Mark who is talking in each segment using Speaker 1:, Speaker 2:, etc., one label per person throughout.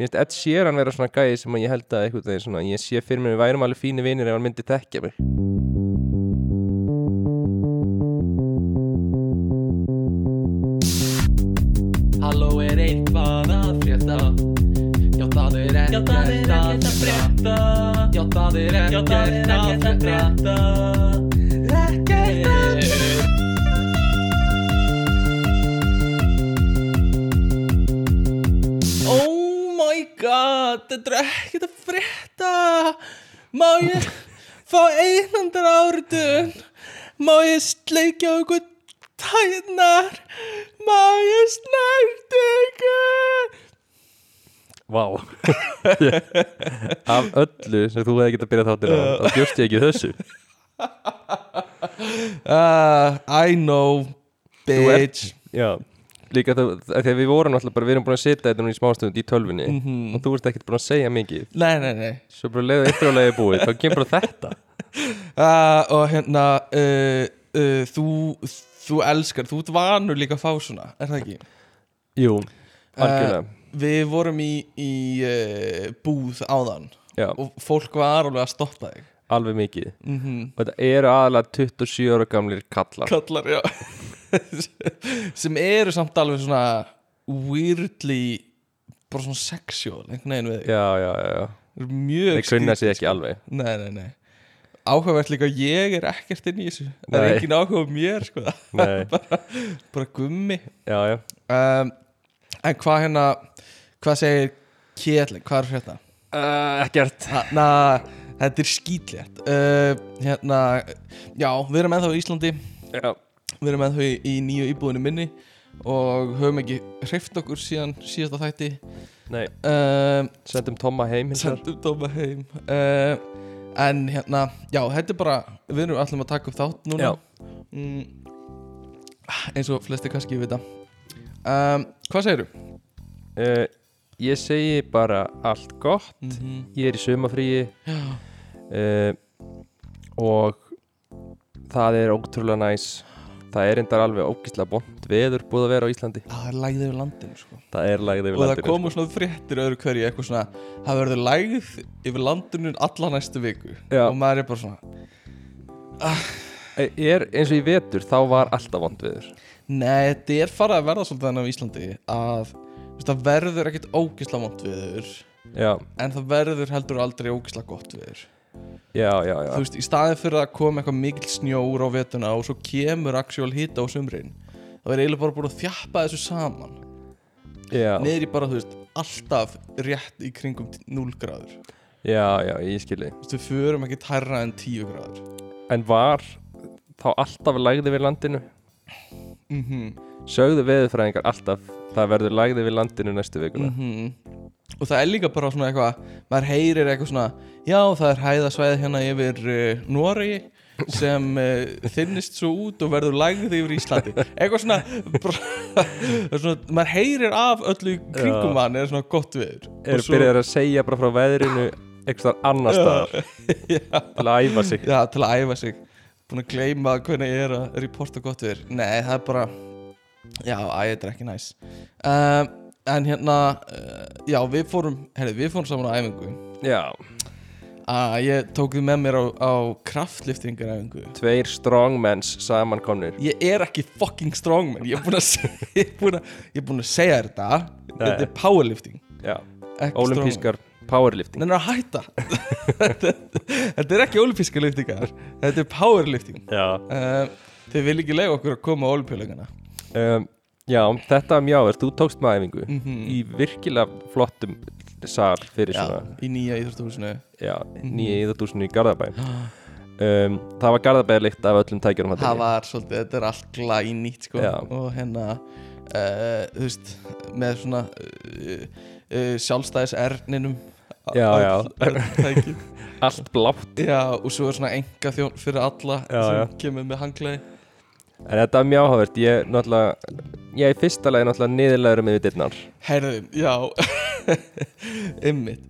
Speaker 1: Mér finnst Ed Sheeran vera svona gæði sem að ég held að eitthvað þegar svona, ég sé fyrir mér við værum alveg fínir vinir ef hann myndi þekkja mig.
Speaker 2: Halló er eitthvað að frétta Já það er ekkert að frétta Já það er ekkert að frétta Ekkert að frétta Oh my god, þetta er ekkert að frétta Má ég fá einandar áritun Má ég sleikja okkur tætnar Má ég snert ykkur
Speaker 1: Vá. Af öllu sem þú hefði getað byrjað þáttir á, þá bjóst ég ekki við þessu.
Speaker 2: uh, I know, bitch
Speaker 1: Já. Líka það, það- þegar við vorum alltaf bara, við erum búin að sitja þetta núna í smástund í tölvunni og þú ert ekkert búin að segja mikið.
Speaker 2: Nei, nei, nei
Speaker 1: Svo bara leiðu eitthvað leiði búið, þá kemur bara þetta.
Speaker 2: uh, Og hérna, uh, uh, þú, þú elskar, þú ert vanur líka að fá svona, er það ekki? Eh,
Speaker 1: Jú, algjörlega.
Speaker 2: Við vorum í, í uh, búð áðan
Speaker 1: Já,
Speaker 2: og fólk var alveg að stoppa þig
Speaker 1: alveg mikið.
Speaker 2: mm -hmm.
Speaker 1: Og þetta eru aðalega 27 ára gamlir kallar.
Speaker 2: Kallar, já Sem eru samt alveg svona weirdly bara svona sexual, einhvern veginn við þig
Speaker 1: Já, já, já, já.
Speaker 2: Eru Mjög
Speaker 1: Þeir kunna
Speaker 2: skrýt-
Speaker 1: sig ekki alveg.
Speaker 2: Nei, nei, nei Áhugavert líka, ég er ekkert inn í þessu Það er
Speaker 1: Nei.
Speaker 2: engin áhuga um mér, sko
Speaker 1: Nei,
Speaker 2: Bara gummi
Speaker 1: já, já.
Speaker 2: um, En hvað hérna Hvað segir Kjellin, hvað er hérna?
Speaker 1: Uh, ekkert
Speaker 2: Þarna, þetta er skýtlétt uh, Hérna Já, við erum ennþá í Íslandi
Speaker 1: Já,
Speaker 2: Við erum ennþá í, í nýju íbúðinu minni Og höfum ekki hreift okkur síðan síðasta þætti
Speaker 1: nei,
Speaker 2: um,
Speaker 1: sendum Tomma heim hins vegar.
Speaker 2: Sendum Tóma heim uh, En hérna, já, þetta er bara Við erum allir að taka upp þátt núna
Speaker 1: Já.
Speaker 2: mm, Eins og flesti kannski vita um, Hvað segirðu?
Speaker 1: uh, Ég segi bara allt gott
Speaker 2: Mm -hmm.
Speaker 1: Ég er í sumafríi uh, Og það er ótrúlega næs Það er endar alveg ógislega bont Veður búið að vera á Íslandi
Speaker 2: Það er lægð yfir landinu sko.
Speaker 1: Það er lagðið
Speaker 2: Og það
Speaker 1: sko.
Speaker 2: komu svona fréttir öðru hverju Eitthvað svona, það verður lægð yfir landinu Alla næstu viku
Speaker 1: Já.
Speaker 2: Og maður er bara svona,
Speaker 1: Eh, er, Eins og í vetur, þá var alltaf vond veður
Speaker 2: nei, þetta er farið að verða Svolítið þannig á Íslandi Að þú veist, það verður ekkit ógisla vond viður
Speaker 1: Já,
Speaker 2: En það verður heldur aldrei ógisla gott viður
Speaker 1: já, já, já
Speaker 2: þú veist, í staðið fyrir að koma eitthvað mikill snjór á vetuna og svo kemur actual hita á sumrin það er eiginlega bara búin að þjappa þessu saman
Speaker 1: já,
Speaker 2: niður í bara, þú veist, alltaf rétt í kringum 0 gráður þú
Speaker 1: já, já, ég skilji
Speaker 2: veist, við förum ekki tærra en 10 gráður
Speaker 1: En var þá alltaf lagðið við landinu
Speaker 2: mhm, mhm
Speaker 1: sögðu veðurfræðingar alltaf það verður lægði við landinu næstu vikuna
Speaker 2: mhm. og það er líka bara svona eitthvað maður heyrir eitthvað svona já, það er hæðasvæði hérna yfir uh, Noregi sem uh, þinnist svo út og verður lægð yfir Íslandi eitthvað svona, bara, það er svona maður heyrir af öllu í
Speaker 1: Já.
Speaker 2: kringum hann er svona gott viður
Speaker 1: eru
Speaker 2: Og svo-
Speaker 1: byrjaðir að segja bara frá veðrinu eitthvað annar staðar
Speaker 2: já,
Speaker 1: til að æfa sig
Speaker 2: já, til að æfa sig búin að gleyma hvernig ég er að reporta gott viður nei, það er bara já, æ, þetta er ekki næs um, en hérna uh, já, við fórum, herri, við fórum saman á æfingu
Speaker 1: já,
Speaker 2: að Ah, ég tók þið með mér á, á kraftliftingaræfingu
Speaker 1: tveir strongmens samankomnir
Speaker 2: ég er ekki fucking strongman ég er búin að, se- ég er búin að, ég er búin að segja þér þetta þetta er powerlifting
Speaker 1: já,
Speaker 2: ekki strongman.
Speaker 1: olimpískar powerlifting
Speaker 2: Nei, nei, hætta Þetta er ekki olimpíska liftingar Þetta er powerlifting
Speaker 1: já.
Speaker 2: uh, Þau vil ekki lega okkur að koma á olimpíuleikana
Speaker 1: Um, já, þetta er mjög áverð þú tókst með æfingu
Speaker 2: Mhm.
Speaker 1: í virkilega flottum sal fyrir
Speaker 2: Já,
Speaker 1: svona
Speaker 2: í nýja íþróttúsinu
Speaker 1: já, nýja íðatúsinu í Garðabæ um, það var Garðabæ líkt af öllum tækjunum þarna
Speaker 2: Það
Speaker 1: inni.
Speaker 2: var svolítið, þetta er allt glæ nýtt sko
Speaker 1: Já.
Speaker 2: Og hérna, uh, þú veist, með svona uh, uh, sjálfstæðis erninum
Speaker 1: Já, já.
Speaker 2: já
Speaker 1: allt blátt
Speaker 2: Já, og svo er svona enga þjón fyrir alla
Speaker 1: Já,
Speaker 2: sem
Speaker 1: já.
Speaker 2: kemur með hanglaði
Speaker 1: En þetta er mjög áhugavert, ég náttúrulega, ég er í fyrsta lagi náttúrulega niðurlegur með við dittnar.
Speaker 2: Herðum, já Ymmit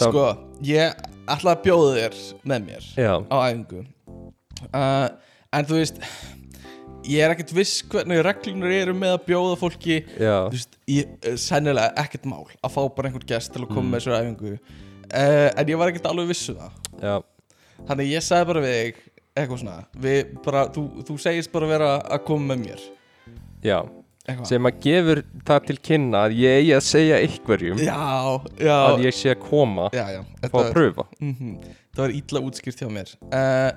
Speaker 1: Þá-
Speaker 2: Sko, ég ætla að bjóða þér með mér
Speaker 1: Já,
Speaker 2: á æfingu uh, En þú veist ég er ekkert viss hvernig reglunur eru með að bjóða fólki
Speaker 1: Já,
Speaker 2: Þú veist, ég, eh, sennilega ekkert mál að fá bara einhvern gest til að
Speaker 1: Mm.
Speaker 2: koma með þessu æfingu uh, en ég var ekkert alveg viss um það
Speaker 1: já,
Speaker 2: þannig ég sagði bara við þig eitthvað svona, við bara, þú, þú segist bara vera að koma með mér
Speaker 1: já
Speaker 2: eitthvað,
Speaker 1: Sem að gefur það til kynna að ég eigi að segja einhverjum
Speaker 2: já, já
Speaker 1: að ég sé að koma
Speaker 2: já, já,
Speaker 1: og fá að pröfa
Speaker 2: mm það var ítla útskýrt hjá mér uh,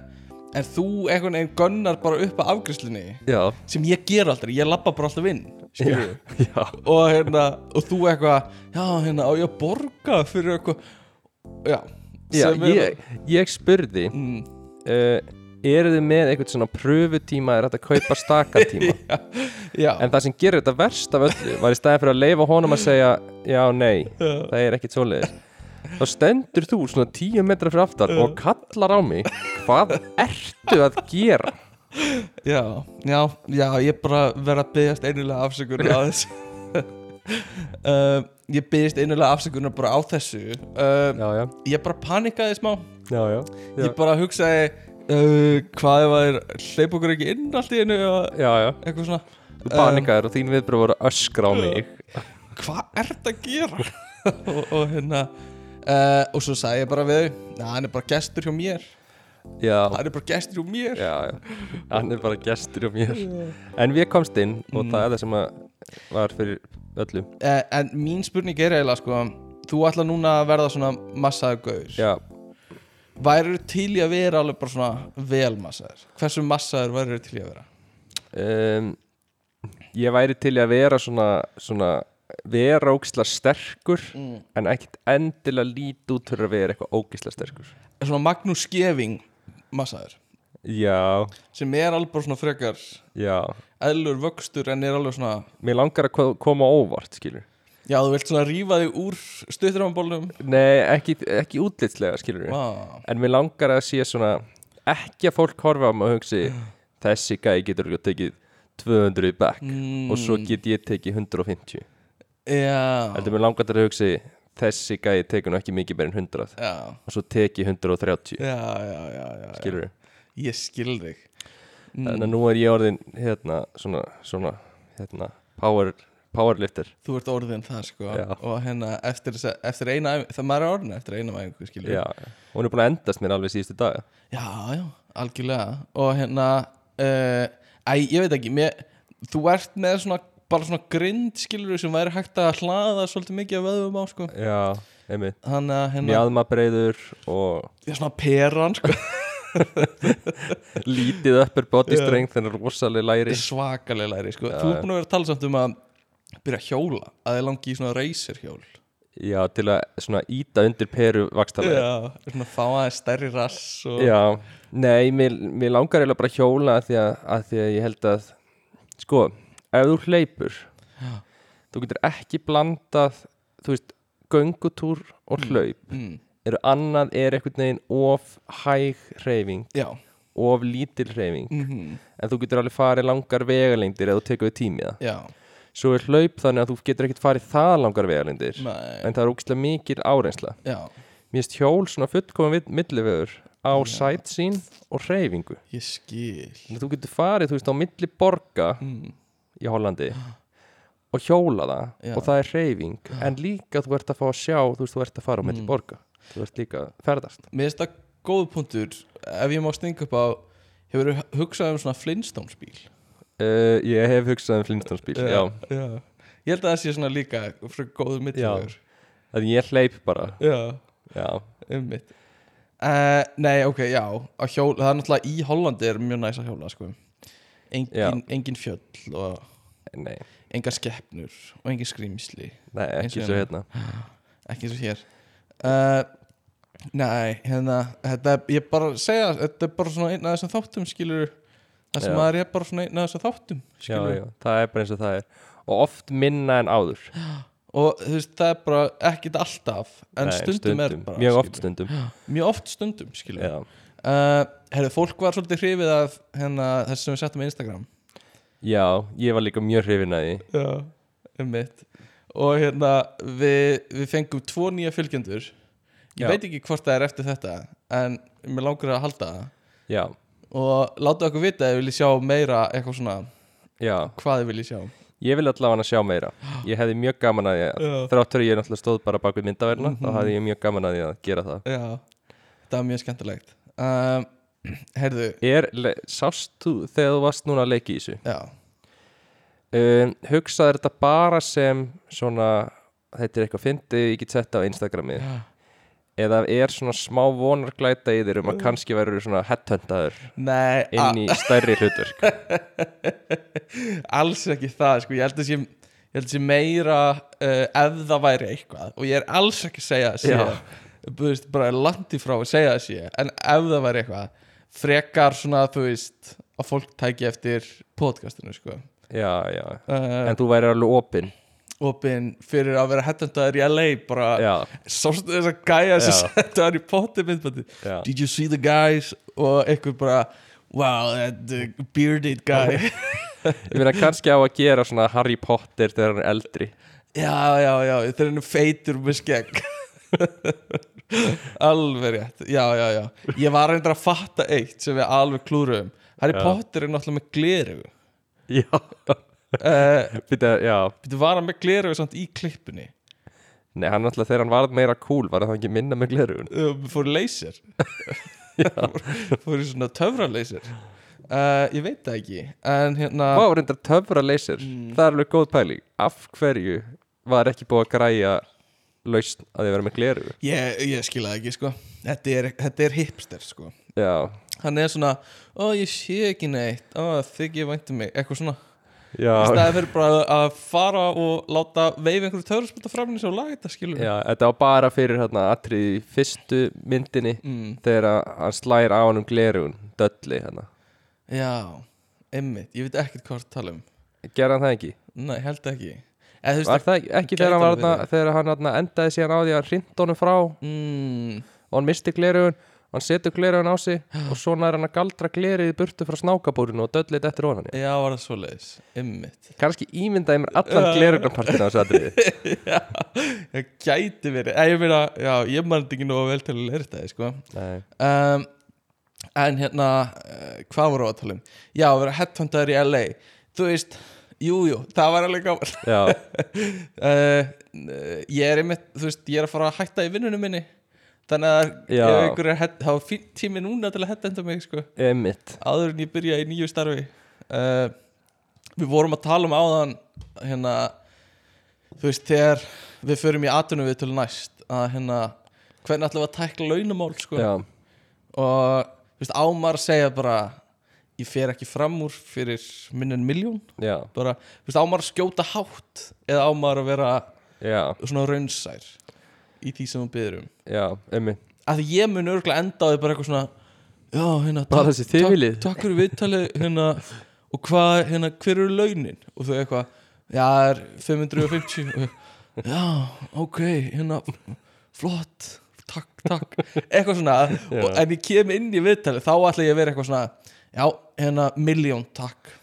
Speaker 2: en þú einhvern veginn gönnar bara upp að afgriðslinni
Speaker 1: Já,
Speaker 2: sem ég ger aldrei, ég labba bara alltaf inn
Speaker 1: já,
Speaker 2: skilurðu.
Speaker 1: já,
Speaker 2: og hérna, og þú eitthvað já, hérna, á ég að borga fyrir eitthvað já,
Speaker 1: já
Speaker 2: sem er-
Speaker 1: ég, ég spurði
Speaker 2: Mm.
Speaker 1: uh, Eru þið með einhvern svona pröfutíma er þetta að kaupa stakatíma
Speaker 2: Já,
Speaker 1: En það sem gerir þetta verst af öllu var í staðin fyrir að leifa honum að segja já, nei, það er ekkit svoleiðis þá stendur þú svona tíu metra fyrir aftar og kallar á mig hvað ertu að gera
Speaker 2: já, já, já, ég bara verð að byggjast einulega afsökunar á þessu uh, Ég byggjast einulega afsökunar bara á þessu uh,
Speaker 1: já, já,
Speaker 2: Ég bara panikaði smá
Speaker 1: já, já, já,
Speaker 2: Ég bara hugsaði uh, hvað ef að þeir hleypa okkur ekki inn allt í einu eða
Speaker 1: já, já.
Speaker 2: eitthvað svona
Speaker 1: þú panikaður og þín viðbröð voru að öskra á mig
Speaker 2: Hvað er þetta að gera? og, og hérna uh, og svo sagði ég bara við þau "Nei, hann er bara gestur hjá mér
Speaker 1: já,
Speaker 2: hann er bara gestur hjá mér
Speaker 1: já, já, hann er bara gestur og mér en við komst inn og það er það sem að var fyrir öllu
Speaker 2: Eh, en mín spurning er eiginlega sko þú ætla núna að verða svona massaður gaur
Speaker 1: já,
Speaker 2: værir til í að vera alveg bara svona vel massaður hversu massaður værir til í að vera
Speaker 1: um, ég væri til í að vera svona, svona vera ógislega sterkur en ekkert endilega lít út fyrir að vera eitthvað ógislega sterkur
Speaker 2: Er Eh, svona Magnús Skeving massaður
Speaker 1: já,
Speaker 2: sem er alveg bara svona frekar
Speaker 1: já
Speaker 2: eðlur vöxtur en er alveg svona
Speaker 1: mér langar að ko- koma á óvart, skilur
Speaker 2: já þú vilt svona rífa þig úr stutturhamabólnum
Speaker 1: nei, ekki, ekki útlitslega, skilur
Speaker 2: wow.
Speaker 1: en mér langar að sé svona ekki að fólk horfa á mig og hugsi þessi gæi getur ekki tekið 200 í back og svo
Speaker 2: Hmm.
Speaker 1: get ég tekið 150
Speaker 2: já,
Speaker 1: heldur mér langar að hugsi þessi gæi tekur nú ekki mikið meir en 100
Speaker 2: já,
Speaker 1: og svo tekið 130
Speaker 2: já, já, já, já, já.
Speaker 1: skilur
Speaker 2: ég skil þig Hmm.
Speaker 1: þannig að nú er ég orðin hérna svona, svona hérna, power, powerlifter
Speaker 2: þú ert orðin það sko
Speaker 1: Já.
Speaker 2: og hérna eftir, þessa- eftir eina æfing- það maður er orðin eftir eina æfingu skilur
Speaker 1: já, og hún er búin að endast mér alveg síðustu dag
Speaker 2: Já, já, algjörlega og hérna uh, æ, ég veit ekki, mér, þú ert með svona, bara svona grind skilur sem væri hægt að hlaða svolítið mikið að vöðum á sko
Speaker 1: já, einmitt
Speaker 2: þannig að hérna,
Speaker 1: mjadmabreiður og
Speaker 2: ég er svona peran sko,
Speaker 1: lítið uppur body strength en rosaleg læri
Speaker 2: svakalega læri sko þú er búin að vera að tala samt um að byrja að hjóla, að þið langi í svona racer hjól
Speaker 1: já, til að svona íta undir peru vakstalega
Speaker 2: Já, svona fá aðeins stærri rass og
Speaker 1: já, nei, mér, mér langar eiginlega bara að hjóla af því að, að því að ég held að sko, ef þú hleypur þú getur ekki blandað þú veist, göngutúr og hlaup
Speaker 2: mm,
Speaker 1: eru annað er einhvern veginn of hæg hreyfing,
Speaker 2: já.
Speaker 1: of lítil hreyfing
Speaker 2: Mm
Speaker 1: en þú getur alveg farið langar vegalengdir ef þú tekur við tími það
Speaker 2: já,
Speaker 1: svo er hlaup þannig að þú getur ekkert farið það langar vegalengdir
Speaker 2: nei,
Speaker 1: en það er ógislega mikil áreynsla
Speaker 2: já
Speaker 1: mér finnst hjól svona fullkomum millivegur á sightseeing og hreyfingu
Speaker 2: ég skil
Speaker 1: Þannig að þú getur farið, þú veist, á milli borga
Speaker 2: mm,
Speaker 1: í Hollandi og hjóla það
Speaker 2: Já.
Speaker 1: og það er hreyfing en líka þú ert að fá að sjá þú veist, þú ert að fara á milli borga þú ert líka að ferðast
Speaker 2: Mér finnst það góð punktur Ef ég má stinga upp á Hefur hugsað um svona Flintstones bíl
Speaker 1: Uh, ég hef hugsað um Flintstonsbíl, já.
Speaker 2: já. Ég held að það sé svona líka Frá góður mittlugur
Speaker 1: Að ég hleyp bara,
Speaker 2: Já,
Speaker 1: já.
Speaker 2: um mitt uh, Nei, ok, já Á hjól, Það er náttúrulega í Hollandi er mjög næs að hjóla sko.
Speaker 1: Já.
Speaker 2: engin, engin fjöll og
Speaker 1: Nei,
Speaker 2: engar skeppnur og engin skrýmsli
Speaker 1: nei,
Speaker 2: Eins
Speaker 1: ekki
Speaker 2: og
Speaker 1: svo
Speaker 2: hérna.
Speaker 1: hérna.
Speaker 2: Ekki eins og hér uh, Nei, hérna þetta, er- Ég bara segja, þetta er bara svona einn af þessum þáttum skilur Það sem
Speaker 1: Já.
Speaker 2: maður er bara svona einn af þessum þáttum
Speaker 1: Já,
Speaker 2: skilur
Speaker 1: já, það er bara eins og það er. Og oft minna en áður.
Speaker 2: Og þú veist, það er bara ekkit alltaf En
Speaker 1: Nei,
Speaker 2: stundum, er bara
Speaker 1: Mjög
Speaker 2: skilur.
Speaker 1: oft stundum.
Speaker 2: Mjög oft stundum, skilur
Speaker 1: Já.
Speaker 2: uh, Herðu, fólk var svolítið hrifið af hérna, þessu sem við settum í Instagram
Speaker 1: já, ég var líka mjög hrifin að því.
Speaker 2: Já, um mitt Og hérna, við, við fengum tvo nýja fylgjendur Ég
Speaker 1: Já.
Speaker 2: veit ekki hvort það er eftir þetta En mér langar að halda það
Speaker 1: Já,
Speaker 2: og láta okkur vita ef við viljið sjá meira eitthvað svona
Speaker 1: Já,
Speaker 2: hvað þið viljið sjá
Speaker 1: ég vil allavega sjá meira Ég hefði mjög gaman að ég
Speaker 2: Já.
Speaker 1: Þrátt fyrir ég náttúrulega stóð bara bak við myndaverna Þá hefði ég mjög gaman að ég að gera það
Speaker 2: Já, þetta var mjög skemmtilegt um, Herðu,
Speaker 1: Er, le- sást þú þegar þú varst núna að leiki í þessu
Speaker 2: já
Speaker 1: um, Hugsaði þetta bara sem svona Þetta er eitthvað fyndið, ég get sett á Instagramið Eða er svona smá vonarglæta í þér um að kannski verður svona headhuntaður
Speaker 2: Nei, ah, a-
Speaker 1: inn í stærri hlutverk
Speaker 2: alls ekki það sko. ég, held að sé, ég held að sé meira uh, ef það væri eitthvað og ég er alls ekki að segja að
Speaker 1: Já.
Speaker 2: sé Búist, bara landi frá að segja að sé en ef það væri eitthvað frekar svona þú veist að fólk tæki eftir podcastinu sko.
Speaker 1: Já, já
Speaker 2: uh,
Speaker 1: En þú væri alveg opinn
Speaker 2: opin fyrir að vera hættandaður í LA bara
Speaker 1: Já,
Speaker 2: sástu þess að gæja sem
Speaker 1: Já.
Speaker 2: settu hann í potti myndbandi
Speaker 1: Já.
Speaker 2: Did you see the guys? Og einhver bara Wow, that uh, bearded guy
Speaker 1: ég meina kannski á að gera svona Harry Potter þegar hann er eldri
Speaker 2: Já, já, já, þeir eru feitur með skegg Alveg rétt, já, já, já Ég var reyndar að fatta eitt sem við alveg klúruðum Harry
Speaker 1: Já.
Speaker 2: Potter er náttúrulega með gleru
Speaker 1: Já,
Speaker 2: uh,
Speaker 1: Býta, já.
Speaker 2: Býttu var hann með gleru samt í klippinni
Speaker 1: Nei, hann alltaf þegar hann varð meira cool var það ekki minna með glerugun
Speaker 2: uh, Fór í laser fór, fór í svona töfra laser uh, Ég veit það ekki En hérna
Speaker 1: Vá, reyndar töfra leysir
Speaker 2: Mm.
Speaker 1: Það er alveg góð pæling Af hverju var ekki búið að græja lausn að þið vera með glerugu
Speaker 2: Ég, ég skil það ekki sko þetta er, þetta er hipster sko
Speaker 1: Já,
Speaker 2: Hann er svona, ó ég sé ekki neitt Ó þig ég vænti mig, eitthvað svona Í
Speaker 1: já,
Speaker 2: staði fyrir bara að fara og láta veif einhverju töfraspölda fram í þessu og laga þetta skilur
Speaker 1: já Þetta var bara fyrir hérna atrið í fyrstu myndinni
Speaker 2: mm,
Speaker 1: þegar að hann slæðir á hann um glerugun Dölli hérna
Speaker 2: já, einmitt, ég veit ekkert hvað það tala um
Speaker 1: Gerði hann það ekki?
Speaker 2: Nei, held ekki Eða þú
Speaker 1: Var
Speaker 2: veist,
Speaker 1: það ekki, ekki
Speaker 2: gæti
Speaker 1: þegar hann, var,
Speaker 2: alveg verið.
Speaker 1: þarna- þegar hann þarna endaði síðan á því að hann hrind honum frá
Speaker 2: mm,
Speaker 1: og hann misti glerugun og hann setur glerugun á sig og svo nær hann að galdra glerið í burtu frá snákabúrinu og döllit eftir ofan hann
Speaker 2: já var það svoleiðis, einmitt
Speaker 1: kannski ímyndaði mér allan glerugunpartina á þessu atriði
Speaker 2: Það gæti verið, eða ég meina, já, ég mann þetta ekki nógu vel til að leira þetta, sko
Speaker 1: Nei.
Speaker 2: um, En hérna, uh, hvað voru að tala um? Já, að vera headhunter í LA Þú veist, jú, jú, það var alveg gaman
Speaker 1: já,
Speaker 2: uh, ég er einmitt, þú veist, ég er að fara að hætta í vinnunum minni þannig að
Speaker 1: Já.
Speaker 2: ef einhver er hett, þá er fínt tími núna til að hætta enda mig, sko,
Speaker 1: emitt
Speaker 2: áður en ég byrja í nýju starfi uh, við vorum að tala um áðan hérna, þú veist, þegar við förum í atunum við til næst að hérna, hvernig ætlum við að tækla launamál, sko,
Speaker 1: já,
Speaker 2: og þú veist, ámar að segja bara ég fer ekki fram úr fyrir minn en miljón,
Speaker 1: já,
Speaker 2: bara, þú veist, ámar að skjóta hátt eða ámar að vera
Speaker 1: já,
Speaker 2: svona raunsær í því sem hún byður um
Speaker 1: já, emitt
Speaker 2: af því ég mun örgulega enda á því bara eitthvað svona já, hérna,
Speaker 1: Bara þessi þyfilið."
Speaker 2: takk, takk fyrir viðtalið hérna, og hvað, hérna, hver eru launin og þau eitthvað, já, það er 550 og, ég, já, ok, hérna flott, takk, takk eitthvað svona, og, en ég kem inn í viðtalið þá ætla ég að vera eitthvað svona já, hérna, miljón, takk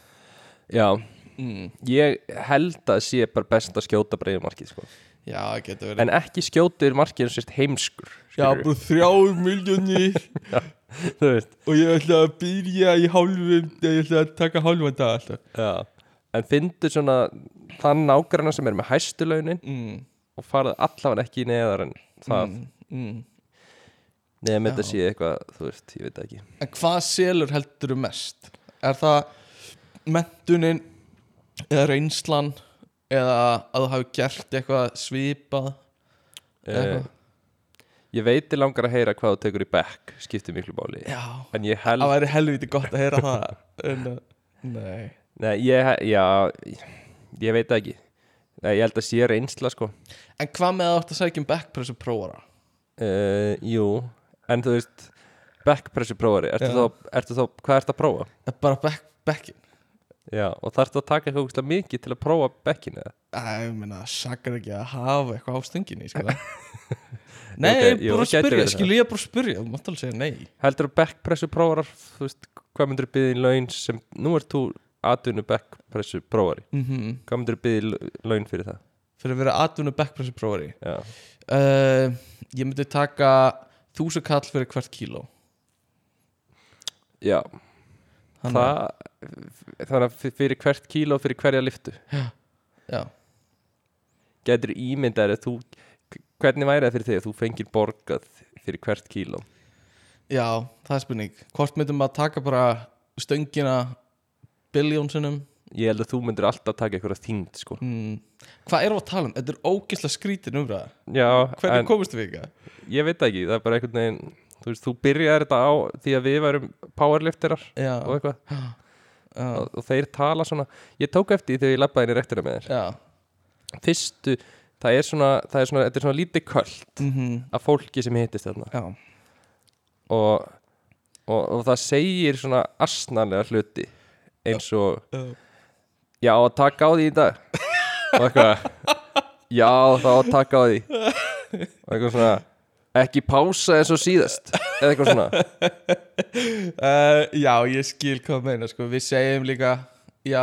Speaker 1: já,
Speaker 2: mm,
Speaker 1: ég held að sé bara best að skjóta breiðu markið sko.
Speaker 2: já, getur verið
Speaker 1: en ekki skjóta yfir markið sem sérst heimskur
Speaker 2: já,
Speaker 1: skilurðu.
Speaker 2: bara þrjár miljónir
Speaker 1: þú veist
Speaker 2: og ég ætla að byrja í hálfum ég ætla að taka hálfum dag alltaf
Speaker 1: já. en fyndu svona þann nágranna sem er með hæstu launin
Speaker 2: mm,
Speaker 1: og farið allavega ekki neðar en það
Speaker 2: mm, mm.
Speaker 1: Nefnum þetta
Speaker 2: Já.
Speaker 1: sé eitthvað, þú veist, ég veit það ekki
Speaker 2: en hvað selur heldur þú mest er það mentunin eða reynslan eða að þú hafi gert eitthvað svipað
Speaker 1: uh,
Speaker 2: Eitthvað.
Speaker 1: Ég veit ég langar að heyra hvað þú tekur í back skiptir miklu máli
Speaker 2: já,
Speaker 1: En ég held,
Speaker 2: það væri helviti gott að heyra það en, uh, nei
Speaker 1: nei, ég, he- já, ég veit það ekki nei, Ég held að sé reynsla, sko
Speaker 2: en hvað með að þú ætti að sækja um backpressu prófara
Speaker 1: uh, Jú, en þú veist, backpressure prófari Ertu
Speaker 2: Já.
Speaker 1: þá, ertu þá, hvað ertu að prófa?
Speaker 2: er bara back, backin
Speaker 1: Já, og þarftu að taka eitthvað ógeðslega mikið til að prófa backin eða
Speaker 2: Æ, ég meina, sakar ekki að hafa eitthvað á stunginni, sko Nei,
Speaker 1: Ok,
Speaker 2: okay,
Speaker 1: jú,
Speaker 2: bara að
Speaker 1: gæti
Speaker 2: spyrja,
Speaker 1: verið
Speaker 2: skilu ég er bara að spyrja Þú mátt alveg segja nei
Speaker 1: Heldur að backpressure prófarar, þú veist, hvað myndir byggði í laun sem, nú ert þú atvinnu backpressure prófari
Speaker 2: mm
Speaker 1: Hvað myndir byggði í laun fyrir það?
Speaker 2: Fyrir að vera atvinnu backpressu prófari
Speaker 1: Já
Speaker 2: uh, Ég myndi taka þúsakall fyrir hvert kíló
Speaker 1: Já,
Speaker 2: Þannig að-
Speaker 1: það, þannig að f- fyrir hvert kíló fyrir hverja liftu
Speaker 2: já,
Speaker 1: getur ímyndar að þú hvernig væri það fyrir þig að þú fengir borgað fyrir hvert kíló
Speaker 2: já, það er spurning hvort myndum að taka bara stöngina biljónsunum
Speaker 1: ég held að þú myndir alltaf taka eitthvað þyngd sko.
Speaker 2: mm. hvað erum við að tala um? Þetta er ógisla skrítin umræða
Speaker 1: já,
Speaker 2: hvernig
Speaker 1: en
Speaker 2: komist við ykkar?
Speaker 1: ég veit það ekki það er bara einhvern veginn þú, veist, þú byrjaði þetta á því að við værum powerlifterar
Speaker 2: Já,
Speaker 1: og eitthvað
Speaker 2: já,
Speaker 1: og, og þeir tala svona ég tók eftir því þegar ég labbaði inn í rektina með
Speaker 2: já
Speaker 1: þér fyrstu, það er svona, það er svona þetta er svona lítið köld
Speaker 2: mm
Speaker 1: af fólki sem hittist þarna
Speaker 2: já,
Speaker 1: og, og, og það segir svona asnalega hluti eins og
Speaker 2: já.
Speaker 1: já, takk á því í dag og eitthvað já, þá takk á því og eitthvað svona ekki pása eins og síðast eða eitthvað svona
Speaker 2: Uh, já, ég skil hvað meina sko. Við segjum líka Já,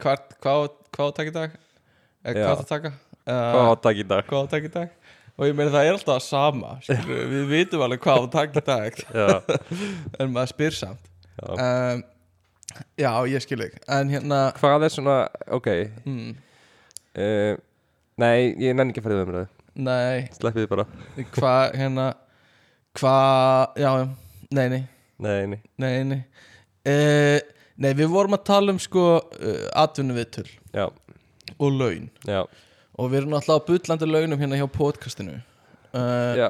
Speaker 2: hvað, hvað, hvað á að taka í dag?
Speaker 1: Já.
Speaker 2: Eh, Hvað á að taka?
Speaker 1: hvað
Speaker 2: Uh,
Speaker 1: á takk í dag
Speaker 2: hvað á að taka í dag? Og ég meina það er alltaf sama skilur, við. Við vitum alveg hvað á að taka í dag
Speaker 1: já,
Speaker 2: En maður spyr samt
Speaker 1: Já.
Speaker 2: um, Já, ég skil þig En hérna
Speaker 1: hvað er svona, ok
Speaker 2: mm,
Speaker 1: uh, nei, ég nenni ekki að fara í það umræðu
Speaker 2: Nei,
Speaker 1: sleppið þið bara
Speaker 2: hvað hérna Hvað, já, já, nei, nei
Speaker 1: nei, nei,
Speaker 2: Nei, nei uh, Nei, við vorum að tala um sko uh, Atvinnuvitul
Speaker 1: já,
Speaker 2: og laun
Speaker 1: já,
Speaker 2: og við erum alltaf á butlandi launum hérna hjá podcastinu uh,
Speaker 1: já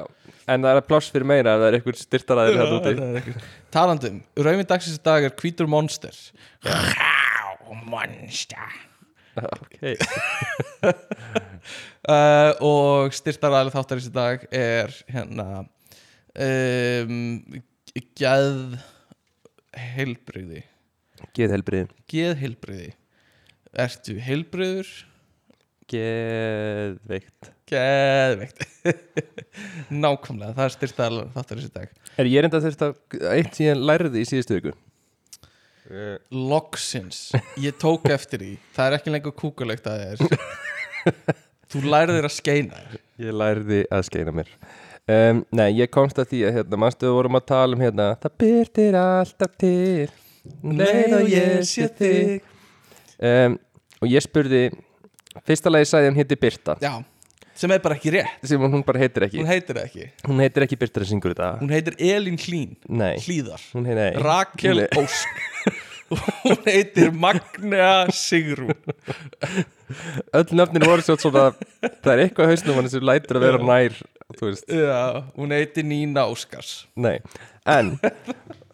Speaker 1: en það er pláss fyrir meira ef það er einhver styrtaraðir hérna úti
Speaker 2: talandum, rauminn um, dagsins í dag er hvítur monster Há, monster
Speaker 1: ok,
Speaker 2: uh, og styrtaræðileg þáttarins í dag er hérna um, geð heilbriði
Speaker 1: geð helbrið
Speaker 2: geð heilbriði ertu heilbriður
Speaker 1: Geðveikt
Speaker 2: geðveikt nákvæmlega, það er styrtaræðileg þáttarins í dag
Speaker 1: Er ég reynda þurft að eitt sem ég lærði í síðustu viku uh,
Speaker 2: Loksins, ég tók eftir því Það er ekki lengur kúkulegt að það er Þú lærið þér að skeina þér.
Speaker 1: Ég lærði að skeina mér um, Nei, ég komst að því að hérna, manstu við vorum að tala um hérna Það byrtir alltaf til um Leið og ég sé þig um, Og ég spurði Fyrsta lagi sagði hann héti Birta
Speaker 2: Já, sem er bara ekki rétt
Speaker 1: sem hún bara heitir ekki
Speaker 2: Hún heitir það ekki
Speaker 1: Hún heitir ekki Birta sem syngur þetta
Speaker 2: Hún heitir Elín Hlín
Speaker 1: Nei,
Speaker 2: Hlíðar
Speaker 1: hún heitir nei
Speaker 2: Rakel
Speaker 1: Nei.
Speaker 2: Ósk Hún heitir Magnea Sigrún
Speaker 1: Öll nöfnin voru svo svona Það er eitthvað hausnum hann sem lætur að vera nær Þú veist
Speaker 2: Já, hún heitir Nína Óskars
Speaker 1: Nei, en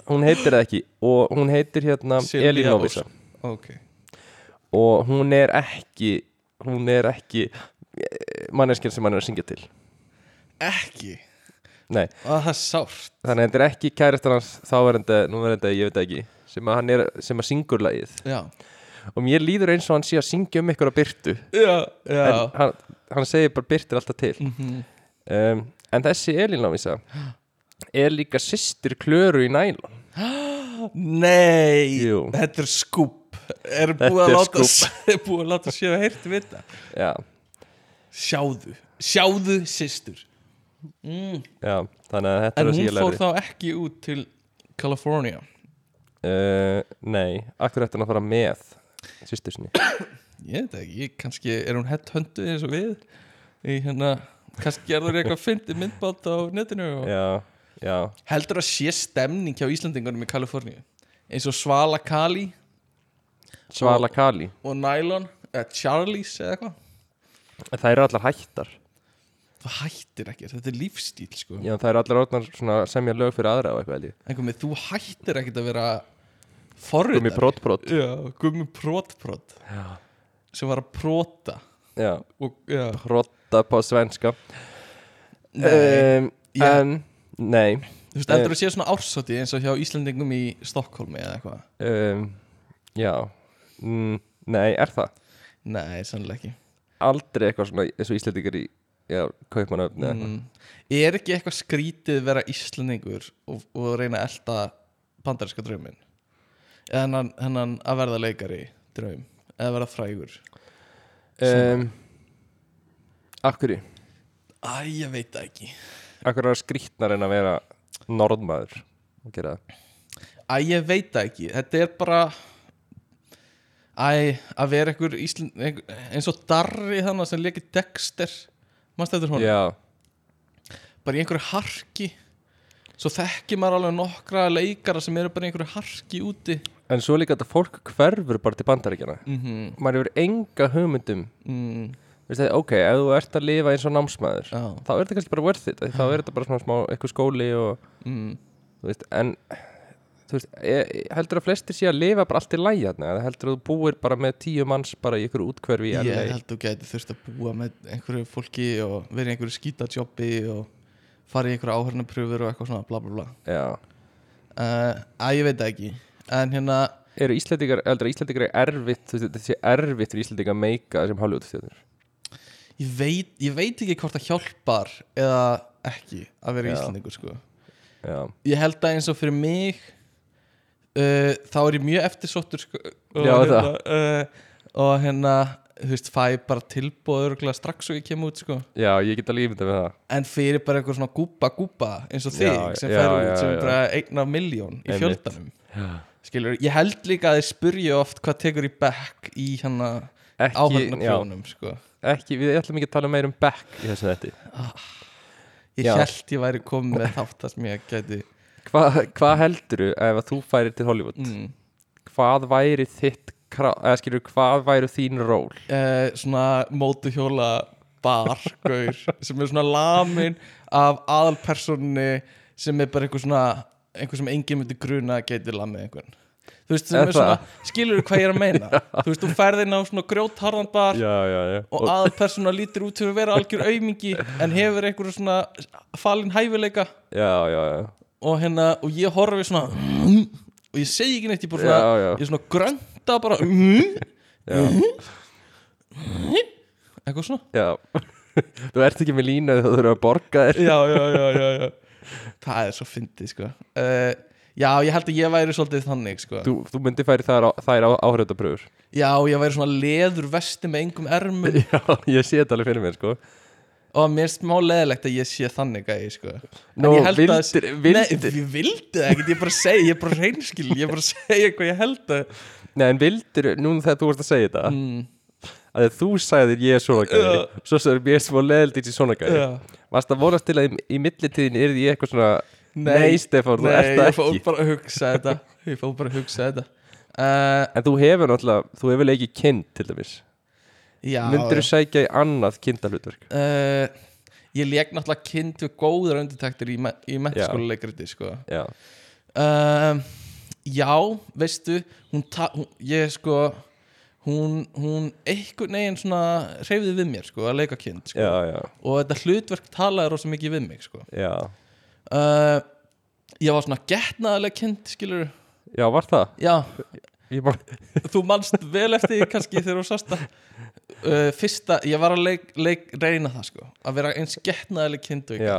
Speaker 1: hún heitir það ekki og hún heitir hérna
Speaker 2: Silvía
Speaker 1: Elín Óvisa
Speaker 2: Ósk. Ok
Speaker 1: og hún er ekki hún er ekki manneskjör sem hann er að syngja til
Speaker 2: Ekki
Speaker 1: Nei,
Speaker 2: Að það er sárt
Speaker 1: þannig að þetta er ekki kærastan hans þáverenda, núverenda, ég veit það ekki sem að hann er, sem að syngur lagið
Speaker 2: Já
Speaker 1: og mér líður eins og hann sé að syngja um ykkur á Byrtu
Speaker 2: Já, já Mhm.
Speaker 1: en hann, hann segir bara Byrtu er alltaf til um, en þessi Elín Óvisa er líka systir klöru í nælon
Speaker 2: Nei,
Speaker 1: Jú.
Speaker 2: þetta er skúp Er
Speaker 1: Þetta
Speaker 2: búið að
Speaker 1: er
Speaker 2: láta,
Speaker 1: skúbb.
Speaker 2: er búið að láta séu að heyrti við þetta
Speaker 1: Já,
Speaker 2: Sjáðu, sjáðu systur mm.
Speaker 1: já, þannig að þetta er
Speaker 2: En
Speaker 1: það sem
Speaker 2: hún
Speaker 1: ég
Speaker 2: fór
Speaker 1: lærði
Speaker 2: þá ekki út til California
Speaker 1: Uh, nei, akkur eftir hann að fara með sýstur sinni
Speaker 2: Ég veit það ekki, ég- kannski er hún hett hönduð eins og við Í hérna, kannski er það eitthvað fyndið myndbátt á netinu og...
Speaker 1: Já, já,
Speaker 2: Heldur að sé stemning hjá Íslandingunum í Kaliforníu Eins og Svala Kali
Speaker 1: Svala Kali
Speaker 2: og Nylon eða Charlies eða eitthvað
Speaker 1: Það eru allar hættar
Speaker 2: Það hættir ekki, þetta er lífstíl sko
Speaker 1: Já, það eru allar orðnar svona semja lög fyrir aðra og eitthvað held ég.
Speaker 2: einhver með þú hættir ekkert að vera
Speaker 1: Gummi
Speaker 2: forritar
Speaker 1: brot brot
Speaker 2: já, gummi prótprót sem var að próta
Speaker 1: Já,
Speaker 2: og, já,
Speaker 1: brotta på svenska
Speaker 2: nei,
Speaker 1: um,
Speaker 2: já.
Speaker 1: En, nei
Speaker 2: þú veist, heldur að sé svona ársóti eins og hjá Íslandingum í Stokkólmi eða eitthvað
Speaker 1: um, Já mm, Nei, er það?
Speaker 2: nei, sannlega ekki
Speaker 1: Aldrei eitthvað svona eins og Íslendingar í Já, kaupmannöfni mm.
Speaker 2: mm. er ekki eitthvað skrítið vera Íslandingur og, og reyna að elta bandarinska draumin eða hennan, hennan að verða leikari draum, eða verða frægur
Speaker 1: um, Akkur í
Speaker 2: æ, ég veit það ekki
Speaker 1: Akkur er það skrýtnar en að vera norðmaður og gera það
Speaker 2: Æ, ég veit það ekki Þetta er bara Æ, að vera einhver Ísland einhver, eins og Darri þannig sem leikir Dexter Manst þetta hún?
Speaker 1: já,
Speaker 2: Bara í einhverju harki Svo þekkir maður alveg nokkra leikara sem eru bara í einhverju harki úti
Speaker 1: en svo líka þetta fólk hverfur bara til bandaríkjana
Speaker 2: mm -hmm.
Speaker 1: maður hefur enga hugmyndum
Speaker 2: mm,
Speaker 1: Veist það, ok, ef þú ert að lifa eins og námsmaður
Speaker 2: Já
Speaker 1: þá er þetta kannski bara worth it þá er þetta bara svona smá eitthvað skóli og,
Speaker 2: mm.
Speaker 1: þú veist, en þú veist, e- heldur að flestir sé að lifa bara allt í lægi þarna eða heldur að þú búir bara með tíu manns bara í ykkur útkverfi í
Speaker 2: Ég
Speaker 1: LA?
Speaker 2: held þú gæti þurft að búa með einhverju fólki og vera í einhverju skítajobbi og fara í einhverju áhörnapröfur og eitthvað svona bla bla bla
Speaker 1: Já.
Speaker 2: uh, að ég veit það ekki en hérna,
Speaker 1: eru Íslandingar, heldur að Íslandingar er erfitt þú veist, þetta sé erfitt fyrir Íslandingar að meika sem Hollywoodstjóður
Speaker 2: ég veit, ég veit ekki hvort það hjálpar eða ekki að vera
Speaker 1: Já.
Speaker 2: íslendingur sko
Speaker 1: Já,
Speaker 2: ég held að eins og fyrir mig uh, þá er ég mjög eftirsóttur sko, og,
Speaker 1: Já,
Speaker 2: hérna, uh, og hérna þú veist, fæ bara tilbúður strax og ég kem út sko
Speaker 1: já ég get alveg ímynda með það
Speaker 2: en fyrir bara einhver svona gúpa gúpa eins og þig
Speaker 1: Já,
Speaker 2: sem
Speaker 1: já,
Speaker 2: fer
Speaker 1: já,
Speaker 2: út sem
Speaker 1: já.
Speaker 2: bara einna miljón í
Speaker 1: Einmitt.
Speaker 2: fjöldanum
Speaker 1: Já.
Speaker 2: skilur, ég held líka að þeir spurja oft hvað tekur í back í hérna
Speaker 1: ekki, já,
Speaker 2: áhörnarprjónum sko.
Speaker 1: ekki, við ætlum ekki að tala meir um back í þessu þetta
Speaker 2: ég
Speaker 1: Já.
Speaker 2: held ég væri komið með þátt það sem ég gæti
Speaker 1: Hvað hva heldurðu ef að þú færir til Hollywood?
Speaker 2: mm,
Speaker 1: Hvað væri þitt, krá- eða skilur, hvað væri þín ról?
Speaker 2: eh, svona mótuhjóla bargaur sem er svona lamin af aðalpersonni sem er bara einhver svona einhver sem enginn myndi gruna að gæti lamið einhvern þú veist, sem
Speaker 1: Er
Speaker 2: er svona, skilur hvað ég er að meina þú veist, þú færðin á svona grjótharðan bar
Speaker 1: Já, já, já
Speaker 2: og aðalpersona lítur út fyrir að vera algjör aumingi en hefur einhverju svona falin hæfileika
Speaker 1: Já, já, já
Speaker 2: og hérna, og ég horfi svona mm, og ég segi ekki neitt, ég bara svona
Speaker 1: Já, já.
Speaker 2: ég svona grönda bara mm, eitthvað
Speaker 1: Já,
Speaker 2: mm, svona
Speaker 1: já. Þú ert ekki með línu þegar þú þurfum að borga þér
Speaker 2: já, já, já, já, já það er svo fyndið, sko uh, já, ég held að ég væri svolítið þannig, sko
Speaker 1: Þú, þú myndi færi þær, á- þær á, áhrifdapröfur
Speaker 2: já, ég væri svona leður vesti með engum ermum
Speaker 1: Já, ég sé þetta alveg fyrir mér, sko
Speaker 2: og mér er smá leðilegt að ég sé þannig að ég, sko En
Speaker 1: Nú,
Speaker 2: ég held að-
Speaker 1: vildir, vildir
Speaker 2: Nei, ég vildi það ekkert, ég bara segi, ég bara reynskil ég bara segi hvað ég held að
Speaker 1: Nei, en vildir, núna þegar þú vorst að segja þetta
Speaker 2: mm,
Speaker 1: að þegar þú sagðir ég er svona gæði
Speaker 2: Já.
Speaker 1: svo sem ég er smá leðild í þessi svona gæði
Speaker 2: já.
Speaker 1: varst að vonast til að í, í millitíðin er ég eitthvað svona
Speaker 2: Nei,
Speaker 1: nei, Stefán, þú
Speaker 2: Nei,
Speaker 1: ert það
Speaker 2: ég fór
Speaker 1: ekki
Speaker 2: bara að hugsa þetta Ég fór bara að hugsa þetta uh,
Speaker 1: en þú hefur náttúrulega, þú hefur leikið kind til dæmis,
Speaker 2: Já
Speaker 1: myndir þú sækja í annað kindalutverk
Speaker 2: uh, Ég leik náttúrulega kind við góðar undirtektir í, me í mentaskóla leikriti sko.
Speaker 1: já,
Speaker 2: uh, Já, veistu hún, ta- hún, Ég sko Hún, hún einhvern veginn svona hreyfði við mér sko, að leika kind sko.
Speaker 1: já, já,
Speaker 2: og þetta hlutverk talaði rosa mikið við mig sko.
Speaker 1: já
Speaker 2: uh, ég var svona getnaðarlega kind skilur,
Speaker 1: já, var það?
Speaker 2: já,
Speaker 1: Ég man,
Speaker 2: þú manst vel eftir því kannski þegar þú sást það uh, fyrsta, ég var að leik, leik, reyna það sko, að vera eins getnaðileg kind og ég
Speaker 1: já,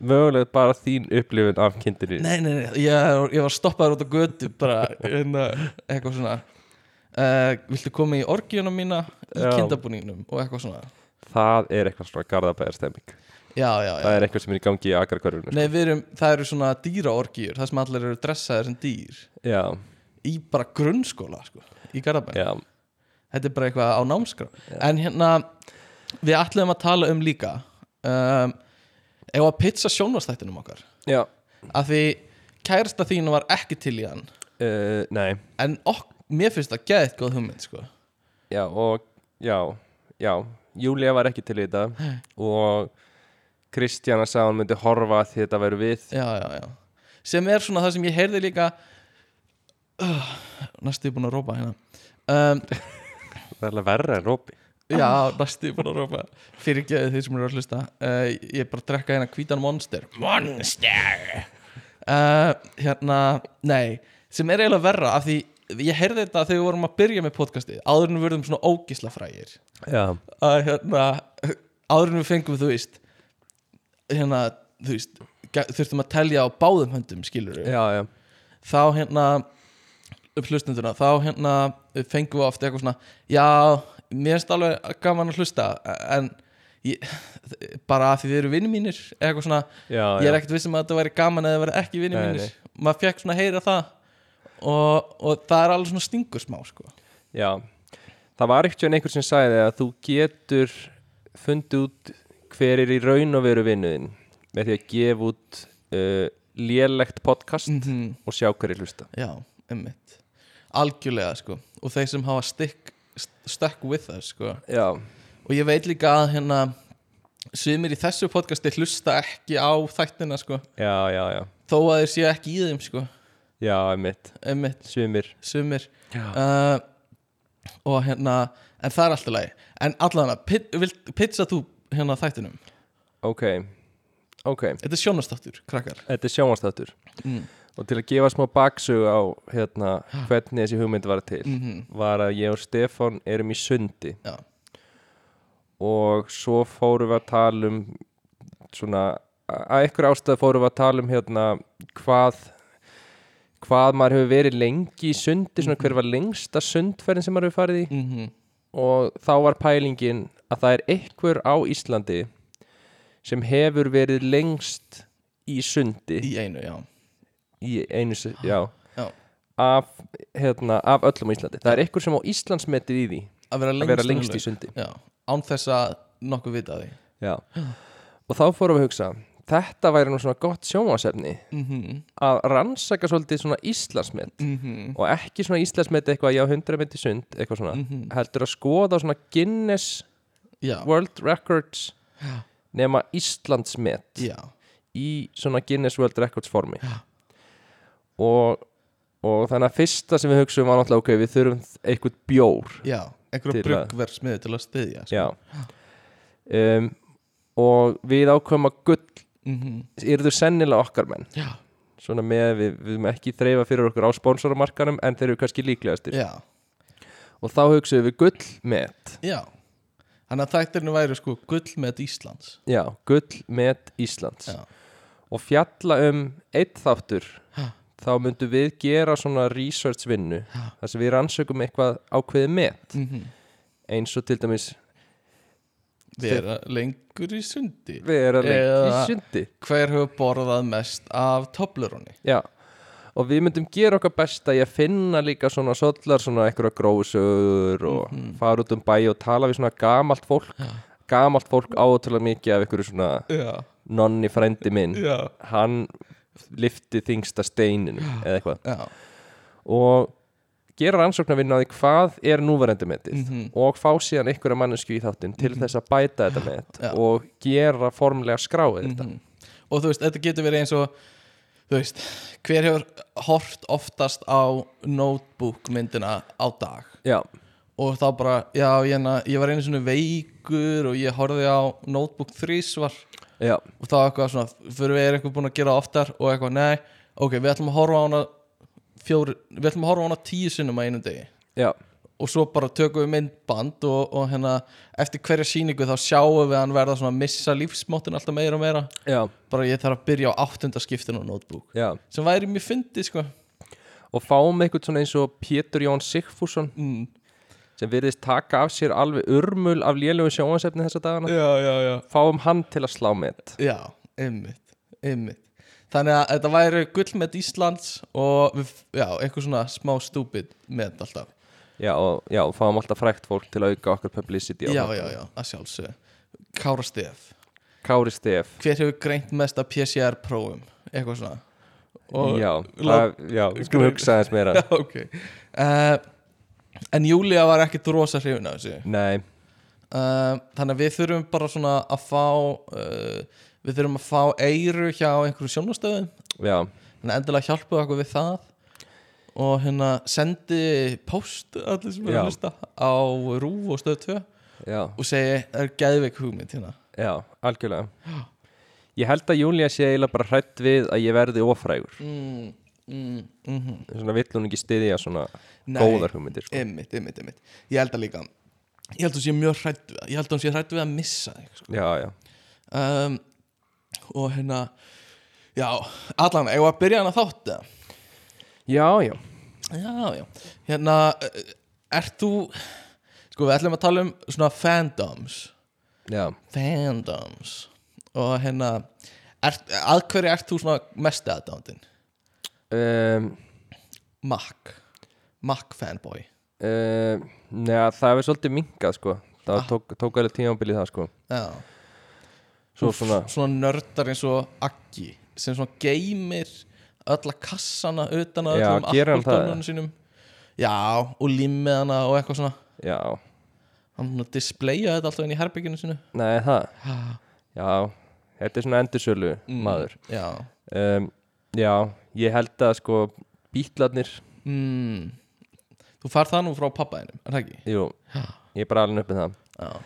Speaker 1: mögulega bara þín upplifun af kindinni
Speaker 2: nei, nei, nei, ég, ég var stoppaður út á götu bara, hérna, eitthvað svona uh, viltu koma í orgíunum mína í
Speaker 1: Já.
Speaker 2: kindabúningnum og eitthvað svona
Speaker 1: það er eitthvað svona garðabæðarstemming
Speaker 2: já, já, já,
Speaker 1: það er eitthvað sem er í gangi í agrarkörfinu
Speaker 2: nei, við erum, það eru svona dýraorgíur, það sem allir eru dressaðir sem dýr
Speaker 1: já,
Speaker 2: í bara grunnskóla sko, í Garðabæn
Speaker 1: já,
Speaker 2: þetta er bara eitthvað á námskrá en hérna við ætlum að tala um líka um, ef að pizza sjónvastættinum okkar
Speaker 1: já
Speaker 2: af því kærasta þín var ekki til í hann
Speaker 1: uh, nei,
Speaker 2: en ok, mér finnst það geðið góð hugmynd sko.
Speaker 1: Já, og já, já, Júlia var ekki til í þetta og Kristjana sagði að hún myndi horfa því þetta verður við
Speaker 2: já, já, já. sem er svona það sem ég heyrði líka uh, næstu ég búin að rópa hérna um,
Speaker 1: Það er alveg verra en Róbi
Speaker 2: já, næstu ég búin að rópa fyrir geðið því sem eru að hlusta uh, ég er bara að drekka hérna hvítan monster
Speaker 3: Monster!
Speaker 2: uh, hérna, nei sem er eiginlega verra af því ég heyrði þetta þegar við vorum að byrja með podcastið áður en við verðum svona ógisla frægir
Speaker 1: Já,
Speaker 2: að hérna áður en við fengum þú veist hérna, þú veist gæ- þurftum að telja á báðum höndum skilur
Speaker 1: já, já,
Speaker 2: þá hérna upp hlustenduna, þá hérna fengum við oft eitthvað svona, já mér finnst alveg gaman að hlusta en ég, bara af því þið eru vinni mínir, eitthvað svona
Speaker 1: já,
Speaker 2: ég er um
Speaker 1: já.
Speaker 2: ekkert vissum að þetta væri gaman eða það væri ekki vinni
Speaker 1: Nei,
Speaker 2: mínir maður fekk svona að heyra það og, og það er alveg svona stingur smá sko.
Speaker 1: Já, það var ekkert en einhver sem sagði að þú getur fundið út hver er í raun og veru vinnuðin með því að gefa út uh, lélegt podcast
Speaker 2: -hmm.
Speaker 1: og sjá hver er hlusta
Speaker 2: Já, ummitt Algjörlega sko Og þeir sem hafa stick, st- stuck with us sko
Speaker 1: Já,
Speaker 2: Og ég veit líka að hérna Sumir í þessu podcasti hlusta ekki á þættina sko
Speaker 1: já, já, já
Speaker 2: Þó að þeir séu ekki í þeim sko
Speaker 1: Já, einmitt,
Speaker 2: Ummitt,
Speaker 1: sumir
Speaker 2: sumir
Speaker 1: Já,
Speaker 2: uh, Og hérna En það er alltaf lagi En allan að pizza þú hérna þættinum
Speaker 1: ok, ok
Speaker 2: Þetta er sjónastáttur, krakkar
Speaker 1: Þetta er sjónvastáttur
Speaker 2: mm.
Speaker 1: og til að gefa smá baksug á hérna, hvernig þessi hugmynd var til
Speaker 2: Mm
Speaker 1: var að ég og Stefan erum í sundi
Speaker 2: Já.
Speaker 1: og svo fórum við að tala um svona að einhver ástæð fórum við að tala um hérna hvað hvað maður hefur verið lengi í sundi svona hver var lengsta sundferðin sem maður hefur farið í
Speaker 2: Mm
Speaker 1: og þá var pælingin að það er einhver á Íslandi sem hefur verið lengst í sundi
Speaker 2: Í einu, já
Speaker 1: í einu, se- já,
Speaker 2: Já.
Speaker 1: Af, hérna, af öllum á Íslandi það er einhver sem á Íslandsmetið í því
Speaker 2: Að vera
Speaker 1: að
Speaker 2: lengst, um
Speaker 1: vera lengst í sundi
Speaker 2: Já, án þess að nokkuð vita af því
Speaker 1: já. og þá fórum við að hugsa þetta væri nú svona gott sjónvásefni
Speaker 2: mm -hmm.
Speaker 1: að rannsaka svolítið svona Íslandsmet
Speaker 2: Mm -hmm.
Speaker 1: og ekki svona Íslandsmet eitthvað já 100 metið sund eitthvað svona
Speaker 2: Mhm.
Speaker 1: heldur að skoða svona Guinness
Speaker 2: Já,
Speaker 1: World Records nema Íslandsmet
Speaker 2: já,
Speaker 1: í svona Guinness World Records formi og, og þannig að fyrsta sem við hugsaum var náttúrulega ok, við þurfum eitthvað bjór
Speaker 2: já
Speaker 1: Til
Speaker 2: einhverja
Speaker 1: að-
Speaker 2: bruggverðsmiði til að styðja sko.
Speaker 1: já um, og við ákveðum að gull
Speaker 2: Mhm.
Speaker 1: eru sennilega okkar menn
Speaker 2: já,
Speaker 1: svona með að við, við erum ekki þreifa fyrir okkur á sponsoramarkanum en þeir eru kannski líklegastir
Speaker 2: já,
Speaker 1: og þá hugsaðum við gull með
Speaker 2: já Þannig að þættirinu væri sko gullmet Íslands
Speaker 1: já, gull með Íslands
Speaker 2: Já.
Speaker 1: og fjalla um eitt þáttur
Speaker 2: Ha.
Speaker 1: þá myndum við gera svona research vinnu
Speaker 2: Ha.
Speaker 1: þar sem við rannsökum eitthvað ákveðið með
Speaker 2: mm
Speaker 1: eins og til dæmis
Speaker 2: Vera lengur í sundi
Speaker 1: við erum lengt í
Speaker 2: Eða-
Speaker 1: sundi
Speaker 2: Hver hefur borðað mest af tobleroni?
Speaker 1: Já, og við myndum gera okkar besta í að finna líka svona sollar, svona einhverja grósögur og
Speaker 2: Mhm.
Speaker 1: fara út um bæ og tala við svona gamalt fólk gamalt fólk átrúlega mikið af einhverju svona
Speaker 2: Já,
Speaker 1: nonni frændi minn
Speaker 2: já,
Speaker 1: hann lifti þingsta steininu eða eitthvað
Speaker 2: já
Speaker 1: og gera rannsóknarvinna á því hvað er núverandi metið
Speaker 2: Mhm.
Speaker 1: og fá síðan einhverja mannesku í þáttinn til þess að bæta þetta met
Speaker 2: Já.
Speaker 1: og gera formlega skráið þetta
Speaker 2: Mhm. Og þú veist, þetta getur verið eins og Þú veist, hver hefur hort oftast á notebook myndina á dag
Speaker 1: Já,
Speaker 2: og þá bara, já, ég, na, ég var einu svona veikur og ég horfði á notebook þrísvar
Speaker 1: já,
Speaker 2: og þá eitthvað svona, fyrir við erum eitthvað búin að gera oftar og eitthvað, nei, ok, við ætlum að horfa á hana fjóri, við ætlum að horfa á hana tíu sinnum á einum degi
Speaker 1: já,
Speaker 2: og svo bara tökum við myndband og, og hérna, eftir hverja sýningu þá sjáum við hann verða svona að missa lífsmáttin alltaf meira og meira,
Speaker 1: já,
Speaker 2: bara ég þarf að byrja á áttunda skiptinu á notebook,
Speaker 1: já
Speaker 2: sem væri mjög fyndið, sko,
Speaker 1: og fáum eitthvað svona eins og Pétur Jón Sigfússon
Speaker 2: mm.
Speaker 1: sem virðist taka af sér alveg urmul af lélögu sjónvansefni þessa dagana
Speaker 2: já, já, já
Speaker 1: fáum hann til að slá met
Speaker 2: Já, ymmit, ymmit Þannig að þetta væri gullmet Íslands og við, já, eitthvað svona smá stúpid með alltaf
Speaker 1: já, og, já, og fáum alltaf frækt fólk til að auka okkar publicity
Speaker 2: Já,
Speaker 1: á
Speaker 2: já,
Speaker 1: þetta.
Speaker 2: já, að sjálfsög Kára Stef,
Speaker 1: Kári Stef
Speaker 2: hver hefur greint mest af PCR prófum, eitthvað svona
Speaker 1: já,
Speaker 2: lá-
Speaker 1: það, já, við skulum hugsa aðeins meira
Speaker 2: Já, ok uh, En Júlia var ekkit rosa hrifin af þessu
Speaker 1: nei,
Speaker 2: uh, Þannig að við þurfum bara svona að fá uh, Við þurfum að fá eiru hjá einhverju sjónastöðum
Speaker 1: já,
Speaker 2: Þannig að endilega hjálpaðu okkur við það og hérna sendi post allir sem eru
Speaker 1: Já.
Speaker 2: að hlusta á Rúf og Stöð 2
Speaker 1: já,
Speaker 2: og segi er geðveik hugmynd hérna
Speaker 1: já, algjörlega ég held að Júlia sé eiginlega bara hrætt við að ég verði ofrægur
Speaker 2: mm, mm, mm -hmm.
Speaker 1: svona vill hún ekki styðja svona
Speaker 2: Nei.
Speaker 1: góðar hugmyndir sko.
Speaker 2: Einmitt, einmitt, einmitt Ég held að líka Ég held að hún sé mjög hrætt við það Ég held að hún sé hrætt við að missa þig sko.
Speaker 1: já, já,
Speaker 2: um, og hérna Já, allan, eigum við að byrja hana þátt eða?
Speaker 1: já, já,
Speaker 2: Já, já Hérna, eh, ert þú Sko, við ætlum að tala um svona fandoms
Speaker 1: já.
Speaker 2: fandoms og hérna er, að hverju ert þú svona mest aðdándin?
Speaker 1: Um,
Speaker 2: Mac Mac fanboy
Speaker 1: uh, Neða, það hefur svolítið minkað sko Það
Speaker 2: Ah.
Speaker 1: tók, tók alveg tímambil í það sko
Speaker 2: Já.
Speaker 1: Svo svona
Speaker 2: svona nördar eins og Aggi sem svona geymir ölla kassana utan að
Speaker 1: Já,
Speaker 2: öllum
Speaker 1: gerir hann það?
Speaker 2: Apple-tölvunum sínum Já, og limmið hana og eitthvað svona
Speaker 1: Já,
Speaker 2: hann svona displaya þetta alltaf inn í herbygginu sinu
Speaker 1: nei það Já, þetta er svona endursölu maður
Speaker 2: Já
Speaker 1: um, Já, ég held að sko Bítlarnir,
Speaker 2: mm. Þú far það nú frá pappaðinum, er það ekki?
Speaker 1: jú
Speaker 2: Já.
Speaker 1: Ég er bara alveg uppið það
Speaker 2: Já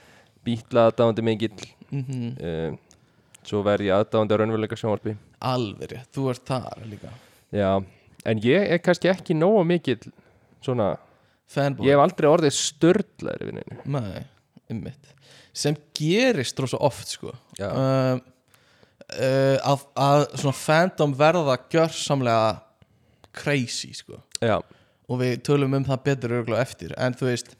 Speaker 1: Bítla aðdáðandi mikill
Speaker 2: mm
Speaker 1: um, Svo verð ég aðdáðandi á raunveruleika sjónvarpi
Speaker 2: Alveg, rétt, þú ert þar líka
Speaker 1: Já, en ég er kannski ekki nógu mikill Svona,
Speaker 2: Fanboy
Speaker 1: ég hef aldrei orðið störðlaður við neinu
Speaker 2: Nei, ymmit sem gerist rosa oft sko
Speaker 1: Já.
Speaker 2: uh, uh, að, að svona fandom verða gjörsamlega crazy sko
Speaker 1: Já,
Speaker 2: og við tölum um það betur örgulega eftir en þú veist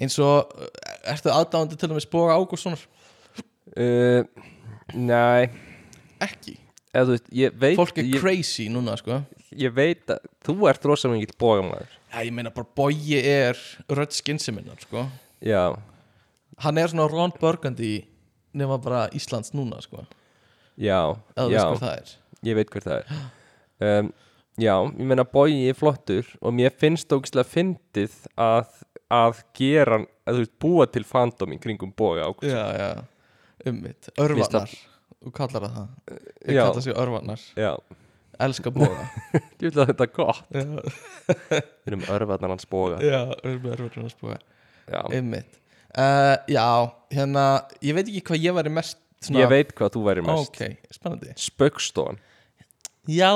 Speaker 2: eins og uh, ertu aðdáðandi til að við spóra Ágússonar
Speaker 1: uh, nei
Speaker 2: ekki,
Speaker 1: eða þú veist, ég veit
Speaker 2: fólk er
Speaker 1: ég,
Speaker 2: crazy núna sko
Speaker 1: ég veit að þú ert rosa mingill bógamæður
Speaker 2: Já, ég meina bara Bogi er rödd skinseminnar sko
Speaker 1: já,
Speaker 2: hann er svona Ron Burgundy nema bara Íslands núna sko
Speaker 1: já,
Speaker 2: eða þú
Speaker 1: já
Speaker 2: veist hvað það er
Speaker 1: ég veit hver það er um, já, ég meina bógi er flottur og mér finnst ógislega fyndið að, að gera að þú veist, búa til fandom í kringum bóga ákvæm
Speaker 2: já, já, ummitt
Speaker 1: Víst
Speaker 2: örvarnar,
Speaker 1: að-
Speaker 2: þú kallar það það ég
Speaker 1: já,
Speaker 2: kalla sig örvarnar,
Speaker 1: já,
Speaker 2: elska boga
Speaker 1: ég vil að þetta er gott
Speaker 2: já,
Speaker 1: við erum örfarnar hans bóga
Speaker 2: já, örvarnars boga
Speaker 1: já,
Speaker 2: ummitt, uh, já hérna, ég veit ekki hvað ég væri mest svona,
Speaker 1: ég veit hvað þú væri mest okay.
Speaker 2: ok, spennandi
Speaker 1: spaukstofan,
Speaker 2: já,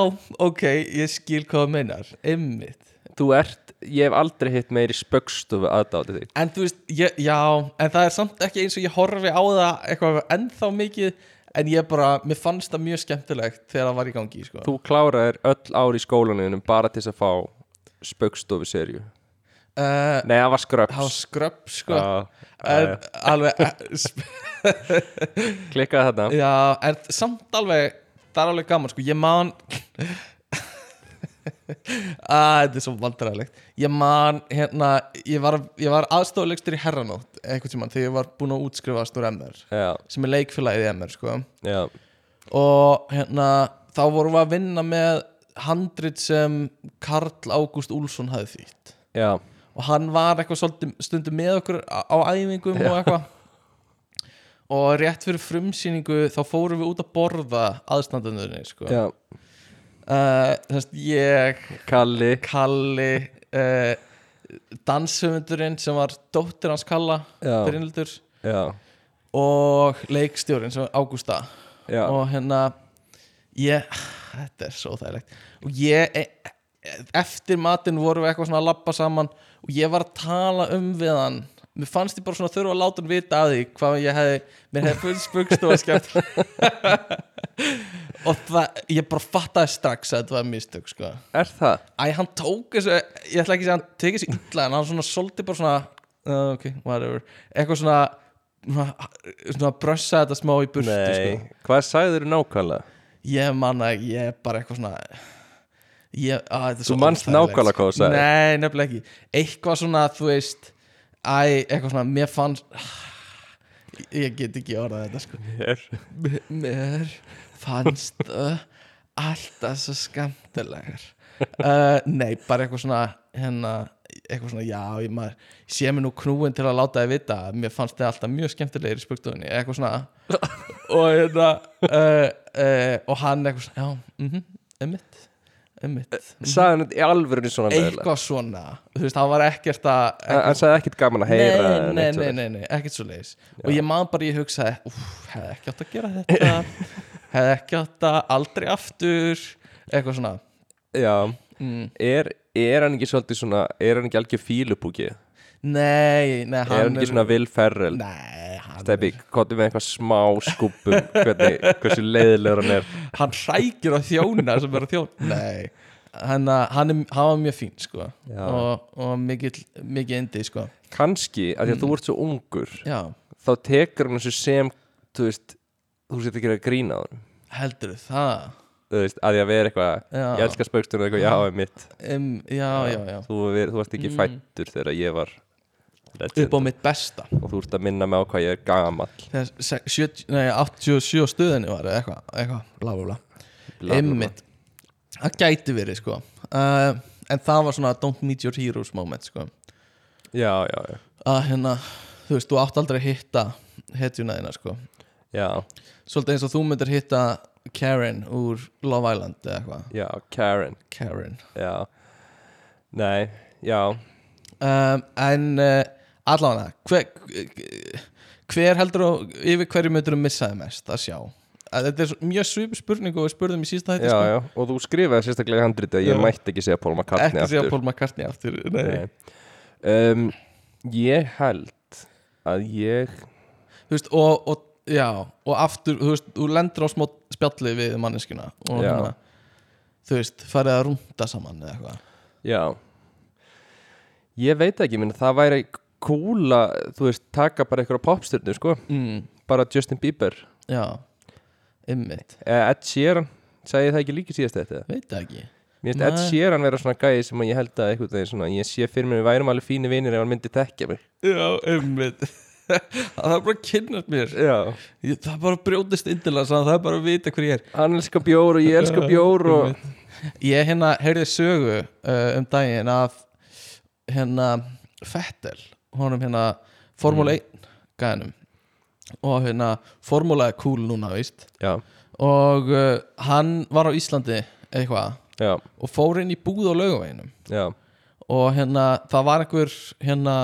Speaker 2: ok, ég skil hvað þú meinar ummitt,
Speaker 1: þú ert ég hef aldrei hitt meiri spaukstofu aðdáti þig
Speaker 2: en þú veist ég, já, en það er samt ekki eins og ég horfi á það eitthvað ennþá mikið en ég bara, mér fannst það mjög skemmtilegt þegar það var í gangi, sko
Speaker 1: Þú kláraðir öll ár í skólanum bara til þess að fá spaukstofu serju
Speaker 2: uh,
Speaker 1: Nei, það var skröps
Speaker 2: það var skröpp, sko
Speaker 1: Já,
Speaker 2: en,
Speaker 1: já,
Speaker 2: alveg, eh,
Speaker 1: já. Klikkaði þarna
Speaker 2: Já, en samt alveg það er alveg gaman, sko, ég man að þetta er svo vandræðilegt ég man, hérna, ég var, ég var aðstofulegstur í herranótt, einhvern tímann þegar ég var búinn að útskrifast úr MR
Speaker 1: Já,
Speaker 2: sem er leikfélagið í MR, sko
Speaker 1: já,
Speaker 2: og hérna, þá vorum við að vinna með handrit sem Karl Ágúst Úlfsson hafði þýtt
Speaker 1: já,
Speaker 2: og hann var eitthvað svolítið stundum með okkur á, á æfingum og eitthvað og rétt fyrir frumsýningu þá fórum við út að borða aðstandunni sko. uh,
Speaker 1: já
Speaker 2: þess að ég,
Speaker 1: Kalli
Speaker 2: Kalli uh, danshöfundurinn sem var dóttir hans Kalla
Speaker 1: Já,
Speaker 2: Brynildur
Speaker 1: já,
Speaker 2: og leikstjórinn sem var Ágústa
Speaker 1: já,
Speaker 2: og hérna ég, þetta er svo þægilegt og ég e- e- eftir matinn vorum við eitthvað svona að labba saman og ég var að tala um við hann mér fannst ég bara svona þurfa að láta hann vita að því hvað ég hefði, mér hefði full spugst og skemmt og það, ég bara fattaði strax að þetta var mistök sko
Speaker 1: er það?
Speaker 2: Æ, hann tók þessu, ég ætla ekki að segja hann tekið þessu illa en hann svona soldi bara svona uh, ok, whatever, eitthvað svona svona, svona brössa þetta smá í burtu sko.
Speaker 1: Nei, hvað sagður þú nákvæmlega?
Speaker 2: Ég manna, ég er bara eitthvað svona ég, að,
Speaker 1: Þú manst nákvæmlega hvað þú sagðir.
Speaker 2: Nei, nefnilega ekki Eitthvað svona, þú veist Æ, eitthvað svona, mér fannst Ég get ekki orðað þetta sko
Speaker 1: Mér
Speaker 2: M- Mér fannst þau Alltaf svo skemmtilegar uh, Nei, bara eitthvað svona Hérna, eitthvað svona, já Ég maður, ég sé mér nú knúin til að láta þið vita að Mér fannst þið alltaf mjög skemmtilegir í spöktuðinni Eitthvað svona og hérna uh, uh, og hann eitthvað svona, já, mhm, mm einmitt einmitt,
Speaker 1: Sagði hann í alvörinu svona leiðilega
Speaker 2: eitthvað svona þú veist, hann var ekkert að ekkert,
Speaker 1: Hann sagði ekkert gaman að heyra eða
Speaker 2: nei, nei,
Speaker 1: neitt
Speaker 2: nei,
Speaker 1: svoleiðis.
Speaker 2: nei, nei, ekkert svo leis og ég man bara, ég hugsaði, úf, hefði ekki átt að gera þetta hefði ekki átt að aldrei aftur eitthvað svona
Speaker 1: Já,
Speaker 2: mm.
Speaker 1: er, er hann ekki svolítið svona Er hann ekki algjör fílupúki?
Speaker 2: nei, nei,
Speaker 1: Er hann
Speaker 2: hann
Speaker 1: ekki svona Will Ferrell?
Speaker 2: nei, hann
Speaker 1: Steppi, kottu með eitthvað smá skúpum hvernig, hversu leiðilegur hann er
Speaker 2: hann hrækir á þjóna sem er að þjóna Nei, hann, eh, hann, er, hann var mjög fín sko.
Speaker 1: Já.
Speaker 2: og, og mikill, mikið indi sko.
Speaker 1: kannski, af því að
Speaker 2: Mm.
Speaker 1: þú ert svo ungur
Speaker 2: Já,
Speaker 1: þá tekur hann þessu sem þú veist, þú veist ekki að gera grín á hann
Speaker 2: heldur það
Speaker 1: þú veist, að ég að vera eitthvað
Speaker 2: Já.
Speaker 1: ég elska spaukstunum eitthvað, já, er mitt
Speaker 2: um, já, já, já Mm.
Speaker 1: þú, ver, þú varst ekki fættur þegar ég var
Speaker 2: upp á
Speaker 1: legend
Speaker 2: mitt besta
Speaker 1: og þú ert að minna mig á hvað ég er gamall
Speaker 2: þegar se- 70 nei, 87 stöðinni var eða eitthvað, eitthvað, bla bla bla
Speaker 1: Bla, bla, bla.
Speaker 2: Einmitt. það gæti verið sko uh, en það var svona don't meet your heroes moment sko
Speaker 1: já, já, já,
Speaker 2: að hérna, þú veist, þú átt aldrei að hitta hetjuna þína sko
Speaker 1: já,
Speaker 2: svolítið eins og þú myndir hitta Karen úr Love Island eða eitthvað
Speaker 1: já, Karen
Speaker 2: Karen
Speaker 1: já, nei, já
Speaker 2: um, en uh, allavega hver, hver heldur og yfir hverju myndir þú missaði mest að sjá að þetta er svo- mjög svip spurning og við spurðum í sísta hætti
Speaker 1: já,
Speaker 2: sko.
Speaker 1: já, og þú skrifaði sérstaklega í handriti að ég
Speaker 2: Já.
Speaker 1: mætti ekki segja Paul McCartney
Speaker 2: ekki
Speaker 1: aftur
Speaker 2: segja Paul McCartney aftur nei.
Speaker 1: Nei. um, ég held að ég
Speaker 2: Þú veist, og, og, já, og aftur þú, veist, þú lendir á smá spjalli við manneskina og
Speaker 1: Já.
Speaker 2: hérna, þú veist, farið að rúnda saman eða eitthvað
Speaker 1: já ég veit ekki, minn, það væri kúla, þú veist, taka bara einhverja popstjörnu, sko,
Speaker 2: mm,
Speaker 1: bara Justin Bieber
Speaker 2: já, ymmit
Speaker 1: Eh, Ed Sheeran, sagði ég það ekki líki síðast þetta
Speaker 2: veit það ekki
Speaker 1: mér finnst Ed
Speaker 2: Nei.
Speaker 1: Sheeran vera svona gæði sem að ég held að einhvern veginn svona, ég sé fyrir mér við værum alveg fínir vinir ef hann myndi þekkja mig
Speaker 2: já, ymmit það er bara að kynnast mér
Speaker 1: já,
Speaker 2: Ég- það er bara að brjótist indilega það er bara að vita hver ég er
Speaker 1: hann elskar bjór og ég elskar bjór og
Speaker 2: ég hérna heyrði sögu uh, um daginn af hérna Fettel honum hérna Formule 1 gæðinum og hérna Formula er cool núna víst
Speaker 1: já,
Speaker 2: og uh, hann var á Íslandi eitthvað
Speaker 1: já,
Speaker 2: og fór inn í búð á laugaveginum
Speaker 1: já,
Speaker 2: og hérna það var einhver hérna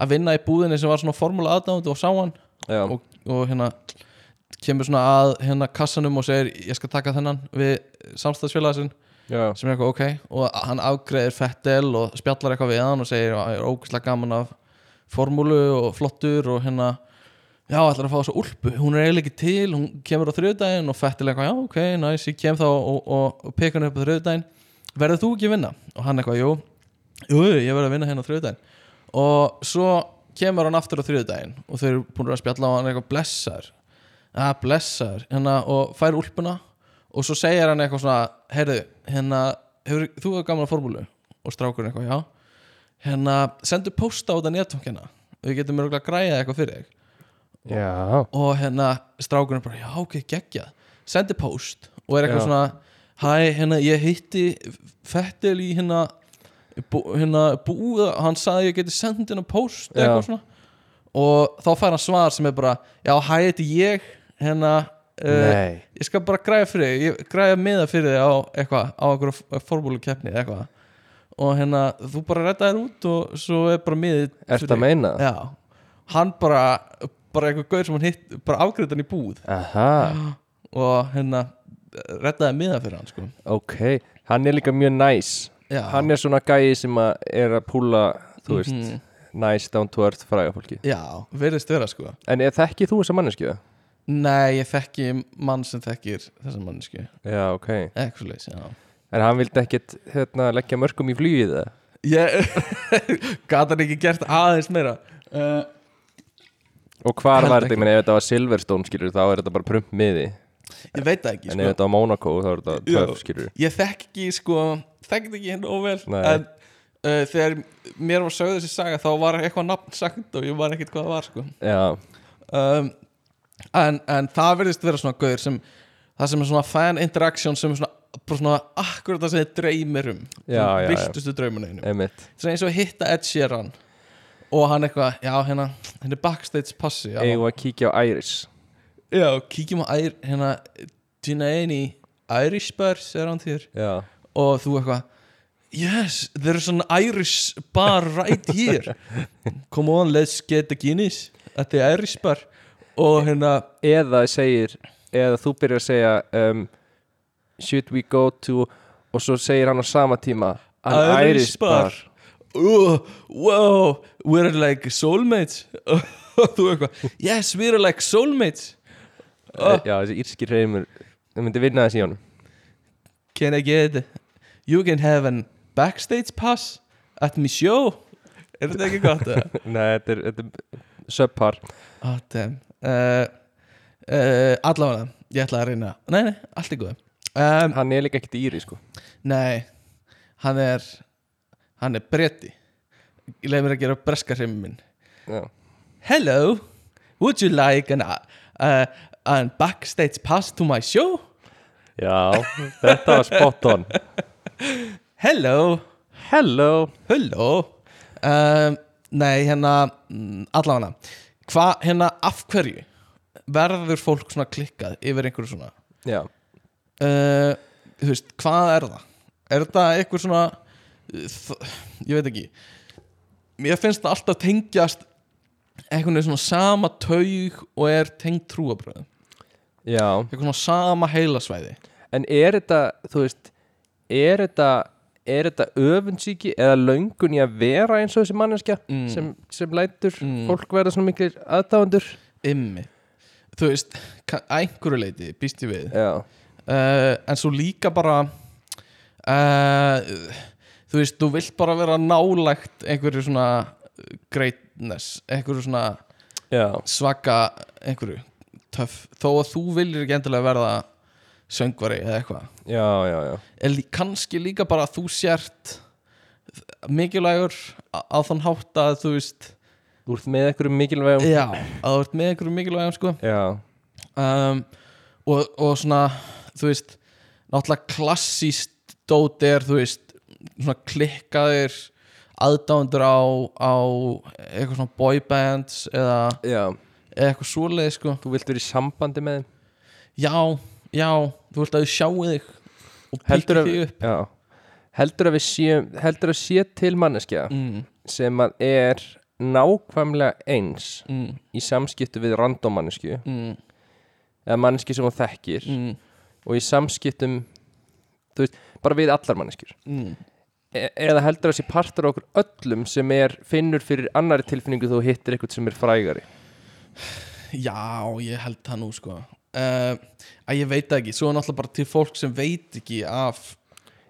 Speaker 2: að vinna í búðinni sem var svona Formula aðdánd og sá hann
Speaker 1: já
Speaker 2: og, og hérna kemur svona að hérna kassanum og segir ég skal taka þennan við samstæðsfélagasinn
Speaker 1: já,
Speaker 2: sem er eitthvað ok og hann afgreðir Fettel og spjallar eitthvað við hann og segir að hann er ógæslega gaman af formúlu og flottur og hérna já, ætlar að fá þessu úlpu, hún er eiginlega ekki til hún kemur á þriðdægin og Fettel eitthvað já, ok, næs, ég kem þá og, og, og peka hann upp á þriðdægin, verður þú ekki að vinna? og hann eitthvað, jú, jú, ég verður að vinna hérna á þriðdægin og svo kemur hann aftur á þriðdægin og þau eru búin að spjalla á hann eitthvað blessar að blessar hérna, og fær úlpuna og svo segir hann eitthvað svona heyrðu, hérna, hefur, þú hefur gaman að formúlu og strákurinn eitthvað, já hérna, sendu posta á þetta netfangina við getum mjög að græja eitthvað fyrir þig
Speaker 1: já,
Speaker 2: og hérna, strákurinn bara, já, ok, geggjað sendu post og er eitthvað
Speaker 1: Já.
Speaker 2: svona hæ, hérna, ég hitti Fettel í hérna bú, hérna, búða, hann sagði ég geti sendið hérna post
Speaker 1: Já.
Speaker 2: eitthvað svona og þá fær hann svar sem er bara já, hæ, þetta er ég hérna, uh,
Speaker 1: nei
Speaker 2: ég skal bara græða fyrir þig ég græða miða fyrir þig á eitthvað á einhverju formúlukeppni eða eitthvað og hérna þú bara redda þér út og svo er bara miðið
Speaker 1: Er
Speaker 2: fyrir
Speaker 1: þetta að
Speaker 2: þig.
Speaker 1: meina?
Speaker 2: Já, hann bara bara einhver gaur sem hann hitt bara afgreitt hann í búð
Speaker 1: Aha,
Speaker 2: og hérna reddaði miða fyrir hann sko
Speaker 1: ok Hann er líka mjög næs
Speaker 2: Já,
Speaker 1: Hann er svona gæi sem að er að púla Þú veist, mm
Speaker 2: Mhm.
Speaker 1: næs down to earth fræga fólki
Speaker 2: já verðist vera sko
Speaker 1: En er þekki þú þessa manneski?
Speaker 2: Nei, ég þekki mann sem þekkir þessa mannesku
Speaker 1: Já, ok
Speaker 2: Ekki leys, já
Speaker 1: En hann vildi ekkit hérna, leggja mörgum í flugið það
Speaker 2: Ég gat hann ekki gert aðeins meira uh,
Speaker 1: Og hvar
Speaker 2: Held
Speaker 1: var þetta?
Speaker 2: ekki.
Speaker 1: Ég meina ef þetta var Silverstone skilur þá er þetta bara prump miði
Speaker 2: Ég veit það ekki sko.
Speaker 1: En ef þetta var Monaco þá er þetta
Speaker 2: Já.
Speaker 1: töf skilur
Speaker 2: ég þekk ekki sko þekk ekki henni óvel
Speaker 1: Nei.
Speaker 2: en uh, þegar mér var sögðu þessi saga þá var eitthvað nafn sagt og ég var ekkert hvað það var sko
Speaker 1: Já,
Speaker 2: um, en, en það verðist vera svona gauður sem það sem er svona fan interaction sem er svona, bara svona akkurat það sem þið dreymir um
Speaker 1: Já, já, já.
Speaker 2: viltustu draumuninu
Speaker 1: emitt
Speaker 2: sem eins og að hitta Ed Sheeran og hann eitthvað, já hérna henni backstage passi já,
Speaker 1: Eigum við að kíkja á Iris
Speaker 2: já kíkjum á ær, hérna Gina Eni Irish Bars er hann þér
Speaker 1: Já,
Speaker 2: og þú eitthvað yes, there's an Irish bar right here come on, let's get a Guinness at the Irish bar og hérna
Speaker 1: eða segir eða þú byrjar að segja um, should we go to og svo segir hann á sama tíma an Irish, bar,
Speaker 2: oh, wow, we're like soulmates og þú eitthvað yes, we're like soulmates
Speaker 1: Eh, já þessi írski reymur það myndi vinna þessi í honum
Speaker 2: can I get you can have an backstage pass at my show er þetta ekki gott það?
Speaker 1: nei þetta er, þetta er subpar
Speaker 2: Ah, Eh, damn uh, uh, Allavega, ég ætla að reyna Nei, nei, allt í góðu um,
Speaker 1: hann er líka ekkert íri sko
Speaker 2: Nei, hann er hann er bretti Ég leið mér að gera breska hreimum minn
Speaker 1: já.
Speaker 2: Hello, would you like an, uh, an backstage pass to my show?
Speaker 1: já, þetta var spot on
Speaker 2: Hello,
Speaker 1: hello
Speaker 2: hello um, Nei, hérna mm, allavega Hvað, hérna, af hverju verður fólk svona klikkað yfir einhverju svona
Speaker 1: já,
Speaker 2: uh, Þú veist, hvað er það? Er þetta einhver svona uh, þ- ég veit ekki Mér finnst það alltaf tengjast einhvern veginn svona sama taug og er tengt trúabröðum
Speaker 1: já
Speaker 2: eitthvað svona sama heilasvæði
Speaker 1: en er þetta, þú veist er þetta, er þetta öfundsíki eða löngun í að vera eins og þessi manneskja
Speaker 2: Mm.
Speaker 1: sem, sem lætur
Speaker 2: Mm.
Speaker 1: fólk vera svona miklir aðdáendur
Speaker 2: ymmi þú veist, ka- að einhverju leiti býst ég við
Speaker 1: já,
Speaker 2: uh, en svo líka bara uh, þú veist, þú vilt bara vera nálægt einhverju svona uh, greatness, einhverju svona
Speaker 1: já,
Speaker 2: svaka einhverju, töff þó að þú viljir ekki endilega verða söngvari eða eitthvað
Speaker 1: já, já, já.
Speaker 2: en lí- kannski líka bara að þú sért mikilvægur á á þann hátt að þú veist
Speaker 1: þú ert með einhverjum mikilvægum
Speaker 2: já, að þú ert með einhverju mikilvægum sko
Speaker 1: já,
Speaker 2: um, og, og svona þú veist, náttúrulega klassíst dót er, þú veist svona klikkaðir aðdándur á, á eitthvað svona boybands eða
Speaker 1: já,
Speaker 2: eða eitthvað svoleið sko
Speaker 1: þú vilt vera í sambandi með þeim
Speaker 2: já, já, þú vilt að þau sjáu þig og
Speaker 1: Heldur
Speaker 2: píkir
Speaker 1: að-
Speaker 2: þig upp
Speaker 1: já, heldur að við séum heldur að sé til manneskja
Speaker 2: mm,
Speaker 1: sem að er nákvæmlega eins
Speaker 2: mm,
Speaker 1: í samskiptu við random mannesku
Speaker 2: mm,
Speaker 1: eða manneski sem hún þekkir
Speaker 2: mm,
Speaker 1: og í samskiptum þú veist, bara við allar manneskjur
Speaker 2: mm.
Speaker 1: e eða heldur að sé partur af okkur öllum sem er finnur fyrir annari tilfinningu þú hittir eitthvað sem er frægari
Speaker 2: já, ég held það nú sko uh, að ég veit það ekki, svo er náttúrulega bara til fólk sem veit ekki af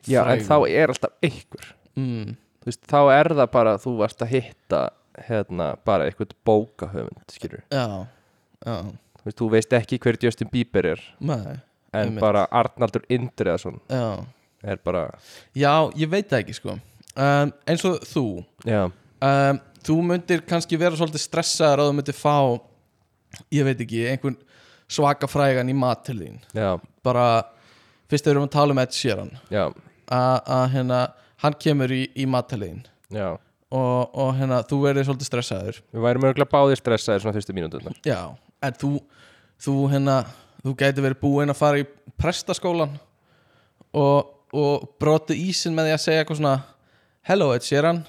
Speaker 1: já, en þá
Speaker 2: frægum.
Speaker 1: er alltaf einhver
Speaker 2: mm,
Speaker 1: þú veist, þá er það bara að þú varst að hitta hérna, bara eitthvað bókahöfund skilur,
Speaker 2: já, já
Speaker 1: þú veist, þú veist ekki hver Justin Bieber er
Speaker 2: Nei,
Speaker 1: en
Speaker 2: Einmitt.
Speaker 1: bara Arnaldur Indriðason
Speaker 2: já.
Speaker 1: er bara,
Speaker 2: já, ég veit það ekki sko um, eins og þú
Speaker 1: já,
Speaker 2: um, þú myndir kannski vera svolítið stressaður að þú myndir fá ég veit ekki, einhvern svaka frægan í mat til þín
Speaker 1: já,
Speaker 2: bara, fyrst við erum að tala um Ed Sheeran
Speaker 1: já
Speaker 2: að að, hérna, hann kemur í, í mat til þín
Speaker 1: já,
Speaker 2: og, og hérna, þú verður svolítið stressaður
Speaker 1: við værum örgulega báðir stressaðir svona fyrstu mínútur
Speaker 2: já, en þú þú hérna, þú gæti verið búinn að fara í prestaskólan og, og broti ísinn með því að segja eitthvað svona Hello Ed Sheeran,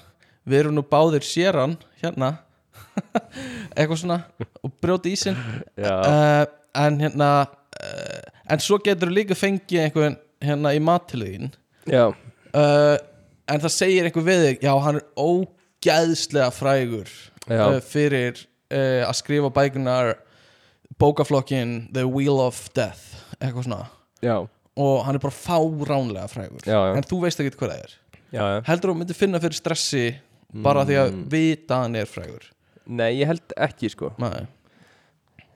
Speaker 2: við erum nú báðir Sheeran hérna eitthvað svona og broti ísinn
Speaker 1: já,
Speaker 2: uh, en hérna uh, en svo getur líka fengið einhvern hérna í matiliðin
Speaker 1: já,
Speaker 2: uh, en það segir einhver við þig já, hann er ógæðslega frægur
Speaker 1: Já.
Speaker 2: uh, fyrir uh, að skrifa bækunar bókaflokkin The Wheel of Death eitthvað svona
Speaker 1: já,
Speaker 2: og hann er bara fáránlega frægur
Speaker 1: Já, já.
Speaker 2: en þú veist ekki hvað það er
Speaker 1: já, já.
Speaker 2: heldur þú myndir finna fyrir stressi bara því
Speaker 1: Mm.
Speaker 2: að vita að hann er frægur
Speaker 1: Nei, ég held ekki sko
Speaker 2: Nei.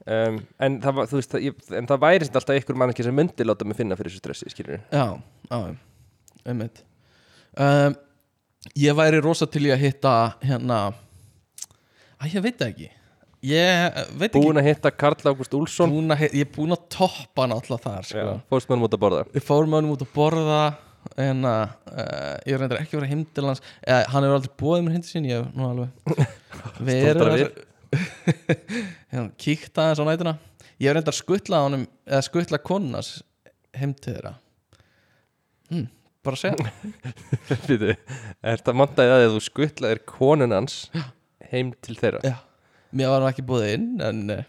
Speaker 1: um, en, það var, þú veist, það, ég, en það væri sem sagt alltaf einhver manneskja sem myndi láta mig finna fyrir þessu stressi skilur.
Speaker 2: já, já, einmitt um, ég væri rosa til í að hitta hérna að ég veit það ekki ég eh, veit ekki
Speaker 1: Búin að hitta Karl Ágúst Úlsson
Speaker 2: búin að, ég er búin að toppa hann alltaf þar sko.
Speaker 1: Já, Fórst með hann út að borða
Speaker 2: við fórum með hann út að borða en að uh, ég reyndar ekki að vera heim til hans eða hann hefur aldrei búið mér heim til sín ég hef nú alveg við erum
Speaker 1: Stoltar af
Speaker 2: þess- Hérna, kíkt aðeins á nætuna ég hef reyndar skutlað honum eða skutlað konunas heim til þeirra hm, bara að segja
Speaker 1: Býtu, Er þetta montaðið að þú skuttlaðir konun hans heim til þeirra
Speaker 2: já, mér var hann ekki búið inn en uh,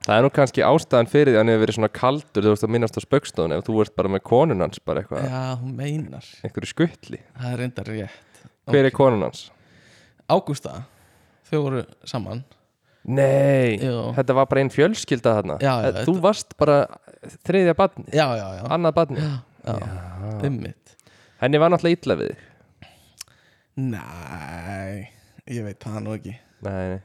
Speaker 1: Það er nú kannski ástæðan fyrir því að hann hefur verið svona kaldur þú veist að minnast á spöggstofun ef þú ert bara með konun hans bara eitthvað,
Speaker 2: já, hún meinar
Speaker 1: einhverju skuttli
Speaker 2: það er reyndar rétt
Speaker 1: Hver er konun hans?
Speaker 2: Ágústa, þau voru saman
Speaker 1: Nei,
Speaker 2: Jú.
Speaker 1: þetta var bara einn fjölskylda þarna
Speaker 2: Já, já,
Speaker 1: Þú varst bara þriðja badni,
Speaker 2: já, já, já,
Speaker 1: annað badni
Speaker 2: já, ummitt
Speaker 1: Henni var náttúrulega illa við þig
Speaker 2: Nei, ég veit það nú ekki
Speaker 1: Nei, nei.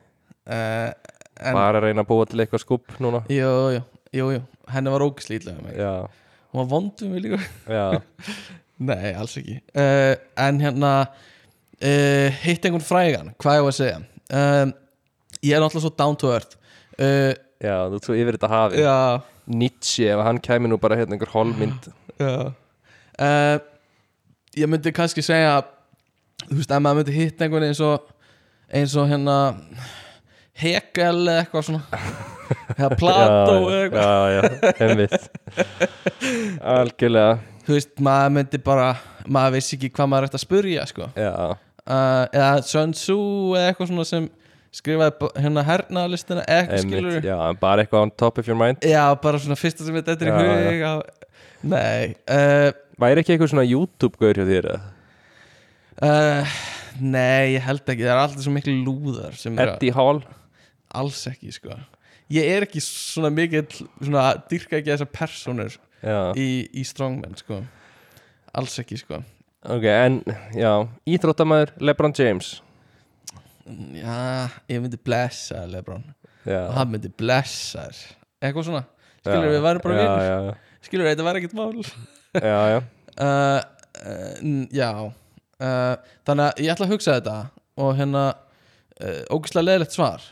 Speaker 2: uh, En,
Speaker 1: bara að reyna að búa til eitthvað skúpp núna
Speaker 2: jú, jú, jú, jú Henni var ógislítlega mig
Speaker 1: Já,
Speaker 2: hún var vondum við líka
Speaker 1: já,
Speaker 2: Nei, alls ekki uh, En hérna uh, Hitt einhvern frægan, hvað ég var að segja um, Ég er náttúrulega svo down to earth uh,
Speaker 1: já, þú ert svo yfir þetta hafi
Speaker 2: Já,
Speaker 1: Nietzsche, ef hann kæmi nú bara hérna einhver holmynd
Speaker 2: já uh, Ég myndi kannski segja Þú veist, ef maður myndi hitt einhvern eins og eins og hérna Hegel eða eitthvað svona eða Plato eða
Speaker 1: já,
Speaker 2: eitthvað
Speaker 1: já, já, einmitt algjörlega
Speaker 2: Þú veist, maður myndi bara maður veist ekki hvað maður ætti að spurja sko
Speaker 1: já,
Speaker 2: uh, eða Sun Tzu eða eitthvað svona sem skrifaði b- hérna hernaðarlistina eða eitthvað skilur
Speaker 1: einmitt já, bara eitthvað on top of your mind
Speaker 2: já, bara svona fyrsta sem þetta er í
Speaker 1: Já, já.
Speaker 2: hug já. nei uh,
Speaker 1: væri ekki eitthvað svona YouTube-gaur hjá þér eða?
Speaker 2: uh, nei, ég held ekki það er alltaf svo miklu lúðar sem er
Speaker 1: Eddie Hall
Speaker 2: alls ekki sko ég er ekki svona mikið svona dyrka ekki þessar personur
Speaker 1: já,
Speaker 2: í, í strongman sko alls ekki sko
Speaker 1: ok, en já, íþróttamæður Lebron James
Speaker 2: já, ég myndi blessa Lebron og
Speaker 1: já,
Speaker 2: hann myndi blessa þér. eitthvað svona, skilur við varum bara
Speaker 1: já,
Speaker 2: vinir
Speaker 1: já,
Speaker 2: skilur þetta var ekkert mál
Speaker 1: já, já, já,
Speaker 2: uh, uh, n- já uh, þannig að ég ætla að hugsa þetta og hérna uh, ógislega leðilegt svar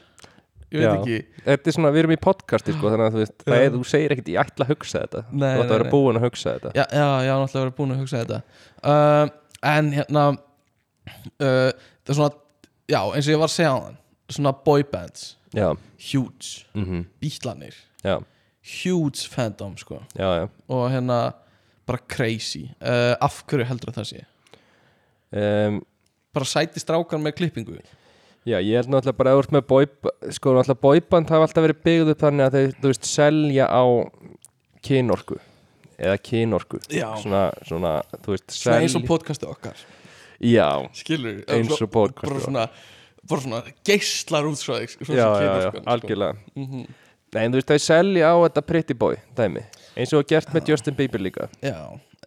Speaker 2: ég veit
Speaker 1: Já.
Speaker 2: ekki
Speaker 1: þetta er svona, við erum í podcasti sko, þannig að þú veist, það
Speaker 2: Já.
Speaker 1: er, þú segir ekkert ég ætla að hugsa þetta, þú ætla
Speaker 2: Nei, nei,
Speaker 1: að vera
Speaker 2: nei.
Speaker 1: búin að hugsa þetta
Speaker 2: já, já, já, náttúrulega verið búin að hugsa þetta uh, en hérna uh, það er svona já, eins og ég var að segja á þann svona boybands,
Speaker 1: já,
Speaker 2: huge
Speaker 1: mhm,
Speaker 2: bítlanir,
Speaker 1: já,
Speaker 2: huge fandom sko,
Speaker 1: já, já
Speaker 2: og hérna bara crazy, uh, af hverju heldur það sé
Speaker 1: um,
Speaker 2: bara sæti strákar með klippingu
Speaker 1: Já, ég held náttúrulega bara að þú ert með boyband sko, náttúrulega boyband hafa alltaf verið byggð upp þannig að þau, þú veist, selja á kynorku eða kynorku
Speaker 2: Já.
Speaker 1: svona, svona, þú veist,
Speaker 2: Svona
Speaker 1: selja
Speaker 2: eins og podcastið okkar
Speaker 1: Já,
Speaker 2: skilur
Speaker 1: Eins og podcast,
Speaker 2: bara
Speaker 1: já.
Speaker 2: svona, bara svona geislar út svo þig
Speaker 1: já, já,
Speaker 2: sko,
Speaker 1: já, algjörlega
Speaker 2: Mhm.
Speaker 1: Nei, en þú veist, þau selja á þetta pretty boy dæmi, eins og gert með Justin Bieber líka
Speaker 2: já,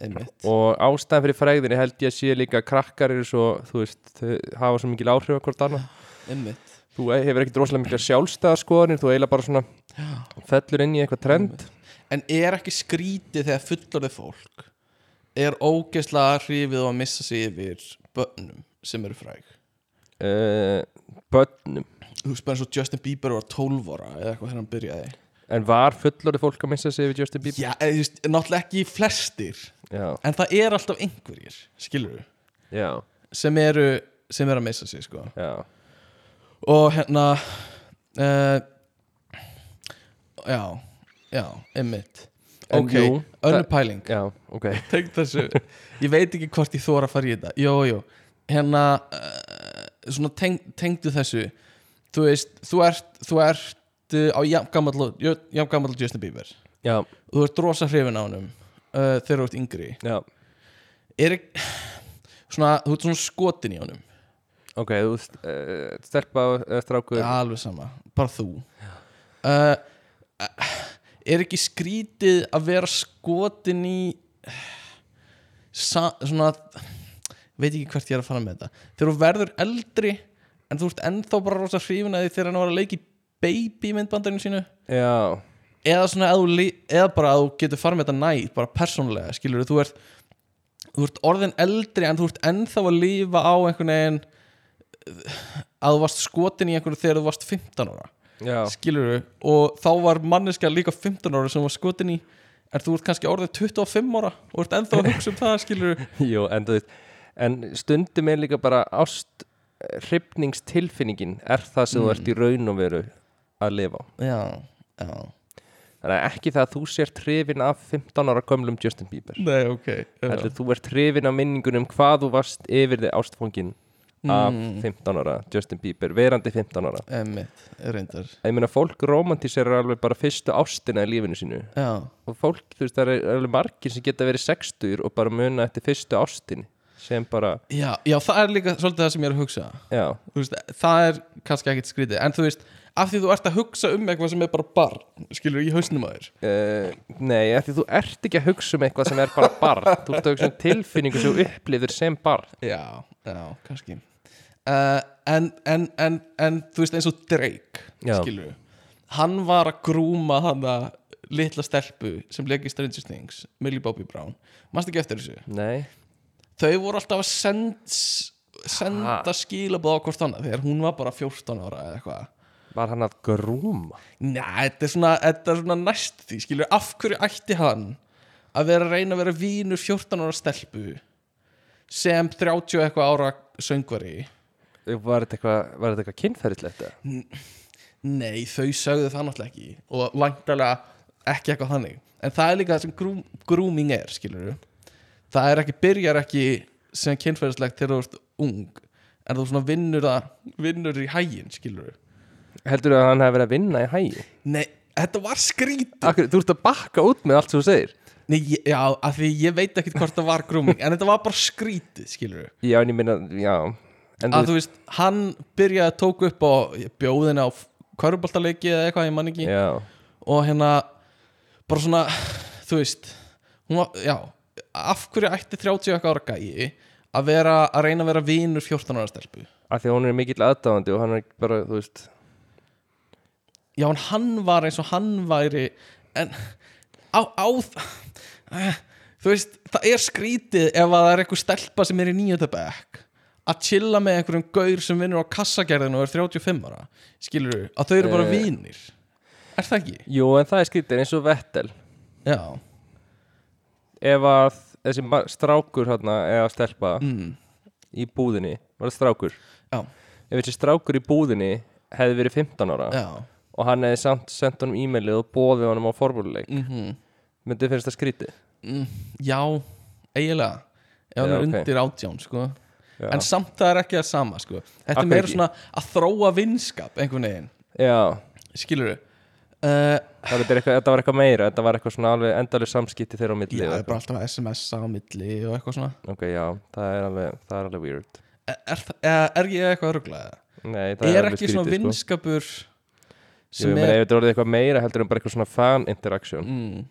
Speaker 2: einmitt
Speaker 1: og ástæðan fyrir fræðinni held ég að sé líka að krakkar eru svo, þú veist, þau hafa svo mikil áhrif á hvort annað
Speaker 2: einmitt
Speaker 1: þú hefur ekkert rosalega mikla sjálfstæðarskoðanir þú eiginlega bara svona fellur inn í eitthvað trend
Speaker 2: en er ekki skrítið þegar fullorðið fólk er ógeðslega hrifið og að missa sig yfir börnum sem eru fræg
Speaker 1: uh, börnum
Speaker 2: þú veist bara eins og Justin Bieber var 12 ára eða eitthvað þegar hann byrjaði
Speaker 1: En var fullorði fólk að missa sig við Justin Bieber?
Speaker 2: já, eða, þú veist, náttúrulega ekki flestir
Speaker 1: Já,
Speaker 2: en það er alltaf einhverjir, skilur
Speaker 1: já,
Speaker 2: sem eru, sem eru að missa sig sko.
Speaker 1: já,
Speaker 2: og hérna uh, já já, einmitt
Speaker 1: En
Speaker 2: ok,
Speaker 1: jú,
Speaker 2: önnur
Speaker 1: það-
Speaker 2: pæling
Speaker 1: já, ok
Speaker 2: Tengt þessu. ég veit ekki hvort ég þóra að fara í þetta jú, jú, hérna uh, svona teng, tengdu þessu þú veist, þú ert þú ert uh, á jafngamall Justin Bieber
Speaker 1: Já,
Speaker 2: og þú ert rosa hrifin á honum uh, þegar þú ert yngri
Speaker 1: já,
Speaker 2: er ekki svona, þú ert svona skotin í honum
Speaker 1: ok, þú uh, stelpa uh, strákur
Speaker 2: Já, alveg sama, bara þú uh, Er ekki skrítið að vera skotin í sa, svona veit ekki hvert ég er að fara með þetta þegar þú verður eldri en þú ert ennþá bara rosa hrifin að því þegar hann var að leiki baby í myndbandarinu sínu
Speaker 1: Já,
Speaker 2: eða svona að þú li- eða bara að þú getur farið með þetta næ bara persónulega, skilur þú ert þú ert orðin eldri en þú ert ennþá að lifa á einhvern veginn að þú varst skotin í einhverju þegar þú varst 15 ára,
Speaker 1: já,
Speaker 2: skilur og þá var manneska líka 15 ára sem þú varst skotin í, en þú ert kannski orðin 25 ára og ert ennþá að hugsa um það skilur,
Speaker 1: jú, en þú veist En stundum er líka bara ást eh, hrifningstilfinningin er það sem þú ert í raun og veru að lifa á
Speaker 2: já, já
Speaker 1: Þannig að ekki það að þú sért hrifin af 15 ára gömlum Justin Bieber
Speaker 2: nei, ok
Speaker 1: Heldur þú ert hrifin af minningunum hvað þú varst yfir þig ástfóngin af 15 ára Justin Bieber, verandi 15 ára
Speaker 2: emmitt, reyndar
Speaker 1: ég meina fólk romantíserar alveg bara fyrstu ástina í lífinu sínu
Speaker 2: já,
Speaker 1: og fólk, þú veist, það er alveg margir sem geta verið sextur og bara muna eftir fyrstu ástin sem bara,
Speaker 2: já, já, það er líka svolítið það sem ég er að hugsa
Speaker 1: já,
Speaker 2: þú veist, það er kannski ekkit skrítið en þú veist, af því þú ert að hugsa um eitthvað sem er bara barn, skilur í hausnum að þér
Speaker 1: uh, nei, af því þú ert ekki að hugsa um eitthvað sem er bara barn þú ert að hugsa um tilfinningu sem þú upplifir sem barn
Speaker 2: já, já, kannski uh, en, en, en, en þú veist eins og Drake,
Speaker 1: Já.
Speaker 2: skilur hann var að grúma hann að litla stelpu sem legi Stranger Things Millie Bobby Brown, mannst ekki eftir þessu
Speaker 1: Nei,
Speaker 2: þau voru alltaf að send,
Speaker 1: Ha?
Speaker 2: senda ha. skilabóð á hvort annað þegar hún var bara 14 ára eða eitthvað
Speaker 1: var hann að grúma
Speaker 2: Næ, þetta er svona, þetta er svona næst því skilur, af hverju ætti hann að vera að reyna að vera vínur 14 ára stelpu sem 30 eitthvað ára söngvari
Speaker 1: Var þetta eitthvað, var þetta eitthvað kynferðislegt? eða?
Speaker 2: Nei, þau sögðu það náttúrulega ekki og langtalega ekki eitthvað þannig en það er líka það sem grúm, grúming er skilur það er ekki, byrjar ekki sem kynferðislegt þegar þú ert ung en þú svona vinnur það vinnur í hægin skilur
Speaker 1: Heldurðu að hann hefði verið að vinna í hægi?
Speaker 2: Nei, þetta var skrít
Speaker 1: Akkur, þú ert að bakka út með allt sem þú segir
Speaker 2: Nei, ég- já, af því ég veit ekkit hvort það var grúming en þetta var bara skrítið skilur
Speaker 1: Já, en ég minna, já En
Speaker 2: að þú veist, hann byrjaði að tóku upp á bjóðin á körfuboltaleiki eða eitthvað, ég man ekki
Speaker 1: Já,
Speaker 2: og hérna bara svona, þú veist hún var, já, af hverju ætti 30 eitthvað ára gæi að vera að reyna að vera vinur 14 ára stelpu
Speaker 1: af því að hún er mikill aðdáðandi og hann er bara, þú veist
Speaker 2: já, en hann var eins og hann væri en á, á eh, þú veist, það er skrítið ef að það er einhver stelpa sem er í nýjöndabæk að chilla með einhverjum gaur sem vinnur á kassagerðinu og er 35 ára skilur þú, að þau eru bara
Speaker 1: Eh.
Speaker 2: vinir er það ekki?
Speaker 1: Jú, en það er skrítið eins og Vettel
Speaker 2: já,
Speaker 1: Ef að þessi ma- strákur hérna, eða stelpa
Speaker 2: mm,
Speaker 1: í búðinni Var það strákur?
Speaker 2: já,
Speaker 1: Ef þessi strákur í búðinni hefði verið 15 ára
Speaker 2: já
Speaker 1: og hann hefði samt sendt honum e-mailið og bóðið honum á formúluleik
Speaker 2: mhm
Speaker 1: myndið finnst það skrítið
Speaker 2: Mm, já, eiginlega ef hann
Speaker 1: Já,
Speaker 2: er
Speaker 1: ok.
Speaker 2: undir átján sko.
Speaker 1: Já,
Speaker 2: en samt það er ekki það sama sko. þetta
Speaker 1: Af
Speaker 2: er
Speaker 1: hverju
Speaker 2: meira
Speaker 1: ekki?
Speaker 2: svona að þróa vinskap einhvern veginn,
Speaker 1: já
Speaker 2: skilur þau uh,
Speaker 1: það var eitthvað, þetta var eitthvað meira þetta var eitthvað svona alveg endalega samskipti þeirra á milli
Speaker 2: já,
Speaker 1: og
Speaker 2: það er
Speaker 1: eitthvað.
Speaker 2: bara alltaf að SMS-a á milli og eitthvað svona
Speaker 1: Ok, já, það er alveg, það er alveg weird
Speaker 2: er, er, það- eða er ég eitthvað að rugla það?
Speaker 1: Nei, það
Speaker 2: er,
Speaker 1: er, alveg
Speaker 2: ekki svona
Speaker 1: skrítið, sko.
Speaker 2: vinskapur
Speaker 1: Jú,
Speaker 2: sem
Speaker 1: ég meina,
Speaker 2: er
Speaker 1: ef þetta voruð eitthvað meira heldur en bara eitthvað svona fan interaction
Speaker 2: mm,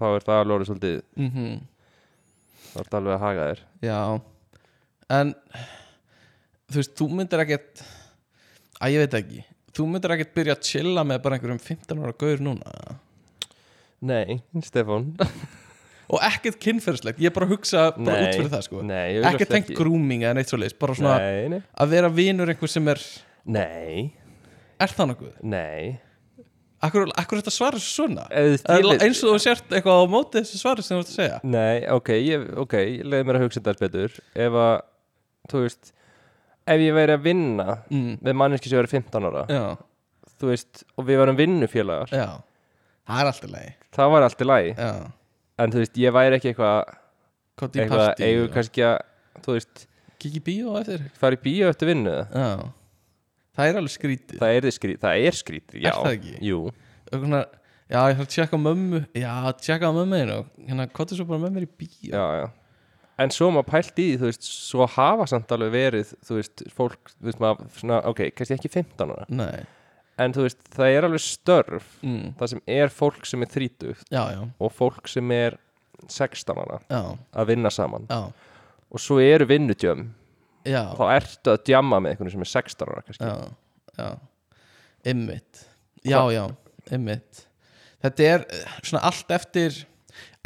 Speaker 1: þá er það alveg orðið svolítið
Speaker 2: mm
Speaker 1: þá er það alveg að haga þér
Speaker 2: Já En Þú veist, þú myndir ekkert Æ, ég veit ekki Þú myndir ekkert byrja að chilla með bara einhverjum 15 ára gaur núna
Speaker 1: Nei, Stefán
Speaker 2: Og ekkert kynferðislegt, ég er bara að hugsa bara
Speaker 1: Nei.
Speaker 2: út fyrir það sko
Speaker 1: Nei, augljóslega
Speaker 2: Ekkert tengt grooming eða neitt svo leis Bara svona
Speaker 1: Nei, nei
Speaker 2: að vera vinur einhver sem er
Speaker 1: Nei,
Speaker 2: Er það nokkuð?
Speaker 1: nei
Speaker 2: Akkur, akkur þetta svarar svona?
Speaker 1: Ef þið
Speaker 2: Það
Speaker 1: skilið-
Speaker 2: er Eins og þú sért eitthvað á móti þessu svari sem þú ert að segja
Speaker 1: Nei, ok, ég, ok, ég leiði mér að hugsa þetta betur ef að, þú veist ef ég væri að vinna
Speaker 2: mm,
Speaker 1: með manneski sem verið 15 ára
Speaker 2: Já,
Speaker 1: þú veist, og við varum vinnufélagar
Speaker 2: já Það er alltaf leið
Speaker 1: það var allt í lagi
Speaker 2: Já,
Speaker 1: en þú veist, ég væri ekki eitthvað
Speaker 2: kóti í
Speaker 1: eitthvað,
Speaker 2: partí
Speaker 1: eigum
Speaker 2: og-
Speaker 1: kannski að, þú veist
Speaker 2: Kikki í bíó á eftir
Speaker 1: fara í bíó eftir vinnu eða?
Speaker 2: Já, það er alveg skrítið
Speaker 1: það er skrítið, það er skrítið, já
Speaker 2: Er það ekki?
Speaker 1: Jú,
Speaker 2: Eitthvað svona, Já, ég þarf að tjekka á mömmu Já, tjekka á mömmu þínu Hérna, hvað er svo bara með mér í bíó?
Speaker 1: já, já en svo maður pælt í, því, þú veist, svo hafa samt alveg verið, þú veist, fólk þú veist, maður, svona, ok, kannski ekki 15 ára
Speaker 2: Nei
Speaker 1: en þú veist, það er alveg störf
Speaker 2: mm.
Speaker 1: það sem er fólk sem er 30
Speaker 2: Já, já,
Speaker 1: og fólk sem er 16 ára
Speaker 2: já,
Speaker 1: að vinna saman
Speaker 2: já,
Speaker 1: og svo eru vinnutjöfum
Speaker 2: já,
Speaker 1: þá ertu að djamma með einhvern sem er 16 ára kannski
Speaker 2: já, já. Ymmit Já, já, ymmit Þetta er eh, svona allt eftir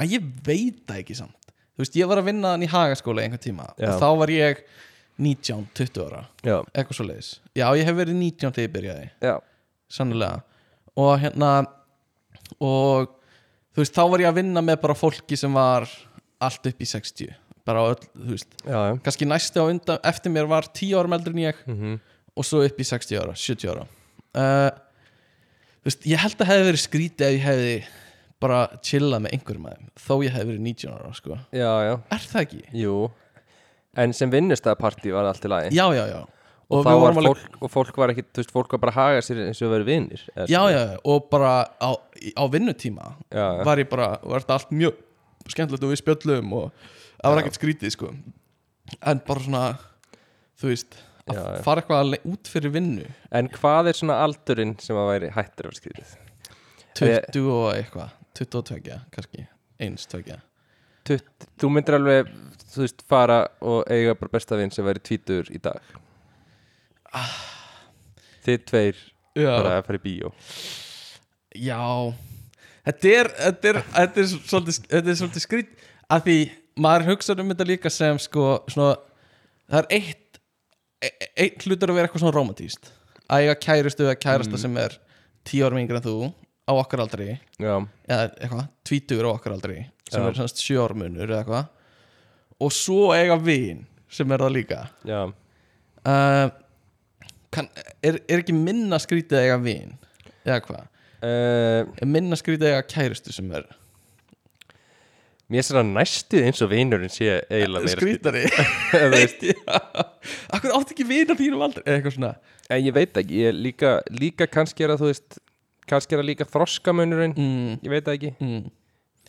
Speaker 2: að ég veit það ekki samt Þú veist, ég var að vinna hann í hagaskóla í einhvern tíma
Speaker 1: Já.
Speaker 2: og þá var ég 19, 20 ára
Speaker 1: já,
Speaker 2: eitthvað svo leiðis Já, ég hef verið 19 þegar ég byrjaði
Speaker 1: já,
Speaker 2: sannlega og hérna og þú veist, þá var ég að vinna með bara fólki sem var allt upp í 60 bara á öll, þú veist
Speaker 1: já, já.
Speaker 2: kannski næsti á undan, eftir mér var 10 árum eldri en ég
Speaker 1: Mhm.
Speaker 2: og svo upp í 60 ára, 70 ára uh, þú veist, ég held að hefði verið skrítið ef ég hefði bara chillað með einhverjum aðeim þó ég hefði verið 19 ára, sko
Speaker 1: já, já.
Speaker 2: er það ekki?
Speaker 1: Jú, en sem vinnustæðapartí var allt í lagi
Speaker 2: Já, já, já
Speaker 1: og,
Speaker 2: við
Speaker 1: þá var
Speaker 2: vorum alveg-
Speaker 1: fólk, og fólk var ekki, þú veist, fólk var bara að haga sér eins og verið vinnir
Speaker 2: já, já, já, og bara á, í- á vinnutíma
Speaker 1: já, já.
Speaker 2: var ég bara, var þetta allt mjög skemmtilegt og við spjöllum og það var ekkert skrítið sko en bara svona, þú veist að
Speaker 1: Já, já.
Speaker 2: fara eitthvað að le- út fyrir vinnu
Speaker 1: En hvað er svona aldurinn sem að væri hættur af skrítið?
Speaker 2: 20 og eitthvað, 22 kannski, eins, tvekja
Speaker 1: Tutt, þú myndir alveg, þú veist, fara og eiga bara besta vinn sem væri tvítur í dag Þið tveir
Speaker 2: Ah. já,
Speaker 1: bara að fara í bíó
Speaker 2: já þetta er, þetta er, þetta er svolítið, þetta er svolítið skrýtt að því maður hugsa um þetta líka sem sko svona, það er eitt e- eitt hlutur að vera eitthvað svona romantíst að eiga kærustu eða kærasta sem er tíu árum yngri en þú á okkar aldri
Speaker 1: já,
Speaker 2: eða eitthvað, tvítugur á okkar aldri sem
Speaker 1: Já.
Speaker 2: er svona sjö ármunur eða eitthvað og svo eiga vin sem er það líka
Speaker 1: já,
Speaker 2: uh, kann, er, er ekki minna skrítið að eiga vin eða hvað
Speaker 1: uh,
Speaker 2: er minna skrítið að eiga kærustu sem er
Speaker 1: mér er svona næstuð eins og vinurinn sé eiginlega meira
Speaker 2: skrítari
Speaker 1: skrýt- þú veist.
Speaker 2: akkur átt ekki vin á þínum aldrei eða eitthvað svona
Speaker 1: en ég veit ekki, ég er líka, líka kannski er að þú veist kannski er að líka þroskamunurinn
Speaker 2: mm,
Speaker 1: ég veit það ekki,
Speaker 2: mm,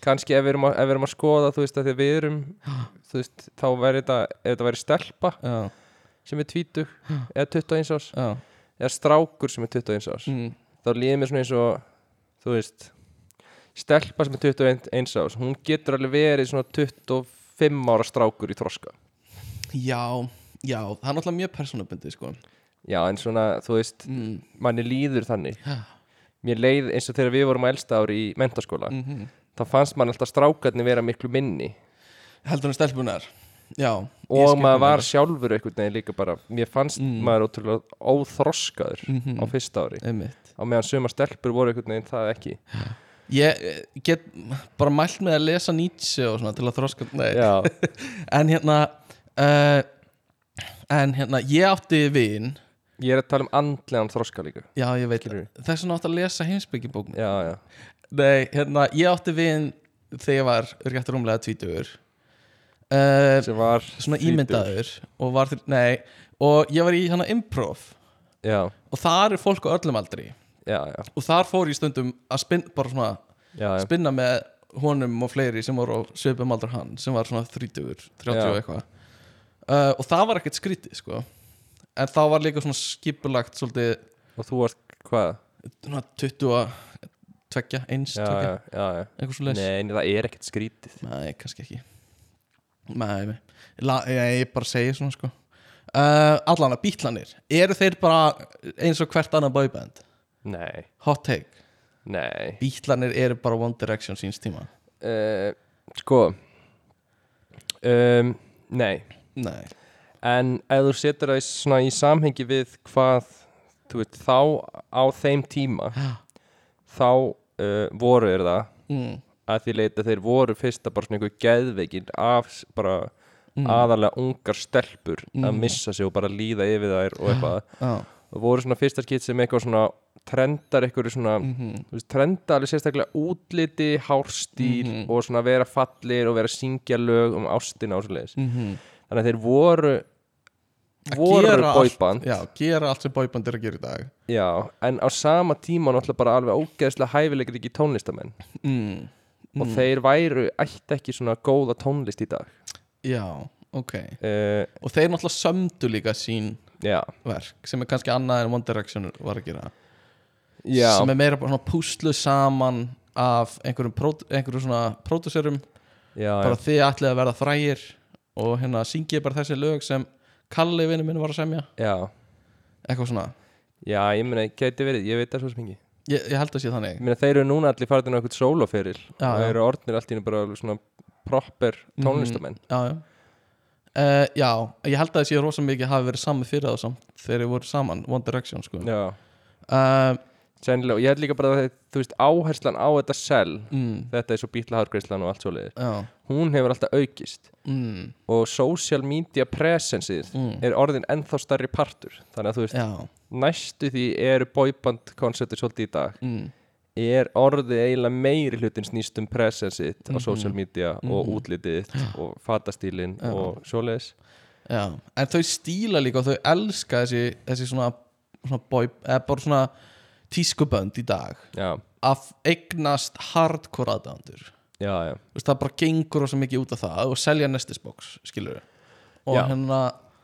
Speaker 1: kannski ef við erum að, ef við erum að skoða þú veist að því að við erum þú veist, þá væri þetta, ef þetta væri stelpa
Speaker 2: já,
Speaker 1: sem er tvítug eða 21 árs,
Speaker 2: já,
Speaker 1: eða strákur sem er 21 árs
Speaker 2: mm,
Speaker 1: þá líður mér svona eins og þú veist, stelpa sem er 21 árs, hún getur alveg verið svona 25 ára strákur í þroska
Speaker 2: já já, það er náttúrulega mjög persónabundið sko
Speaker 1: já, en svona, þú veist
Speaker 2: mm,
Speaker 1: manni líður þannig,
Speaker 2: já,
Speaker 1: mér leið eins og þegar við vorum á elsta ári í mentaskóla
Speaker 2: mm -hmm.
Speaker 1: þá fannst mann alltaf strákarnir vera miklu minni
Speaker 2: heldur hann stelpunar já, ég
Speaker 1: og
Speaker 2: skil
Speaker 1: maður
Speaker 2: hvað
Speaker 1: var
Speaker 2: meinar.
Speaker 1: sjálfur einhvern veginn líka bara, mér fannst
Speaker 2: Mm.
Speaker 1: maður ótrúlega óþroskaður
Speaker 2: Mhm.
Speaker 1: á fyrsta ári
Speaker 2: einmitt
Speaker 1: á meðan sumar stelpur voru einhvern veginn það ekki
Speaker 2: Ég eh, get bara mælt með að lesa Nietzsche og svona til að þroska Nei,
Speaker 1: já,
Speaker 2: en hérna uh, en hérna, ég átti vin
Speaker 1: ég er að tala um andlegan þroska líka
Speaker 2: já, ég veit
Speaker 1: Skilurðu?
Speaker 2: þess vegna átti að lesa heimsbyggjubókn
Speaker 1: já, já,
Speaker 2: nei, hérna, ég átti vin þegar ég var rétt rúmlega tvítugur uh,
Speaker 1: sem var
Speaker 2: svona
Speaker 1: þrítugur.
Speaker 2: ímyndaður og var til, nei, og ég var í hérna improv
Speaker 1: já,
Speaker 2: og þar er fólk á öllum aldri
Speaker 1: já, já,
Speaker 2: og þar fór ég stundum að spinn, bara svona
Speaker 1: já, já.
Speaker 2: spinna með honum og fleiri sem voru á svipum aldra hann sem var svona 30, 30
Speaker 1: Já.
Speaker 2: og eitthvað uh, og það var ekkert skrítið sko en þá var líka svona skipulagt svolítið
Speaker 1: og þú varst hvað?
Speaker 2: svona 20 og 20,
Speaker 1: Já,
Speaker 2: 1, 20
Speaker 1: já, já, já.
Speaker 2: eitthvað svo leys
Speaker 1: Nei, nei, það er ekkert skrítið
Speaker 2: nei, kannski ekki nei, nei. La, ég, ég bara segi svona sko uh, allan að bítlanir eru þeir bara eins og hvert annað boyband
Speaker 1: nei,
Speaker 2: hot take,
Speaker 1: nei
Speaker 2: bítlanir eru bara One Direction síns tíma
Speaker 1: uh, sko um, nei
Speaker 2: nei,
Speaker 1: En ef þú setur það í, svona, í samhengi við hvað, þú veit, þá á þeim tíma, þá uh, voru er það
Speaker 2: mm,
Speaker 1: að því leita þeir voru fyrsta bara svona einhver geðveikin af s- bara aðalega ungar stelpur að missa sig og bara líða yfir þær og eitthvað.
Speaker 2: á
Speaker 1: Og voru svona fyrsta skitt sem eitthvað svona trendar einhverju svona, þú veist, trendar alveg sérstaklega útliti, hárstíl og svona vera fallir og vera að syngja lög um ástina og svo leiðis
Speaker 2: mhm
Speaker 1: þannig að þeir voru
Speaker 2: Að
Speaker 1: voru
Speaker 2: gera
Speaker 1: boyband
Speaker 2: allt, já, gera allt sem boyband er að gera í dag
Speaker 1: já, en á sama tíma náttúrulega bara alveg ógeðslega hæfilegur ekki tónlistamenn
Speaker 2: mm.
Speaker 1: og þeir væru ætti ekki svona góða tónlist í dag
Speaker 2: já, ok
Speaker 1: uh,
Speaker 2: og þeir náttúrulega sömdu líka sín
Speaker 1: já,
Speaker 2: verk sem er kannski annað en One Direction var að gera
Speaker 1: já,
Speaker 2: sem er meira bara svona púslu saman af einhverjum, pró- einhverjum svona pródusserum,
Speaker 1: já,
Speaker 2: bara þið ætlið að verða frægir og hérna syngið bara þessi lög sem Kalli vinnu minn var að semja
Speaker 1: já, já
Speaker 2: eitthvað svona,
Speaker 1: já, ég meina, gæti verið, ég veit það svo sem ekki ég
Speaker 2: ég, ég held að sé þannig
Speaker 1: meina, þeir eru núna allir farin á eitthvað sóloferil og
Speaker 2: Já, já. Mhm.
Speaker 1: eru orðnir allt í henni bara alveg svona proper tónlistamenn
Speaker 2: já, já Uh, já, ég held að þessi rosa mikið hafi verið sami fyrir það samt þegar þið voru saman, One Direction sko.
Speaker 1: já,
Speaker 2: uh,
Speaker 1: sennilega, og ég held líka bara að þeir, þú veist, áherslan á þetta sel
Speaker 2: mm,
Speaker 1: þetta er svo bítla hárgreislan og allt svo leiðir
Speaker 2: Já,
Speaker 1: hún hefur alltaf aukist
Speaker 2: mm,
Speaker 1: og social media presenceið
Speaker 2: Mm.
Speaker 1: er orðin ennþá starri partur þannig að þú veist,
Speaker 2: já
Speaker 1: næstu því eru boyband koncerti svolítið í dag
Speaker 2: mm,
Speaker 1: er orðið eiginlega meiri hlutin snýst um presenceið
Speaker 2: Mhm.
Speaker 1: á social media og útlitið og fatastílin og svoleiðis
Speaker 2: já. En þau stíla líka og þau elska þessi, þessi svona, svona, boy, eða bara svona tískubönd í dag
Speaker 1: já,
Speaker 2: að eignast hardcore aðdæðandur
Speaker 1: já, já,
Speaker 2: það bara gengur svo mikið út af það og selja nestisbox, skilur og
Speaker 1: Já.
Speaker 2: hérna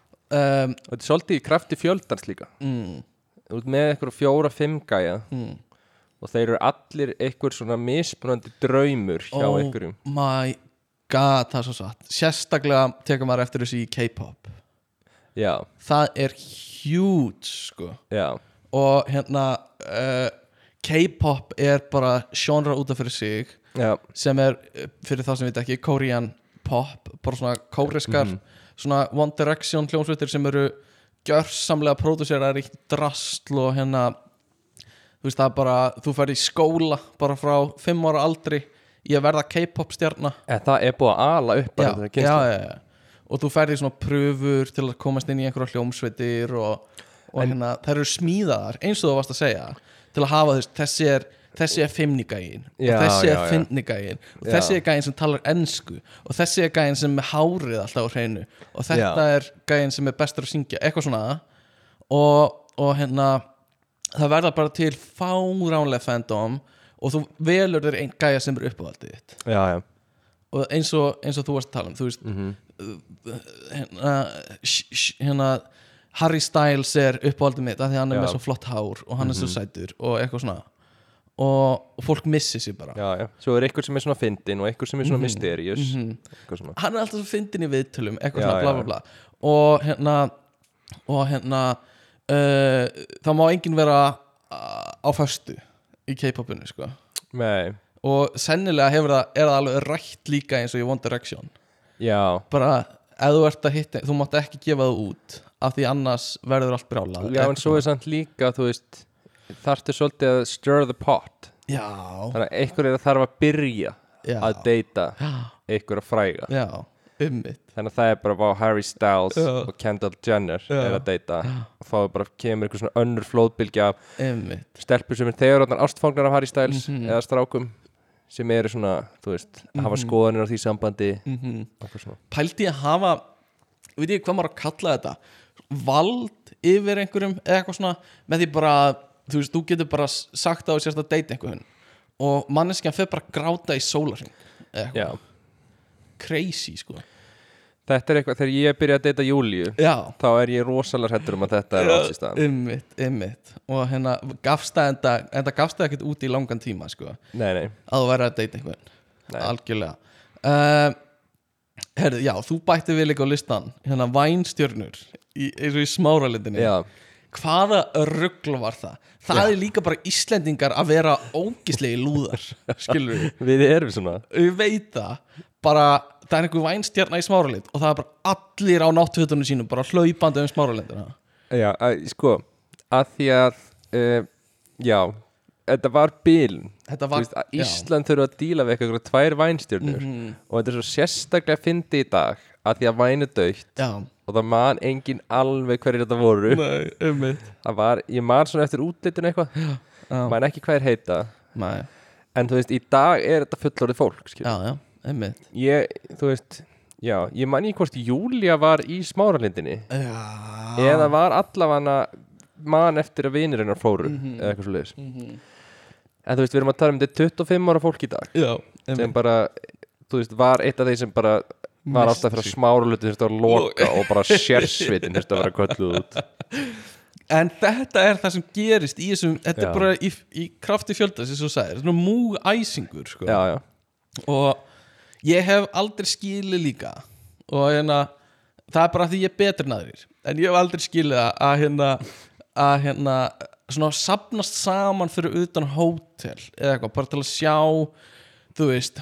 Speaker 2: um,
Speaker 1: og þetta er svolítið í krafti fjöldans líka
Speaker 2: mm,
Speaker 1: Þú ert með eitthvað fjóra, fimm gæja
Speaker 2: mm,
Speaker 1: og þeir eru allir eitthvað svona mismunandi draumur hjá
Speaker 2: Oh
Speaker 1: einhverjum
Speaker 2: my god, það er svo satt sérstaklega tekur maður eftir þessu í K-pop
Speaker 1: já,
Speaker 2: það er huge sko
Speaker 1: já,
Speaker 2: og hérna uh, K-pop er bara sjónra út af fyrir sig
Speaker 1: já,
Speaker 2: sem er, eh, fyrir það sem við ekki, Korean pop, bara svona kóreskar svona One Direction hljómsveitir sem eru gjörsamlega pródúserar í drastl og hérna þú veist það er bara, þú fær í skóla bara frá fimm ára aldri í að verða K-pop stjarna
Speaker 1: en það er búið að ala upp bara
Speaker 2: já,
Speaker 1: þetta
Speaker 2: já,
Speaker 1: kynslu
Speaker 2: já, já. og þú ferði svona pröfur til að komast inn í einhverja hljómsveitir og, og hérna, þær eru smíðaðar eins og þú varst að segja til að hafa þess, þessi er þessi er fimmnigægin
Speaker 1: Já,
Speaker 2: og þessi
Speaker 1: já,
Speaker 2: er
Speaker 1: já.
Speaker 2: fimmnigægin og
Speaker 1: Já.
Speaker 2: þessi er gægin sem talar ennsku og þessi er gægin sem er með hárið alltaf á hreinu og þetta er gægin sem er bestur að syngja eitthvað svona og, og hérna það verða bara til fáránlega fandom og þú velur þér einn gæja sem er uppáhaldið þitt
Speaker 1: já, já,
Speaker 2: og eins og, eins og þú varst að tala um þú veist
Speaker 1: Mhm.
Speaker 2: hérna, sh- sh- hérna Harry Styles er uppáhaldið mitt af því að hann er
Speaker 1: Já. Mhm.
Speaker 2: með svo flott hár og hann er svo sætur og eitthvað svona og, og fólk missir sér bara
Speaker 1: já, já svo er einhver sem er svona fyndin og einhver sem er
Speaker 2: Mhm.
Speaker 1: svona mysterious eitthvað svona
Speaker 2: hann er alltaf svo fyndin í viðtölum eitthvað
Speaker 1: Já,
Speaker 2: svona bla
Speaker 1: já.
Speaker 2: bla bla og hérna og hérna uh, það má enginn vera uh, á föstu í K-popinu sko
Speaker 1: nei,
Speaker 2: og sennilega hefur það, er það alveg rætt líka eins og í One Direction
Speaker 1: já,
Speaker 2: bara ef þú ert að hitta þú mátt ekki gefa þú út af því annars verður allt brjála
Speaker 1: já, en svo er samt líka þú veist, þarftu svolítið að stir the pot,
Speaker 2: já,
Speaker 1: þannig að einhver er að þarf að byrja
Speaker 2: já,
Speaker 1: að deyta einhver að fræga
Speaker 2: já, ummitt
Speaker 1: þannig að það er bara vá Harry Styles
Speaker 2: Já.
Speaker 1: og Kendall Jenner
Speaker 2: Já.
Speaker 1: er að deyta og þá er bara kemur einhver svona önnur flóðbylgja af
Speaker 2: ummitt,
Speaker 1: stelpur sem er þegar orðnar ástfangnar af Harry Styles
Speaker 2: Mhm.
Speaker 1: eða strákum sem eru svona, þú veist, hafa skoðanir á því sambandi mm
Speaker 2: Mhm.
Speaker 1: -hmm.
Speaker 2: pældi ég að hafa veit ég hvað maður á að kalla þetta vald yfir einhverjum eða eitthvað svona með því bara að, þú veist, þú getur bara s- sagt að þú sérst að deyta einhverjum og manneskjan fer bara að gráta í sólarinn eða eitthvað,
Speaker 1: Já,
Speaker 2: crazy sko
Speaker 1: þetta er eitthvað, þegar ég byrja að deyta Júlíu
Speaker 2: já,
Speaker 1: þá er ég rosalega hættur um að þetta er átt í staðan
Speaker 2: ummitt, ummitt og hérna gafst það enda, enda gafst það ekkert út í langan tíma sko
Speaker 1: Nei, nei,
Speaker 2: að þú væri að deyta einhvern
Speaker 1: Nei.
Speaker 2: algjörlega uh, herri, já, þú bætti við líka á listan hérna vænstjörnur í, eins og í smáralindinni
Speaker 1: já,
Speaker 2: hvaða ruggl var það það er líka bara Íslendingar að vera ógislegi lúðar skilur við,
Speaker 1: við erum svona
Speaker 2: við veit það bara, það er einhver vænstjarna í smáralind og það er bara allir á náttfjötunum sínum bara hlaupandi um smáralindina
Speaker 1: Já, að, sko, að því að uh, já, þetta var bíl
Speaker 2: Þetta var-
Speaker 1: veist, að
Speaker 2: já.
Speaker 1: Ísland þurfa að díla við eitthvað tvær vænstjörnur og þetta er svo sérstaklega fyndi í dag að því að vænu dögt
Speaker 2: já,
Speaker 1: og það man engin alveg hverjir þetta voru
Speaker 2: nei, ummitt
Speaker 1: það var, ég man svona eftir útlitun eitthvað man ekki hvað er heita
Speaker 2: nei,
Speaker 1: en þú veist, í dag er þetta fullorðið fólk skilur.
Speaker 2: já, já, ummitt
Speaker 1: ég, þú veist já, ég man ekki hvort Júlia var í smáralindinni
Speaker 2: já,
Speaker 1: eða var allavega man eftir að vinir hennar fóru eða eitthvað svo leiðis en þú veist, við erum að tala um þetta 25 ára fólk í dag
Speaker 2: já,
Speaker 1: sem bara, þú veist, var eitt af þeir sem bara var alltaf fyrir að smáralindin þurfti að loka og bara sérsvitin þurfti að vera kölluð út
Speaker 2: En þetta er það sem gerist í þessum Þetta
Speaker 1: Já.
Speaker 2: er bara í, í krafti fjölda sem þú sagðir, svona múgæsingur sko.
Speaker 1: já, já,
Speaker 2: og ég hef aldrei skilið líka og hérna það er bara því ég er betri en aðrir en ég hef aldrei skilið að, að hérna að hérna svona sapnast saman fyrir utan hótel eða eitthvað, bara til að sjá þú veist,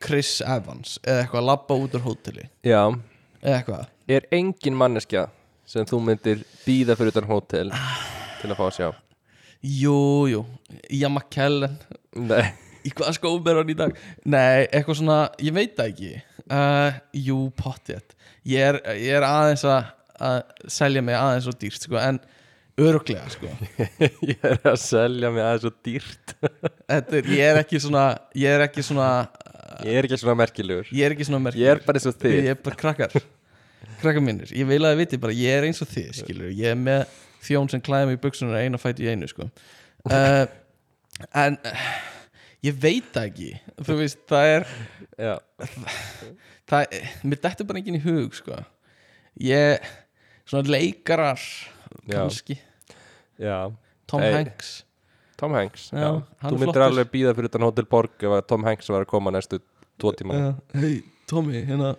Speaker 2: Chris Evans eða eitthvað, labba út úr hóteli
Speaker 1: já
Speaker 2: eða eitthvað
Speaker 1: er engin manneskja sem þú myndir býða fyrir utan hótel til að fá að sjá
Speaker 2: Jú, jú, Ian McKellen
Speaker 1: Nei,
Speaker 2: í hvaða skóm er hann í dag nei, eitthvað svona, ég veit það ekki uh, jú, pottjett ég, er- ég er aðeins að, að selja mig aðeins og dýrt sko, en öruglega sko.
Speaker 1: ég er að selja mig aðeins svo dýrt
Speaker 2: Þetta er, ég er ekki svona ég er ekki svona
Speaker 1: Ég er ekki svona merkilegur
Speaker 2: ég er ekki svona merkjur
Speaker 1: Ég er bara eins og þið
Speaker 2: ég er bara krakkar krakkar mínir, ég vil að þið viti bara ég er eins og þið, skilur, ég er með þjón sem klæði mig í buksunar eina fæti í einu sko. uh, en uh, ég veit það ekki þú veist, það er
Speaker 1: Já,
Speaker 2: það, mér dættu bara enginn í hug sko. ég svona leikarar
Speaker 1: Já.
Speaker 2: kannski,
Speaker 1: já
Speaker 2: Tom
Speaker 1: Nei.
Speaker 2: Hanks
Speaker 1: Tom Hanks
Speaker 2: Já,
Speaker 1: já.
Speaker 2: hann
Speaker 1: Þú
Speaker 2: er
Speaker 1: myndir
Speaker 2: flottur.
Speaker 1: alveg býða fyrir utan hótel Borg ef að Tom Hanks var að koma næstu tvo tíma
Speaker 2: Já, hei Tommy, hérna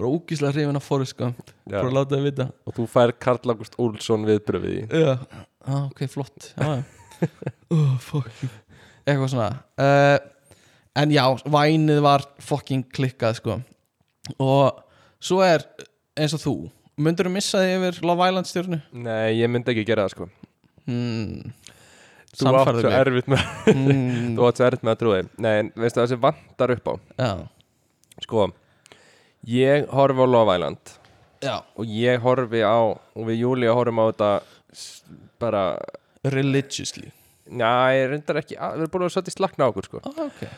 Speaker 2: var ógíslega hrifin af Forrest Gump
Speaker 1: Já.
Speaker 2: bara að láta það vita
Speaker 1: Og þú fær Karl August Olsson viðbröfið í
Speaker 2: já, ah, ok, flott já, já. oh, fuck eitthvað svona uh, en já, vænið var fucking klikkað sko og svo er eins og þú myndirðu missa þig yfir Love Island stjórnu?
Speaker 1: Nei, ég myndi ekki gera það sko
Speaker 2: Hmm,
Speaker 1: Þú átt
Speaker 2: Sannfærðu
Speaker 1: svo
Speaker 2: mig.
Speaker 1: erfitt með
Speaker 2: hmm,
Speaker 1: Þú átt svo erfitt með að trúi Nei, en veistu það sem vantar upp á
Speaker 2: já,
Speaker 1: Sko Ég horfi á Love Island
Speaker 2: já,
Speaker 1: Og ég horfi á Og við Júlía horfum á þetta s- Bara
Speaker 2: religiously
Speaker 1: Já, ég reyndar ekki að- Við erum búin að svolítið slakna á okkur sko
Speaker 2: oh, ok,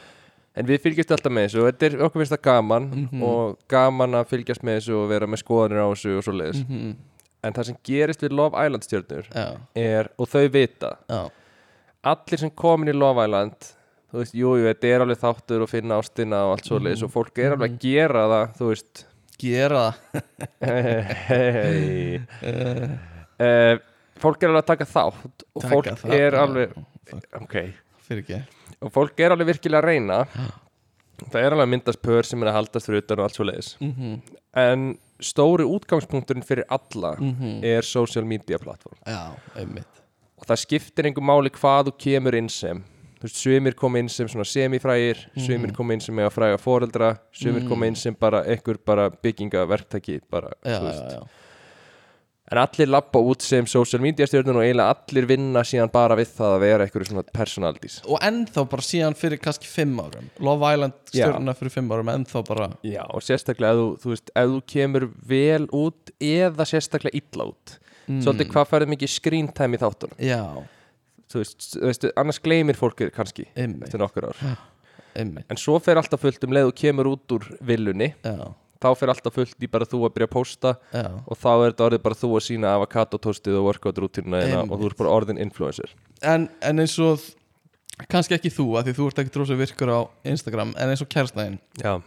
Speaker 1: En við fylgjast alltaf með þessu og þetta er okkur finnst það gaman
Speaker 2: Mhm.
Speaker 1: og gaman að fylgjast með þessu og vera með skoðanir á þessu og svo leiðis.
Speaker 2: Mhm,
Speaker 1: En það sem gerist við Love Island stjörnur
Speaker 2: já,
Speaker 1: er, og þau vita,
Speaker 2: já
Speaker 1: allir sem komin í Love Island, þú veist, jú, jú, þetta er alveg þáttur og finna ástina og allt svo
Speaker 2: Mhm.
Speaker 1: leiðis og fólk er alveg að gera það, þú veist, Eh,
Speaker 2: gera það
Speaker 1: hei,
Speaker 2: uh,
Speaker 1: uh, fólk er alveg að taka þátt og
Speaker 2: Taka
Speaker 1: fólk
Speaker 2: þátt,
Speaker 1: er
Speaker 2: já.
Speaker 1: alveg,
Speaker 2: Fuck.
Speaker 1: ok,
Speaker 2: fyrir ekki
Speaker 1: og fólk er alveg virkilega að reyna það er alveg að myndast pör sem er að haldast fyrir utan og allt svo leiðis
Speaker 2: Mhm.
Speaker 1: en stóri útgangspunkturinn fyrir alla
Speaker 2: Mhm.
Speaker 1: er social media platform
Speaker 2: já, einmitt
Speaker 1: og það skiptir einhver máli hvað þú kemur inn sem þú veist, sumir koma inn sem svona semifrægir
Speaker 2: Mhm.
Speaker 1: sumir koma inn sem eiga fræga foreldra sumir koma inn sem bara einhver bara byggingaverktæki bara, þú
Speaker 2: já, já,
Speaker 1: veist.
Speaker 2: já,
Speaker 1: en allir lappa út sem social media stjórnum og eiginlega allir vinna síðan bara við það að vera einhverju svona personalities
Speaker 2: og ennþá bara síðan fyrir kannski fimm árum Love Island
Speaker 1: Já.
Speaker 2: stjórna fyrir fimm árum ennþá bara
Speaker 1: Já, og sérstaklega ef þú, þú veist, ef þú kemur vel út eða sérstaklega illa út svolítið hvað færðu mikið screen time í þáttunum
Speaker 2: já,
Speaker 1: þú veist, þú veist, annars gleymir fólkið kannski
Speaker 2: einmitt,
Speaker 1: eftir nokkur ár
Speaker 2: einmitt
Speaker 1: en svo fer alltaf fullt um leið og kemur út úr villunni
Speaker 2: já,
Speaker 1: þá fer alltaf fullt í bara þú að byrja að posta
Speaker 2: já,
Speaker 1: og þá er þetta orðið bara þú að sína avokadotostið og workout rútínuna þína
Speaker 2: Einmitt.
Speaker 1: og þú ert bara orðin influencer
Speaker 2: en, en eins og kannski ekki þú, af því þú ert ekki dróðsveg virkur á Instagram, en eins og kærstæðin
Speaker 1: Já,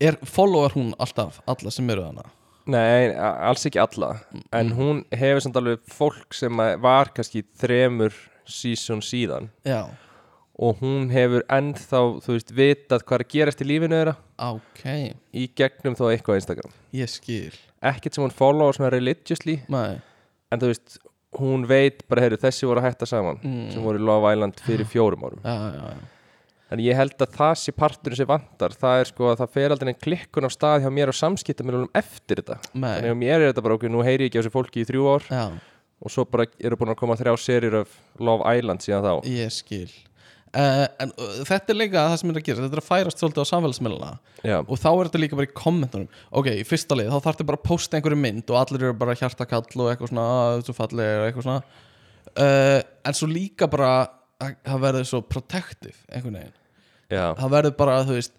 Speaker 2: er, followar hún alltaf alla sem eru hana
Speaker 1: nei, a- alls ekki alla en hún hefur samt alveg fólk sem að var kannski þremur season síðan
Speaker 2: já,
Speaker 1: og hún hefur ennþá, þú veist, vitað hvað er að gerast í lífinu þeirra
Speaker 2: ok,
Speaker 1: í gegnum þá eitthvað á Instagram.
Speaker 2: ég skil
Speaker 1: Ekkert sem hún followa svona religiously,
Speaker 2: nei,
Speaker 1: en þú veist, hún veit bara, heyrðu, þessi voru að hætta saman sem voru í Love Island fyrir fjórum árum.
Speaker 2: já, já, já
Speaker 1: En ég held að það sé parturinn sem vantar, það er sko að það fer aldrei en klikkun á stað hjá mér og samskipta mér eftir þetta. Þannig
Speaker 2: nei,
Speaker 1: að mér er þetta bara okkur, nú heyri ég ekki á þessu fólki í þrjú ár
Speaker 2: já,
Speaker 1: og svo bara eru búin að koma þrjá serir af Love Island síðan þá.
Speaker 2: ég skil uh, en uh, þetta er líka það sem er að gera, þetta er að færast svolítið á samfélagsmiðluna
Speaker 1: Já,
Speaker 2: og þá er þetta líka bara í kommentunum ok, í fyrsta leið, þá þarftu bara að posta einhverju mynd og allir eru bara hjartakall og eitthvað svona "Ah, þú ert svo falleg og eitthvað svona uh, en svo líka bara að- það verður svo protective einhvern veginn,
Speaker 1: já,
Speaker 2: það verður bara þú veist,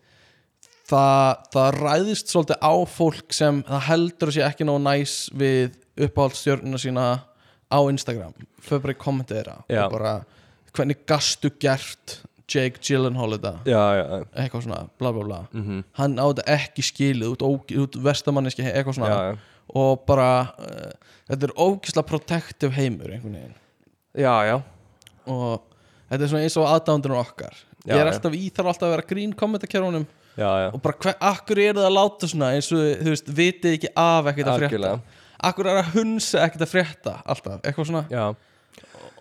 Speaker 2: það, það ræðist svolítið á fólk sem það heldur sér ekki nóg næs við uppáhaldsstjörnuna sína á Instagram, fyrir bara í kommentu þeirra
Speaker 1: Já.
Speaker 2: og bara, hvernig gastu gert Jake Gyllenhaal þetta
Speaker 1: já, já,
Speaker 2: eitthvað svona, bla bla bla
Speaker 1: Mhm.
Speaker 2: hann á þetta ekki skilið út, óg- út vestamanniski, eitthvað svona
Speaker 1: já, já.
Speaker 2: og bara, uh, þetta er ógislega protective heimur einhvern veginn
Speaker 1: Já, já,
Speaker 2: og þetta er svona eins og aðdándur okkar
Speaker 1: Já,
Speaker 2: ég er
Speaker 1: já.
Speaker 2: alltaf í, þarf alltaf að vera grín kommentarkerfunum
Speaker 1: já, já.
Speaker 2: og bara, hver, akkur er það að láta svona eins og, þú veist, vitið ekki af ekkert að frétta
Speaker 1: Algjörlega.
Speaker 2: akkur er að hunsa ekkert að frétta alltaf, eitthvað svona
Speaker 1: já.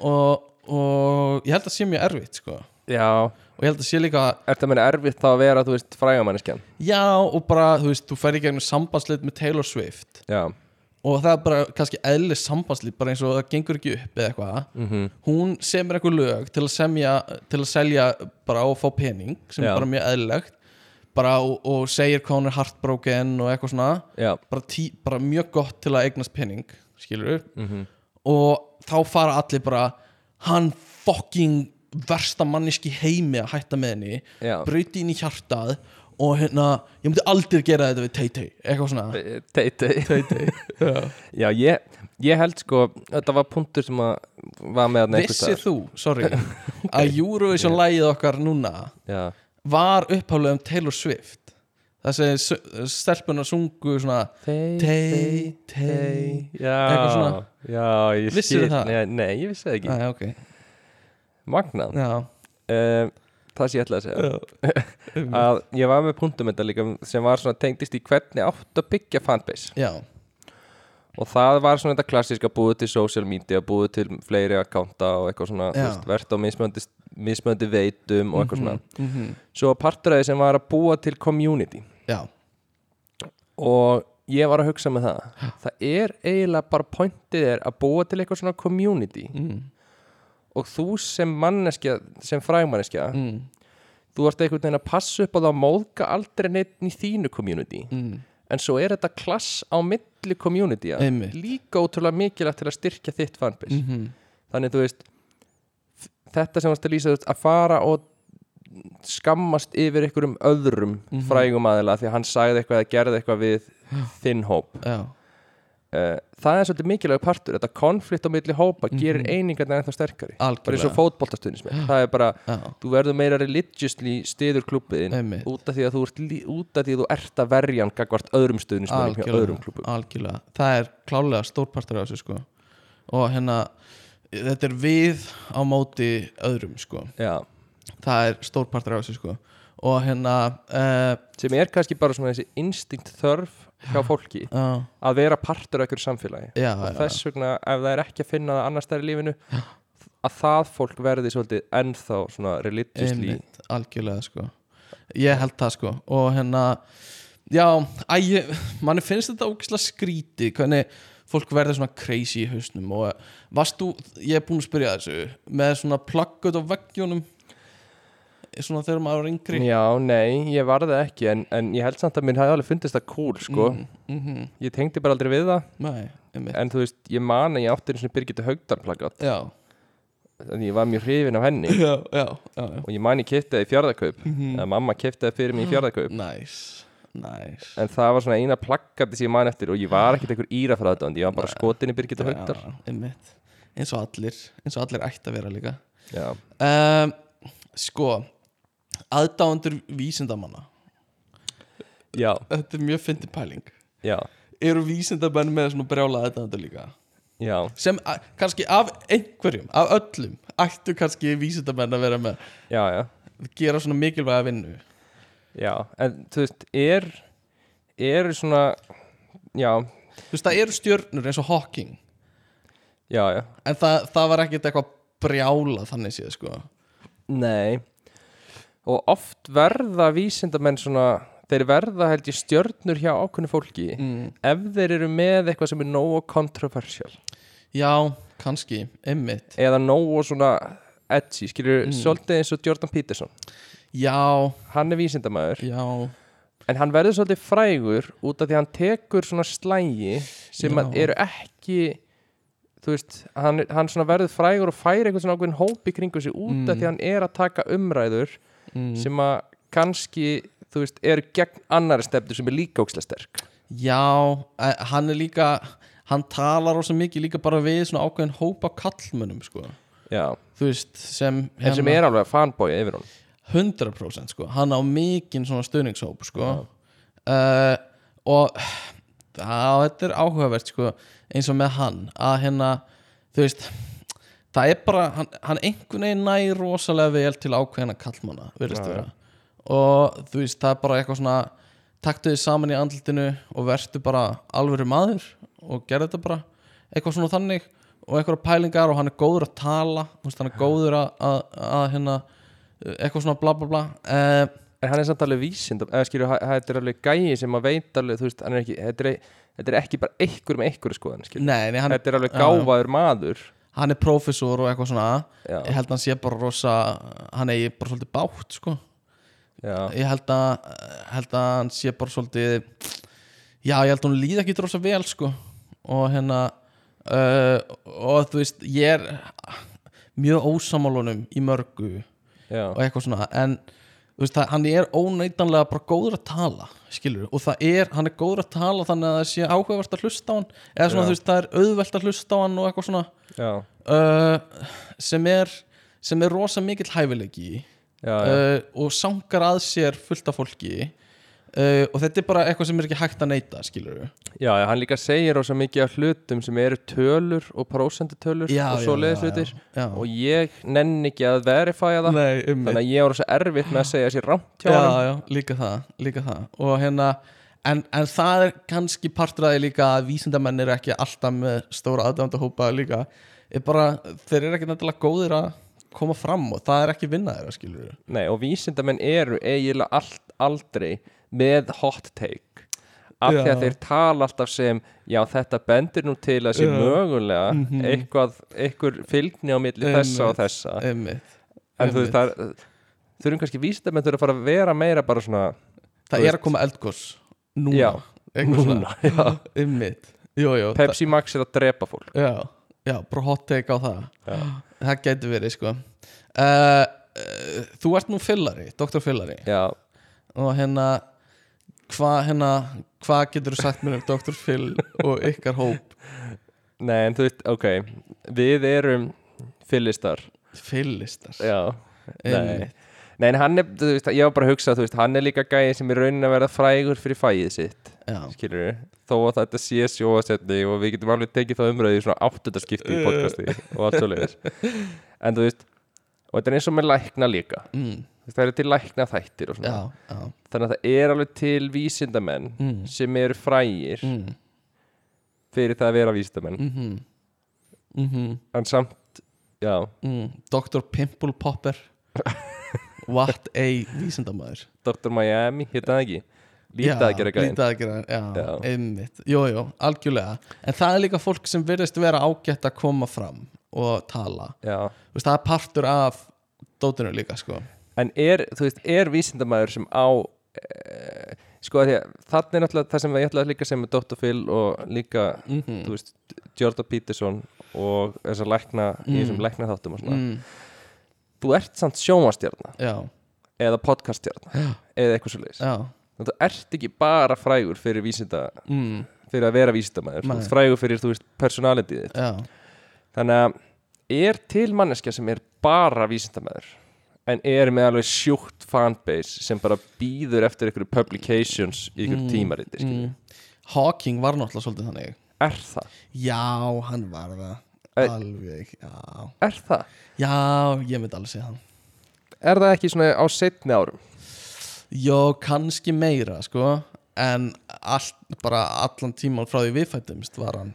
Speaker 2: og, og ég held að sé mjög erfitt, sko
Speaker 1: Já,
Speaker 2: og ég held að sé líka að
Speaker 1: er það meina erfitt þá að vera, þú veist, frægamanneskjan
Speaker 2: Já, og bara, þú veist, þú færi í gegnum sambandsleit með Taylor Swift
Speaker 1: Já,
Speaker 2: og það er bara kannski eðli sambandsleit bara eins og það gengur ekki upp eða eitthvað -hmm.
Speaker 1: Mhm.
Speaker 2: hún semur eitthvað lög til að semja til að selja bara og fá pening sem
Speaker 1: Já.
Speaker 2: er bara mjög eðlilegt bara og, og segir hvað hún er heartbroken og eitthvað svona
Speaker 1: já,
Speaker 2: bara, tí, bara mjög gott til að eignast pening skilur -hmm. og þá fara allir bara hann fucking versta manniski heimi að hætta með henni
Speaker 1: Já.
Speaker 2: brauti inn í hjartað og hérna, ég myndi aldrei gera þetta við Tay-Tay eitthvað svona
Speaker 1: tei, tei
Speaker 2: Já.
Speaker 1: Já, ég, ég held sko, þetta var punktur sem að var með hann
Speaker 2: vissið þú, sorry að Eurovision lægið okkar núna
Speaker 1: Já,
Speaker 2: var upphálega um Taylor Swift það segi stelpunar sungu svona
Speaker 1: tei,
Speaker 2: Tei, tei
Speaker 1: Já,
Speaker 2: Eitthvað svona.
Speaker 1: já, ég
Speaker 2: Vissirðu það?
Speaker 1: Nei, nei, ég vissi það ekki
Speaker 2: Æ, Ah, ok,
Speaker 1: Magnað
Speaker 2: já
Speaker 1: um, Það sem ég ætlaði að segja að Ég hérna var með punktum þetta líka sem var svona tengdist í hvernig átt að byggja fanbase
Speaker 2: já,
Speaker 1: og það var svona þetta klassíska búið til social media, búið til fleiri akkánta og eitthvað svona, þú
Speaker 2: Já.
Speaker 1: veist, verðt á mismöndi, mismöndi veitum og eitthvað svona
Speaker 2: mm
Speaker 1: svo parturæði sem var að búa til community
Speaker 2: Já,
Speaker 1: og ég var að hugsa með það það er eiginlega bara pointið er að búa til eitthvað svona community
Speaker 2: mm.
Speaker 1: og þú sem manneskja, sem frægmanneskja
Speaker 2: Mm.
Speaker 1: þú ert einhvern veginn að passa upp á það að móðka aldrei neitt í þínu community
Speaker 2: Mm.
Speaker 1: en svo er þetta klass á milli community
Speaker 2: Einmitt.
Speaker 1: líka ótrúlega mikilvægt til að styrkja þitt fanbase
Speaker 2: Mm -hmm.
Speaker 1: þannig þú veist f- þetta sem varst að lýsa þú veist, að fara og skammast yfir einhverjum öðrum
Speaker 2: Mhm.
Speaker 1: frægum aðila því að hann sagði eitthvað eða gerði eitthvað við þinn hóp
Speaker 2: Já.
Speaker 1: uh, það er svolítið mikilvæg partur þetta konflikt á milli hópa gerir einingarna ennþá sterkari bara eins og
Speaker 2: Mhm. Algjörlega.
Speaker 1: fótboltastuðnismi það er bara,
Speaker 2: Já.
Speaker 1: þú verður meira religiously stiður klubbiðin
Speaker 2: Einmitt.
Speaker 1: út af því að þú ert, lí- út af því að þú ert að verjan gagvart öðrum stuðnismannum hjá öðrum klubbum
Speaker 2: algjörlega, það er klálega stórpartur af þessu sko og hérna, þetta er við á móti öðrum sko
Speaker 1: Já.
Speaker 2: það er stórpartur af þessu sko og hérna uh,
Speaker 1: sem er kannski bara svona þessi instinct þörf hjá fólki
Speaker 2: uh,
Speaker 1: að vera partur af einhverju samfélagi
Speaker 2: já,
Speaker 1: og
Speaker 2: já,
Speaker 1: þess vegna ef það er ekki að finna það annars þær í lífinu að það fólk verði svolítið ennþá svona religiously
Speaker 2: einmitt, algjörlega sko ég held það sko og hérna já, æ, ég- manni finnst þetta ógislega skríti hvernig fólk verður svona crazy í hausnum og eh, varst þú, ég er búin að spyrja þessu með svona pluggut á veggjónum Eh, svona þegar maður er yngri
Speaker 1: já, nei, ég var það ekki en, en ég held samt að mér hefði alveg fundist það cool sko,
Speaker 2: mm -hmm.
Speaker 1: ég tengdi bara aldrei við það
Speaker 2: Nei, einmitt
Speaker 1: en þú veist, ég man að ég átti einu svona Birgitta Haugdal plakat
Speaker 2: Já,
Speaker 1: en ég var mjög hrifin af henni
Speaker 2: Eh. já, já, já, já.
Speaker 1: og ég man ég kiptaði í fjárðakaup
Speaker 2: Mhm.
Speaker 1: eða mamma kiptaði fyrir mig í fjárðakaup
Speaker 2: Næs, næs
Speaker 1: en það var svona eina plakati sem ég man eftir og ég var ekkert einhver íra frá þetta ég var bara skotin í Birgitta Haugdal
Speaker 2: Já, einmitt Eins og allir, eins og allir ætti að vera líka
Speaker 1: já,
Speaker 2: um, Sko Aðdáendur vísindamanna
Speaker 1: já,
Speaker 2: Þetta er mjög fyndin pæling
Speaker 1: já,
Speaker 2: Eru vísindamenn með svona brjála aðdáendur líka
Speaker 1: já.
Speaker 2: Sem a- kannski af einhverjum, af öllum Ættu kannski vísindamenn að vera með
Speaker 1: já, já,
Speaker 2: Gera svona mikilvæga vinnu
Speaker 1: já en þú veist, er er svona já,
Speaker 2: Þú veist, það eru stjörnur eins og Hawking
Speaker 1: já, já,
Speaker 2: En það, það var ekkert eitthvað brjála þannig séð sko
Speaker 1: nei og oft verða vísindamenn svona, þeir verða held ég stjörnur hjá ákveðnu fólki
Speaker 2: Mm.
Speaker 1: ef þeir eru með eitthvað sem er nógu kontroversial
Speaker 2: Já, kannski, einmitt
Speaker 1: eða nógu svona edgy, skilur, svolítið eins og Jordan Peterson
Speaker 2: Já,
Speaker 1: hann er vísindamæður
Speaker 2: já,
Speaker 1: en hann verður svolítið frægur út af því að hann tekur svona slægi sem
Speaker 2: Já.
Speaker 1: að eru ekki þú veist, hann, hann svona verður frægur og fær einhvern svona ákveðin hóp í kringu sig út af því að hann er að taka umræður sem að kannski þú veist, eru gegn annari stefnu sem er líka ókslega sterk
Speaker 2: já eh, Hann er líka, hann talar rosa mikið líka bara við svona ákveðin hóp af kallmönnum sko
Speaker 1: Já. Hérna.
Speaker 2: Þú veist, sem,
Speaker 1: en sem er alveg að fanbója yfir hún
Speaker 2: 100% sko Hann á mikinn svona stuðningshóp sko uh, Og það, þetta er áhugavert sko eins og með hann að hérna, þú veist það er bara, hann, hann einhvern veginn næ rosalega vel til ákveðina kallmanna virðist vera og þú veist, það er bara eitthvað svona taktu þið saman í andlutinu og vertu bara alvöru maður og gerðu þetta bara eitthvað svona þannig og eitthvað pælingar og hann er góður að tala þú veist, hann er góður að, að, að hérna, eitthvað svona bla bla bla uh,
Speaker 1: en hann er samt alveg vísindam eða skilur, hann- þetta er alveg gæi sem að veit alveg þú veist, hann er ekki, þetta er, e, þetta er ekki bara einhver með einhverju skoðan, skilur
Speaker 2: nei, nei, hann,
Speaker 1: þetta er alveg
Speaker 2: Já, já.
Speaker 1: gáfaður maður
Speaker 2: hann er prófessor og eitthvað svona
Speaker 1: Já.
Speaker 2: ég held að hann sé bara rosa hann eigi bara svolítið bátt sko.
Speaker 1: Já.
Speaker 2: ég held að, held að hann sé bara svolítið já, ég held að hún líða ekki rosa vel sko. og hérna uh, og þú veist, ég er mjög ósamálunum í mörgu
Speaker 1: Já.
Speaker 2: og eitthvað svona en þú veist, það, hann er óneitanlega bara góður að tala skilur, og það er, hann er góður að tala þannig að það sé áhugavert að hlusta á hann eða
Speaker 1: Já.
Speaker 2: svona, þú veist, það er auðvelt að hlusta á hann og eitthvað svona
Speaker 1: já,
Speaker 2: uh, sem er sem er rosa mikill hæfileiki í
Speaker 1: já, já,
Speaker 2: uh, og sangar að sér fullt af fólki uh, og þetta er bara eitthvað sem er ekki hægt að neyta skilur
Speaker 1: já, já, hann líka segir rosa mikið af hlutum sem eru tölur og prósendutölur
Speaker 2: Já,
Speaker 1: og
Speaker 2: já,
Speaker 1: svo leiðis
Speaker 2: já,
Speaker 1: hlutir
Speaker 2: já.
Speaker 1: og ég nenn ekki að verifæja það
Speaker 2: Nei, um
Speaker 1: þannig að ég er rosa erfitt með að segja sér rámt hjá
Speaker 2: já,
Speaker 1: honum
Speaker 2: já, líka það, líka það og hérna, en, en það er kannski partræði líka að vísindamenn eru ekki alltaf með stóra aðdæmandahópa líka er bara, þeir eru ekki nættilega góðir að koma fram og það er ekki vinna þeirra skilur við
Speaker 1: Nei, og vísindamenn eru eiginlega allt, aldrei með hot take af því að
Speaker 2: Já.
Speaker 1: þeir tala alltaf sem já, þetta bendir nú til að sé
Speaker 2: Já. Mhm.
Speaker 1: mögulega eitthvað, einhver fylgni á milli þessa og
Speaker 2: Einmitt.
Speaker 1: þessa
Speaker 2: einmitt
Speaker 1: en þú veist, það er- þurfum kannski vísindamenn þurfa að fara að vera meira bara svona
Speaker 2: það er að koma eldgós núna
Speaker 1: Já,
Speaker 2: Eitthvað svona.
Speaker 1: núna, já.
Speaker 2: einmitt, jú, jú, það-
Speaker 1: Pepsi Max er að drepa fólk
Speaker 2: Já, já, bara hot take á það Það getur verið sko uh, uh, Þú ert nú fyllari, doktor fyllari
Speaker 1: já,
Speaker 2: og hérna hvað hérna, hva getur þú sagt mér um doktor fyll og ykkar hóp
Speaker 1: nei, en þú veist, ok við erum fyllistar
Speaker 2: fyllistar
Speaker 1: já, nei
Speaker 2: Einmitt.
Speaker 1: Nei, en hann er, þú veist, ég var bara að hugsa, þú veist, hann er líka gæði sem er raunin að verða frægur fyrir fæið sitt,
Speaker 2: Já.
Speaker 1: skilur við, þó að þetta sé sjóasetni og við getum alveg tekið þá umræði í svona áttundaskipti í podcasti og allt svo leiðis. En þú veist, og þetta er eins og með lækna líka,
Speaker 2: Mm,
Speaker 1: Þú veist, það eru til lækna þættir og svona,
Speaker 2: já, já,
Speaker 1: þannig að það er alveg til vísindamenn
Speaker 2: Mm.
Speaker 1: sem eru frægir
Speaker 2: mm,
Speaker 1: fyrir það að vera vísindamenn,
Speaker 2: mhm, mhm,
Speaker 1: en samt, já,
Speaker 2: mm. Dr. Pimple Popper What a vísindamæður
Speaker 1: Dr. Miami, hitta það ekki, lítið að gera gæðin.
Speaker 2: Lítið að gera, já,
Speaker 1: Já.
Speaker 2: einmitt Jú, jú, algjörlega En það er líka fólk sem virðist vera ágætt að koma fram og tala
Speaker 1: Já,
Speaker 2: Þú veist, Það er partur af dótinu líka, sko
Speaker 1: en er, þú veist, er vísindamæður sem á e, sko að því að þarna er náttúrulega það sem ég ætlaði líka sem er Dr. Phil og líka
Speaker 2: Mhm.
Speaker 1: þú veist, Jordan Peterson og þessar lækna í
Speaker 2: Mhm.
Speaker 1: þessum lækna þáttum og svona
Speaker 2: mm,
Speaker 1: þú ert samt sjónvastjarna
Speaker 2: Já,
Speaker 1: eða podcastjarna eða eitthvað svo leiðis
Speaker 2: já
Speaker 1: þú ert ekki bara frægur fyrir vísinda
Speaker 2: mm,
Speaker 1: fyrir að vera vísindamæður þú
Speaker 2: Nei.
Speaker 1: ert frægur fyrir, þú veist, personalityð þitt
Speaker 2: Já,
Speaker 1: þannig að er til manneskja sem er bara vísindamæður en er með alveg sjúkt fanbase sem bara býður eftir ykkur publications í ykkur mm. tímariti mm.
Speaker 2: mm. Hawking var náttúrulega svolítið þannig
Speaker 1: er það,
Speaker 2: Já, hann var það
Speaker 1: Ei.
Speaker 2: Alveg, já
Speaker 1: er það
Speaker 2: Já, ég myndi alveg segja hann
Speaker 1: er það ekki svona á setni árum
Speaker 2: Jó, kannski meira, sko En allt, bara allan tíman frá því við fættumst var hann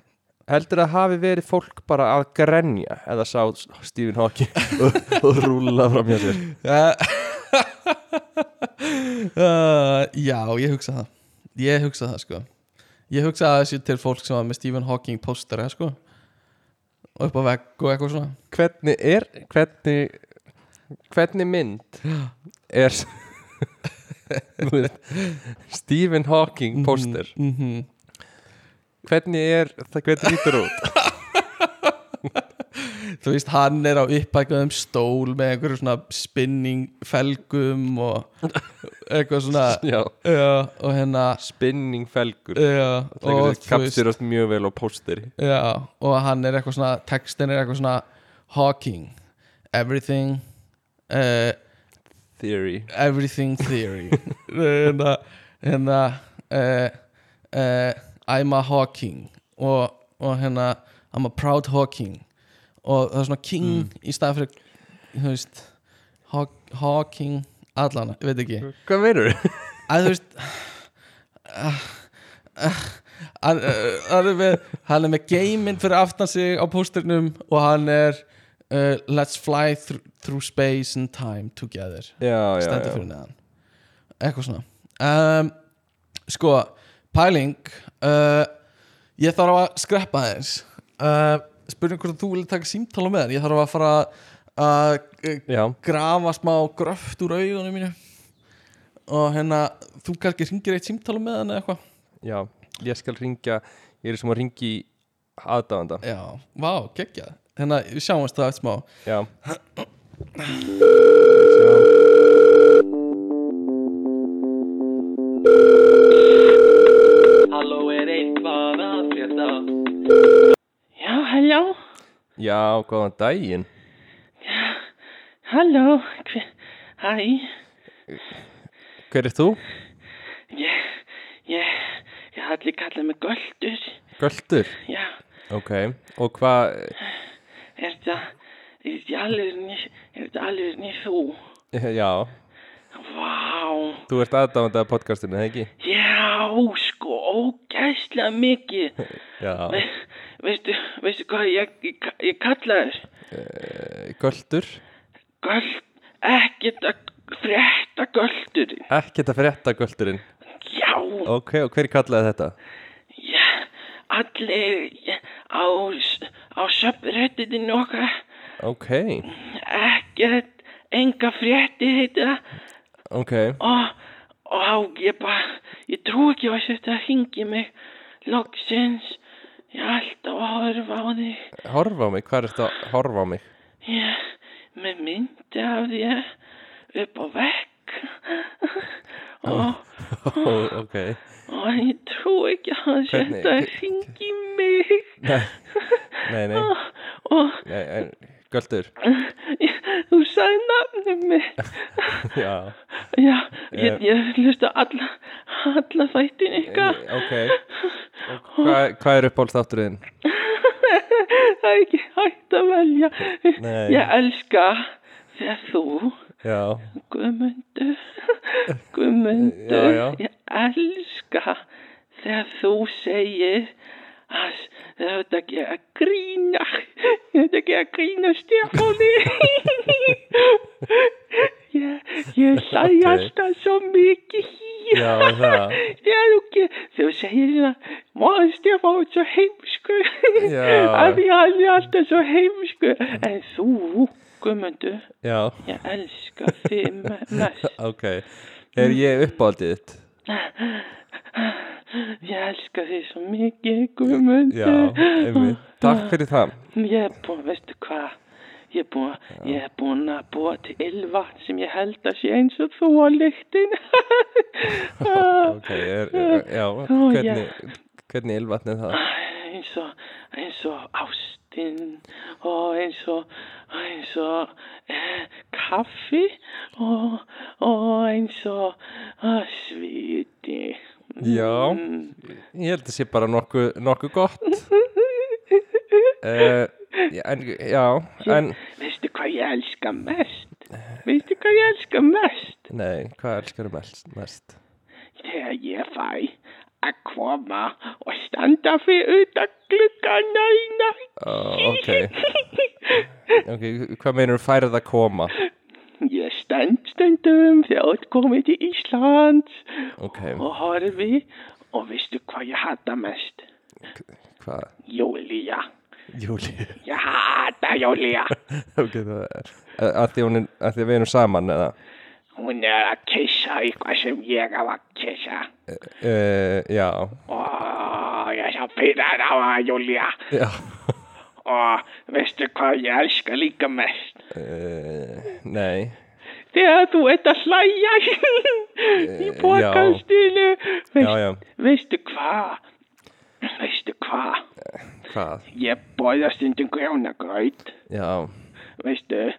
Speaker 1: heldur að hafi verið fólk bara að grenja eða sá Stephen Hawking og, og rúla fram hjá sér
Speaker 2: Uh, uh, já, ég hugsa það Ég hugsa það sko Ég hugsa það þessi til fólk sem var með Stephen Hawking postera sko og upp á vegg og eitthvað svona
Speaker 1: hvernig er hvernig, hvernig mynd er s- þú veist, Stephen Hawking poster
Speaker 2: mm -hmm.
Speaker 1: hvernig er það hvernig lítur út
Speaker 2: Þú veist, hann er á uppækjum stól með einhverju svona spinning felgum og eitthvað svona
Speaker 1: Já,
Speaker 2: uh, og hérna
Speaker 1: spinning felgur
Speaker 2: uh,
Speaker 1: Það
Speaker 2: og þú veist
Speaker 1: kapsirast mjög vel á pósteri
Speaker 2: Já, og hann er eitthvað svona textin er eitthvað svona Hawking Everything uh,
Speaker 1: Theory
Speaker 2: Everything Theory hérna, hérna uh, uh, I'm a Hawking og, og hérna I'm a proud Hawking og það er svona king í staðan fyrir þú veist Haw Hawking allan, ég veit ekki
Speaker 1: Hvað verður?
Speaker 2: að þú veist ah, ah, hann eh, hann er með hann er með geiminn fyrir aftan sig á pósternum og hann er uh, let's fly thr through space and time together
Speaker 1: Já, já,
Speaker 2: stendur
Speaker 1: já
Speaker 2: fyrir neðan eitthvað svona um, sko, pæling uh, ég þarf að skreppa aðeins uh, spurning hvort þú vil taka símtala með hann ég þarf að fara að uh,
Speaker 1: Já,
Speaker 2: grafa smá gröft úr augunum mínu og hérna þú kannski ringir eitt símtala með hann eða eitthvað
Speaker 1: já Ég skal ringja Ég er sem að ringi í aðdáðanda
Speaker 2: já, vá, geggjað hérna, við sjáumst það eitt smá
Speaker 1: Já
Speaker 3: Halló er eitthvað að frétta Já, halló
Speaker 1: Já, góðan daginn
Speaker 3: Halló hver- Hæ
Speaker 1: Hver er þú?
Speaker 3: Ég, ég, ég allir kallað mig Göldur
Speaker 1: Göldur
Speaker 3: Já,
Speaker 1: Ok, og hvað
Speaker 3: er þetta Er þetta alveg ný Er þetta alveg ný þú
Speaker 1: Já,
Speaker 3: Vá
Speaker 1: þú ert aðdáðanda af podcastinu, eða ekki?
Speaker 3: Já, Já, sko, ógæslega mikið.
Speaker 1: Já,
Speaker 3: Ve, veistu, veistu hvað, ég, ég, ég kalla þér.
Speaker 1: Eh, göldur
Speaker 3: Göld, ekkert að frétta göldur.
Speaker 1: Ekkert að frétta göldurinn
Speaker 3: Já,
Speaker 1: Ok, og hver kallaði þetta?
Speaker 3: já, allir já, á, s- á söpurhöttinu okkar.
Speaker 1: Ok,
Speaker 3: Ekkert, enga frétti heita það.
Speaker 1: ok
Speaker 3: og, og ég bara, ég trú ekki að þetta hingi mig loksins, ég er alltaf að horfa á þig
Speaker 1: Horfa á mig, hvað er þetta að horfa á mig?
Speaker 3: ég, með myndi af þér upp á vekk og,
Speaker 1: ok
Speaker 3: og ég trú ekki að
Speaker 1: Hvernig-
Speaker 3: þetta
Speaker 1: hver-
Speaker 3: hingi mig
Speaker 1: Nei, nei, nei,
Speaker 3: og
Speaker 1: nei en, Göldur,
Speaker 3: ég, þú sagði nafnið mitt
Speaker 1: já
Speaker 3: já,
Speaker 1: Eh.
Speaker 3: ég, ég hlusta á alla, alla þættin ykkar
Speaker 1: Ok Og Hvað hva er uppáhaldstátturinn?
Speaker 3: það er ekki hægt að velja
Speaker 1: Nei.
Speaker 3: ég elska þegar þú
Speaker 1: Já,
Speaker 3: Guðmundur
Speaker 1: Já,
Speaker 3: Guðmundur
Speaker 1: já.
Speaker 3: ég elska þegar þú segir að það er þetta ekki að grína það er ekki að grína stjáni ég, ég sagði
Speaker 1: Ok.
Speaker 3: alltaf svo mikið
Speaker 1: já, það
Speaker 3: Já, þú, ge- þú segir það, maður Stefán er svo heimsku,
Speaker 1: Já.
Speaker 3: að því hann er alltaf svo heimsku, en þú, Guðmundur,
Speaker 1: Já,
Speaker 3: ég elska þig me- mest,
Speaker 1: ok Er ég uppáhaldið þitt?
Speaker 3: ég elska þig svo mikið,
Speaker 1: Já,
Speaker 3: Guðmundur,
Speaker 1: einmitt Takk fyrir það
Speaker 3: ég er búin, veistu hvað, ég er búin, ég er búin að búa til ylvatn sem ég held að sé eins og þú á Ah. lyktin,
Speaker 1: Ok, er, er, já, hvernig, hvernig ylvatn er það?
Speaker 3: eins og, eins og ástinn og eins og, eins og eh, kaffi og, og eins og eh, sviti.
Speaker 1: Já,
Speaker 3: Mm.
Speaker 1: ég held að sé bara nokkuð nokku gott uh, en, Já, en
Speaker 3: Veistu hvað ég elska mest? Veistu hvað ég elska mest?
Speaker 1: Nei, hvað elskar mest? mest?
Speaker 3: Þegar ég fæ að koma og standa fyrir utan gluggana þína.
Speaker 1: Oh, ok, ok, hvað meinur færið að koma?
Speaker 3: Ég stend stundum þegar út komið til Íslands
Speaker 1: Ok,
Speaker 3: og horfi og veistu hvað ég hata mest?
Speaker 1: hvað?
Speaker 3: Júlía.
Speaker 1: Júli
Speaker 3: Ég hata Júlía.
Speaker 1: Ok, það er að því, hún er, að því að við erum saman eða
Speaker 3: Hún er að kissa eitthvað sem ég á að kissa.
Speaker 1: uh, Já,
Speaker 3: Og ég er svo pyrrar á að Júlía.
Speaker 1: já
Speaker 3: Og veistu hvað ég elska líka mest?
Speaker 1: uh, Nei,
Speaker 3: Þegar þú ert að hlæja í bókastinu.
Speaker 1: já, já,
Speaker 3: Veistu hvað? Veistu hvað?
Speaker 1: hvað?
Speaker 3: Ég borða stundum grjónagraut.
Speaker 1: Já,
Speaker 3: Veistu?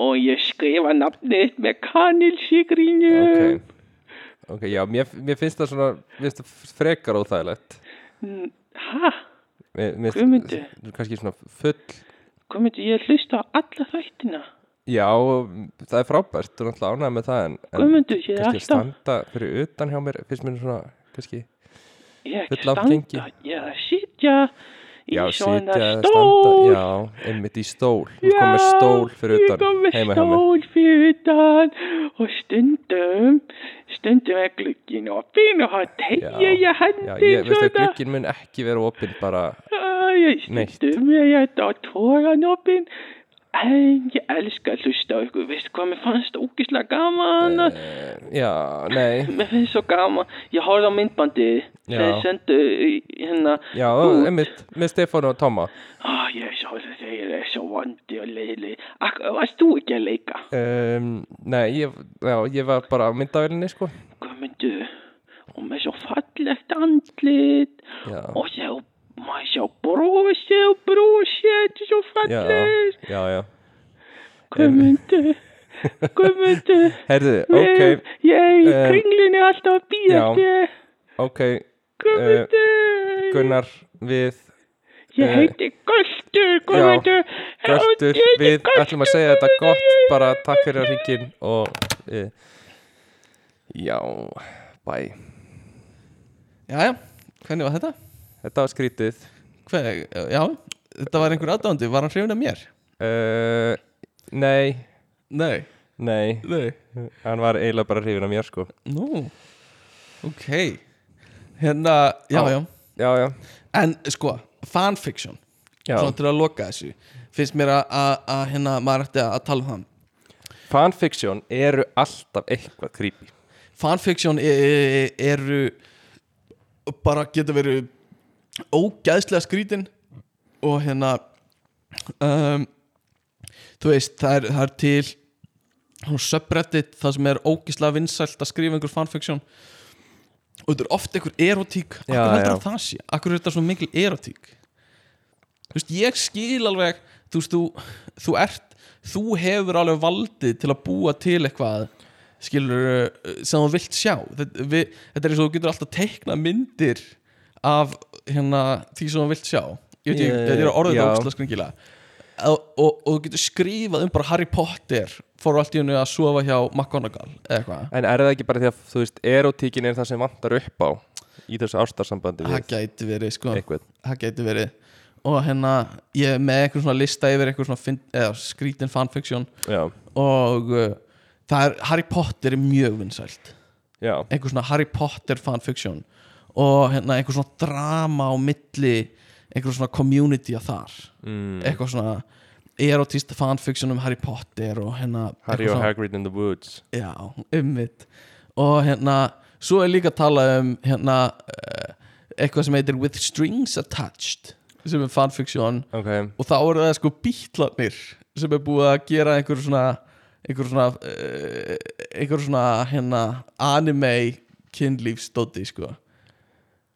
Speaker 3: Og ég skrifa nafnið þitt með kanilsíkrinu.
Speaker 1: ok Ok, já, mér, mér finnst það svona, mér finnst það frekar óþægilegt
Speaker 3: Hæ?
Speaker 1: Mér- mér-
Speaker 3: Guðmundur.
Speaker 1: kannski svona full
Speaker 3: Hvað myndi ég hlusta á alla þættina?
Speaker 1: já, það er frábært þú er náttúrulega ánægð með það en, en
Speaker 3: Guðmundur, ég er
Speaker 1: kannski að
Speaker 3: alltaf,
Speaker 1: standa fyrir utan hjá mér finnst mér svona, kannski
Speaker 3: ég er ekki
Speaker 1: full af
Speaker 3: standa,
Speaker 1: gengi.
Speaker 3: ég er að sitja í
Speaker 1: já,
Speaker 3: svona
Speaker 1: sitja eða
Speaker 3: stól.
Speaker 1: já, einmitt í stól þú kom með stól fyrir
Speaker 3: ég kom
Speaker 1: utan
Speaker 3: með
Speaker 1: heima hjá mér
Speaker 3: stól fyrir utan og stundum, stundum er glugginn opinn og hann tegja
Speaker 1: Já,
Speaker 3: ég
Speaker 1: já,
Speaker 3: hendin
Speaker 1: ég veist að glugginn mun ekki vera opinn bara,
Speaker 3: Æ, ég
Speaker 1: Neitt.
Speaker 3: stundum er ég þetta á tóran opinn. En ég elska að hlusta á ykkur, veistu hvað, mér fannst það ógislega gaman
Speaker 1: Eh.
Speaker 3: að
Speaker 1: já, nei
Speaker 3: Mér finnst svo gaman, ég horfði á myndbandið
Speaker 1: Já.
Speaker 3: þegar ég sendu í- hérna
Speaker 1: já,
Speaker 3: út.
Speaker 1: einmitt með Stefán og Tóma
Speaker 3: Ó, ég er svo, þeir eru svo vondi og leiðli. Akkur, varst þú ekki að leika?
Speaker 1: um, nei, ég, já, ég var bara á myndavélinni sko
Speaker 3: Hvað myndu? Og með svo fallegt andlit
Speaker 1: já,
Speaker 3: og svo, maður svo brosi og brosi, þetta er svo
Speaker 1: já,
Speaker 3: fallegt.
Speaker 1: já, já.
Speaker 3: Hvað myndu? Hvað myndu?
Speaker 1: Herðu, ok,
Speaker 3: Ég,
Speaker 1: eh,
Speaker 3: ég kringlunni alltaf að býða
Speaker 1: já.
Speaker 3: þér.
Speaker 1: ok,
Speaker 3: Hvað
Speaker 1: eh,
Speaker 3: myndu?
Speaker 1: Gunnar við
Speaker 3: Ég
Speaker 1: eh,
Speaker 3: heiti Göldur, hvað
Speaker 1: já,
Speaker 3: myndu?
Speaker 1: Göltur, við ætlum að segja þetta gott, bara takk fyrir eh, að ringin og uh, já, bye.
Speaker 2: Jæja, hvernig var þetta?
Speaker 1: Þetta var skrítið
Speaker 2: Hver, já, þetta var einhver aðdándi, var hann hrifin af mér?
Speaker 1: uh, Nei,
Speaker 2: Nei,
Speaker 1: nei
Speaker 2: nei
Speaker 1: Hann var eiginlega bara hrifin af mér sko
Speaker 2: Nú, ok Hérna, já,
Speaker 1: Já.
Speaker 2: já
Speaker 1: Já, já,
Speaker 2: En sko, fanfiction
Speaker 1: já.
Speaker 2: Svona til að loka þessu Finnst mér að- að að, hérna, maður ætti að tala um það
Speaker 1: Fanfiction eru alltaf eitthvað creepy
Speaker 2: Fanfiction e- e- e- eru bara geta verið ógæðslega skrítin og hérna um, þú veist, það er, það er til hún subreddit það sem er ógæslega vinsælt að skrifa einhver fanfiction og þetta er oft einhver erotík akkur
Speaker 1: Já,
Speaker 2: heldur
Speaker 1: já.
Speaker 2: að það sé, akkur er þetta svona mikil erotík þú veist, ég skil alveg þú veist, þú, þú ert þú hefur alveg valdið til að búa til eitthvað skilur sem þú vilt sjá þetta, við, þetta er eins og þú getur alltaf teikna myndir af hérna, því sem þú vilt sjá ég veit
Speaker 1: Já,
Speaker 2: ekki,
Speaker 1: já,
Speaker 2: þetta er orðið
Speaker 1: já.
Speaker 2: ógstlega skringilega og, og, og þú getur skrifað um bara Harry Potter fór allt í hennu að sofa hjá McGonagall eða eitthvað
Speaker 1: En er það ekki bara því að, þú veist, erotíkin er það sem vantar upp á í þessu ástarsambandi
Speaker 2: það
Speaker 1: við
Speaker 2: gæti verið sko
Speaker 1: eitthvað
Speaker 2: það gæti verið og hérna ég er með einhver svona lista yfir einhver svona fin, eða, skrítin fanfiction
Speaker 1: Já,
Speaker 2: og uh, það er Harry Potter er mjög vinsælt
Speaker 1: já,
Speaker 2: einhver svona Harry Potter fanfiction og hérna einhver svona drama á milli einhver svona community að þar
Speaker 1: Mm.
Speaker 2: eitthvað svona erotist fanfiction um Harry Potter og hérna
Speaker 1: Harry
Speaker 2: eitthvað
Speaker 1: og
Speaker 2: svona-
Speaker 1: Hagrid in the Woods
Speaker 2: Já, ummitt Og hérna, svo er líka að tala um hérna eh, eitthvað sem heitir With Strings Attached sem er fanfiction
Speaker 1: Ok,
Speaker 2: og þá eru það sko bítlarnir sem er búið að gera einhver svona einhver svona eh, einhver svona hérna anime kynlífsdóti sko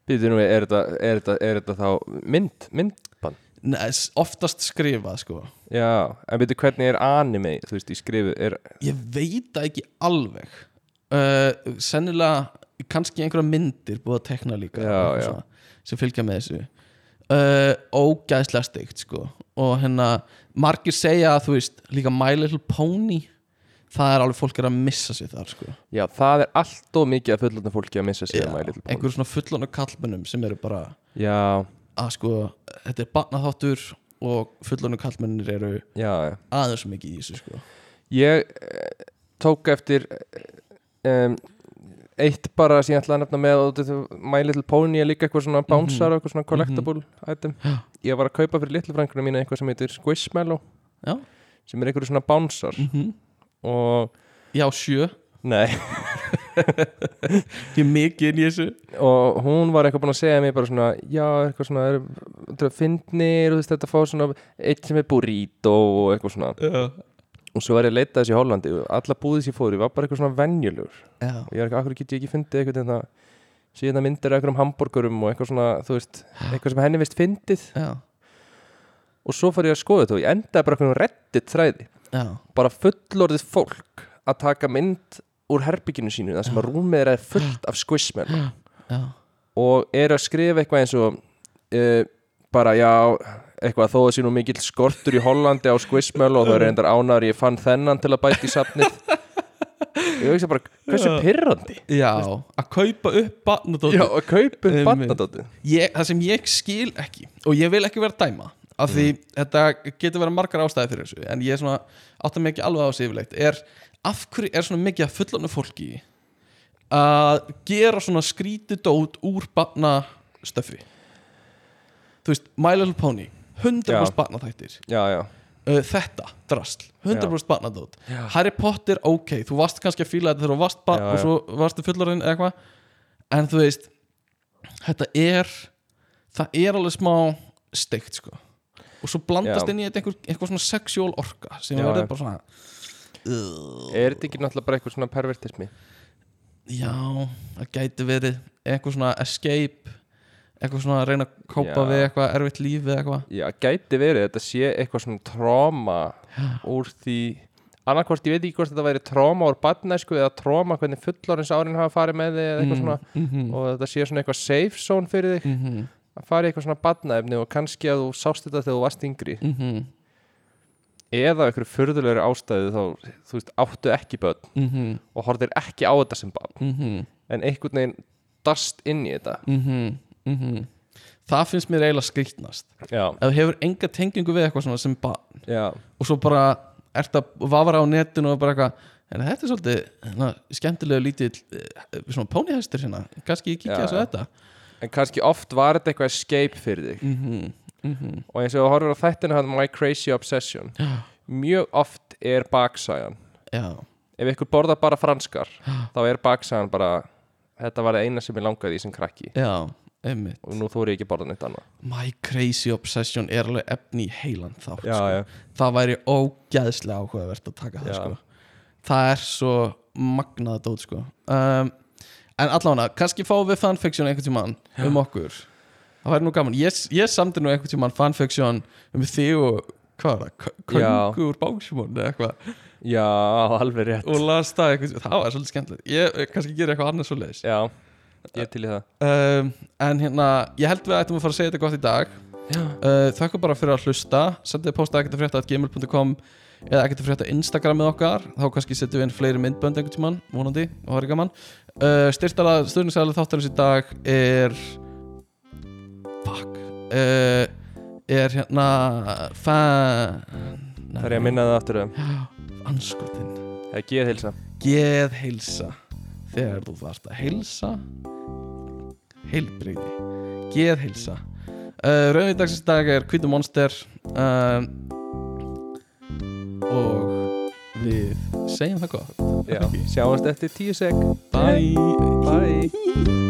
Speaker 1: býtu nú, er þetta, er þetta, er þetta þá mynd, myndband?
Speaker 2: Nei, eh, s- oftast skrifað sko
Speaker 1: Já, en býtu hvernig er anime, þú veist, í skrifu, er,
Speaker 2: ég veit það ekki alveg uh, sennilega kannski einhverja myndir búið að tekna líka
Speaker 1: Já,
Speaker 2: eitthvað
Speaker 1: já.
Speaker 2: Svona, sem fylgja með þessu uh, ógæðslega steikt sko og hérna margir segja að þú veist líka My Little Pony það er alveg fólk er að missa sig þar sko
Speaker 1: já, það er allt og mikið að fullotna fólki að missa sig að mæli
Speaker 2: einhverjum svona fullonu kallmennum sem eru bara
Speaker 1: Já,
Speaker 2: að sko þetta er barnaþáttur og fullonu kallmennir eru
Speaker 1: já, já
Speaker 2: aðeins og mikið í þessu sko
Speaker 1: Ég eh, tók eftir eh, um, eitt bara sem ég ætlaði að nefna með og þetta er My Little Pony er líka eitthvað svona bánsar og eitthvað svona collectable item
Speaker 2: Já.
Speaker 1: Ég var að kaupa fyrir litlu frængunum mína eitthvað sem heitir Squishmallow
Speaker 2: já,
Speaker 1: sem er eitthvað svona bánsar
Speaker 2: mm -hmm.
Speaker 1: og
Speaker 2: já sjö,
Speaker 1: nei
Speaker 2: ég er mikið inn í þessu
Speaker 1: og hún var eitthvað búin að segja mér bara svona já, eitthvað svona er, þetta er fyndnir og þú veist, þetta fá svona eitt sem er burrito og eitthvað svona
Speaker 2: já,
Speaker 1: og svo var ég að leita þessi í Hollandi og alla búðið sem ég fór í var bara eitthvað svona venjulegur
Speaker 2: já.
Speaker 1: og ég er ekki, akkur get ég ekki fundið eitthvað þetta síðan að myndir eitthvað um hambúrgurum og eitthvað svona, þú veist, eitthvað sem henni veist fyndið
Speaker 2: Já,
Speaker 1: og svo fór ég að skoða þetta og ég endaði bara eitthvað um reddit þræði,
Speaker 2: já,
Speaker 1: bara fullorðið fólk að taka mynd úr herbygginu sínu, það sem að rúmið þeirra er fullt af squishmallow
Speaker 2: já,
Speaker 1: og eru að skrifa eitthvað eins og uh, bara já eitthvað þó að sé nú mikill skortur í Hollandi á Squishmallow og þau eru endar ánar ég fann þennan til að bæta í safnið ég veist bara hversu pirrandi
Speaker 2: já Að kaupa upp barnadóttur
Speaker 1: já, að kaupa
Speaker 2: Einmitt.
Speaker 1: barnadóttu
Speaker 2: ég, Það sem ég skil ekki Og ég vil ekki vera að dæma Af því þetta getur verið margar ástæði fyrir þessu En ég er svona, átta mig ekki alveg á þessu yfirleitt Er, af hverju er svona mikið að fullanu fólki Að gera svona skríti dót úr barnastöfi Þú veist, My Little Pony 100%
Speaker 1: Já.
Speaker 2: barnaþættir
Speaker 1: já, já,
Speaker 2: uh, þetta, drasl 100% barnadót, Harry Potter, ok þú varst kannski að fíla þetta þegar þú varst barn
Speaker 1: Já,
Speaker 2: og
Speaker 1: já.
Speaker 2: svo varstu fullorinn eða eitthvað en þú veist, þetta er það er alveg smá steikt sko og svo blandast
Speaker 1: Já.
Speaker 2: inn í þetta einhver, einhver svona sexual orka sem
Speaker 1: Já,
Speaker 2: verður
Speaker 1: já.
Speaker 2: bara svona "Ugh,
Speaker 1: er þetta ekki náttúrulega bara eitthvað svona pervertismi
Speaker 2: já, það gæti verið eitthvað svona escape eitthvað svona að reyna að kópa
Speaker 1: Já.
Speaker 2: við eitthvað erfitt líf eða eitthvað
Speaker 1: já, gæti verið, þetta sé eitthvað svona tróma úr því annarkvort, ég veit ekki hvort þetta væri tróma úr barnæsku eða tróma hvernig fullorins árin hafa farið með þig eða eitthvað svona
Speaker 2: mm -hmm.
Speaker 1: og þetta sé svona eitthvað safe zone fyrir þig
Speaker 2: Mm -hmm.
Speaker 1: að fara í eitthvað svona badnaefni og kannski að þú sást þetta þegar þú varst yngri
Speaker 2: Mm -hmm.
Speaker 1: eða einhverju furðulegri ástæðu þá, þú veist, áttu ekki börn
Speaker 2: Mm -hmm. mhm,
Speaker 1: og horfir ekki á þetta sem barn en einhvern veginn oftast inn í þetta
Speaker 2: mm það finnst mér eiginlega skrýtnast
Speaker 1: já,
Speaker 2: ef þú hefur enga tengingu við eitthvað svona sem bara
Speaker 1: já,
Speaker 2: og svo bara ert að vafra á netinu og bara eitthvað en þetta er svolítið na, skemmtilega lítill eh, svona pónihestur hérna, kannski ég kíkja
Speaker 1: Já,
Speaker 2: þessu
Speaker 1: já.
Speaker 2: þetta
Speaker 1: en kannski oft var þetta eitthvað escape fyrir þig
Speaker 2: mm -hmm, mm -hmm.
Speaker 1: og eins og þú horfir á þættinu hann My Crazy Obsession mjög oft er baksæjan
Speaker 2: já,
Speaker 1: ef ykkur borðar bara franskar þá er baksæjan bara þetta var það eina sem ég langaði í sem krakki
Speaker 2: já, einmitt
Speaker 1: og nú þú eru ekki borðan eitt annað
Speaker 2: My Crazy Obsession er alveg efni í heilan þátt
Speaker 1: Já,
Speaker 2: sko.
Speaker 1: já.
Speaker 2: það væri ógæðslega áhugavert að taka það
Speaker 1: Já.
Speaker 2: sko. það er svo magnaða dót sko. um, en allavega, kannski fáum við fanfiction einhvern tímann um okkur það væri nú gaman, ég, ég samdi nú einhvern tímann fanfiction um þig og hvað var það, K-
Speaker 1: Já.
Speaker 2: köngur báksjumón eða eitthvað,
Speaker 1: já, alveg rétt
Speaker 2: og las það einhvern tímann það var svolítið skemmtilegt, ég eh, kannski gera eitthvað annars svo leiðis
Speaker 1: já, ég er til í það
Speaker 2: um, en hérna, ég held við ættum að fara að segja þetta gott í dag
Speaker 1: já,
Speaker 2: uh, þakka bara fyrir að hlusta sendið posta ekkertafrétta.gmail.com eða ekkertafrétta Instagramið okkar þá kannski setjum við inn fleiri myndbönd einhvern tímann vonandi, það var ekki gaman uh, styrtala stöðningsæðalega þáttarins í dag er fuck uh, er hérna fan
Speaker 1: það er ég að minna það aftur um
Speaker 2: anskotin
Speaker 1: það er geðhilsa
Speaker 2: geð heilsa þegar þú þarft að heilsa heilbrigði geð heilsa uh, rauðið dagsins í dag er hvítu monster uh, og við segjum það gott
Speaker 1: já, sjáumst eftir tíu sek
Speaker 2: bye,
Speaker 1: bye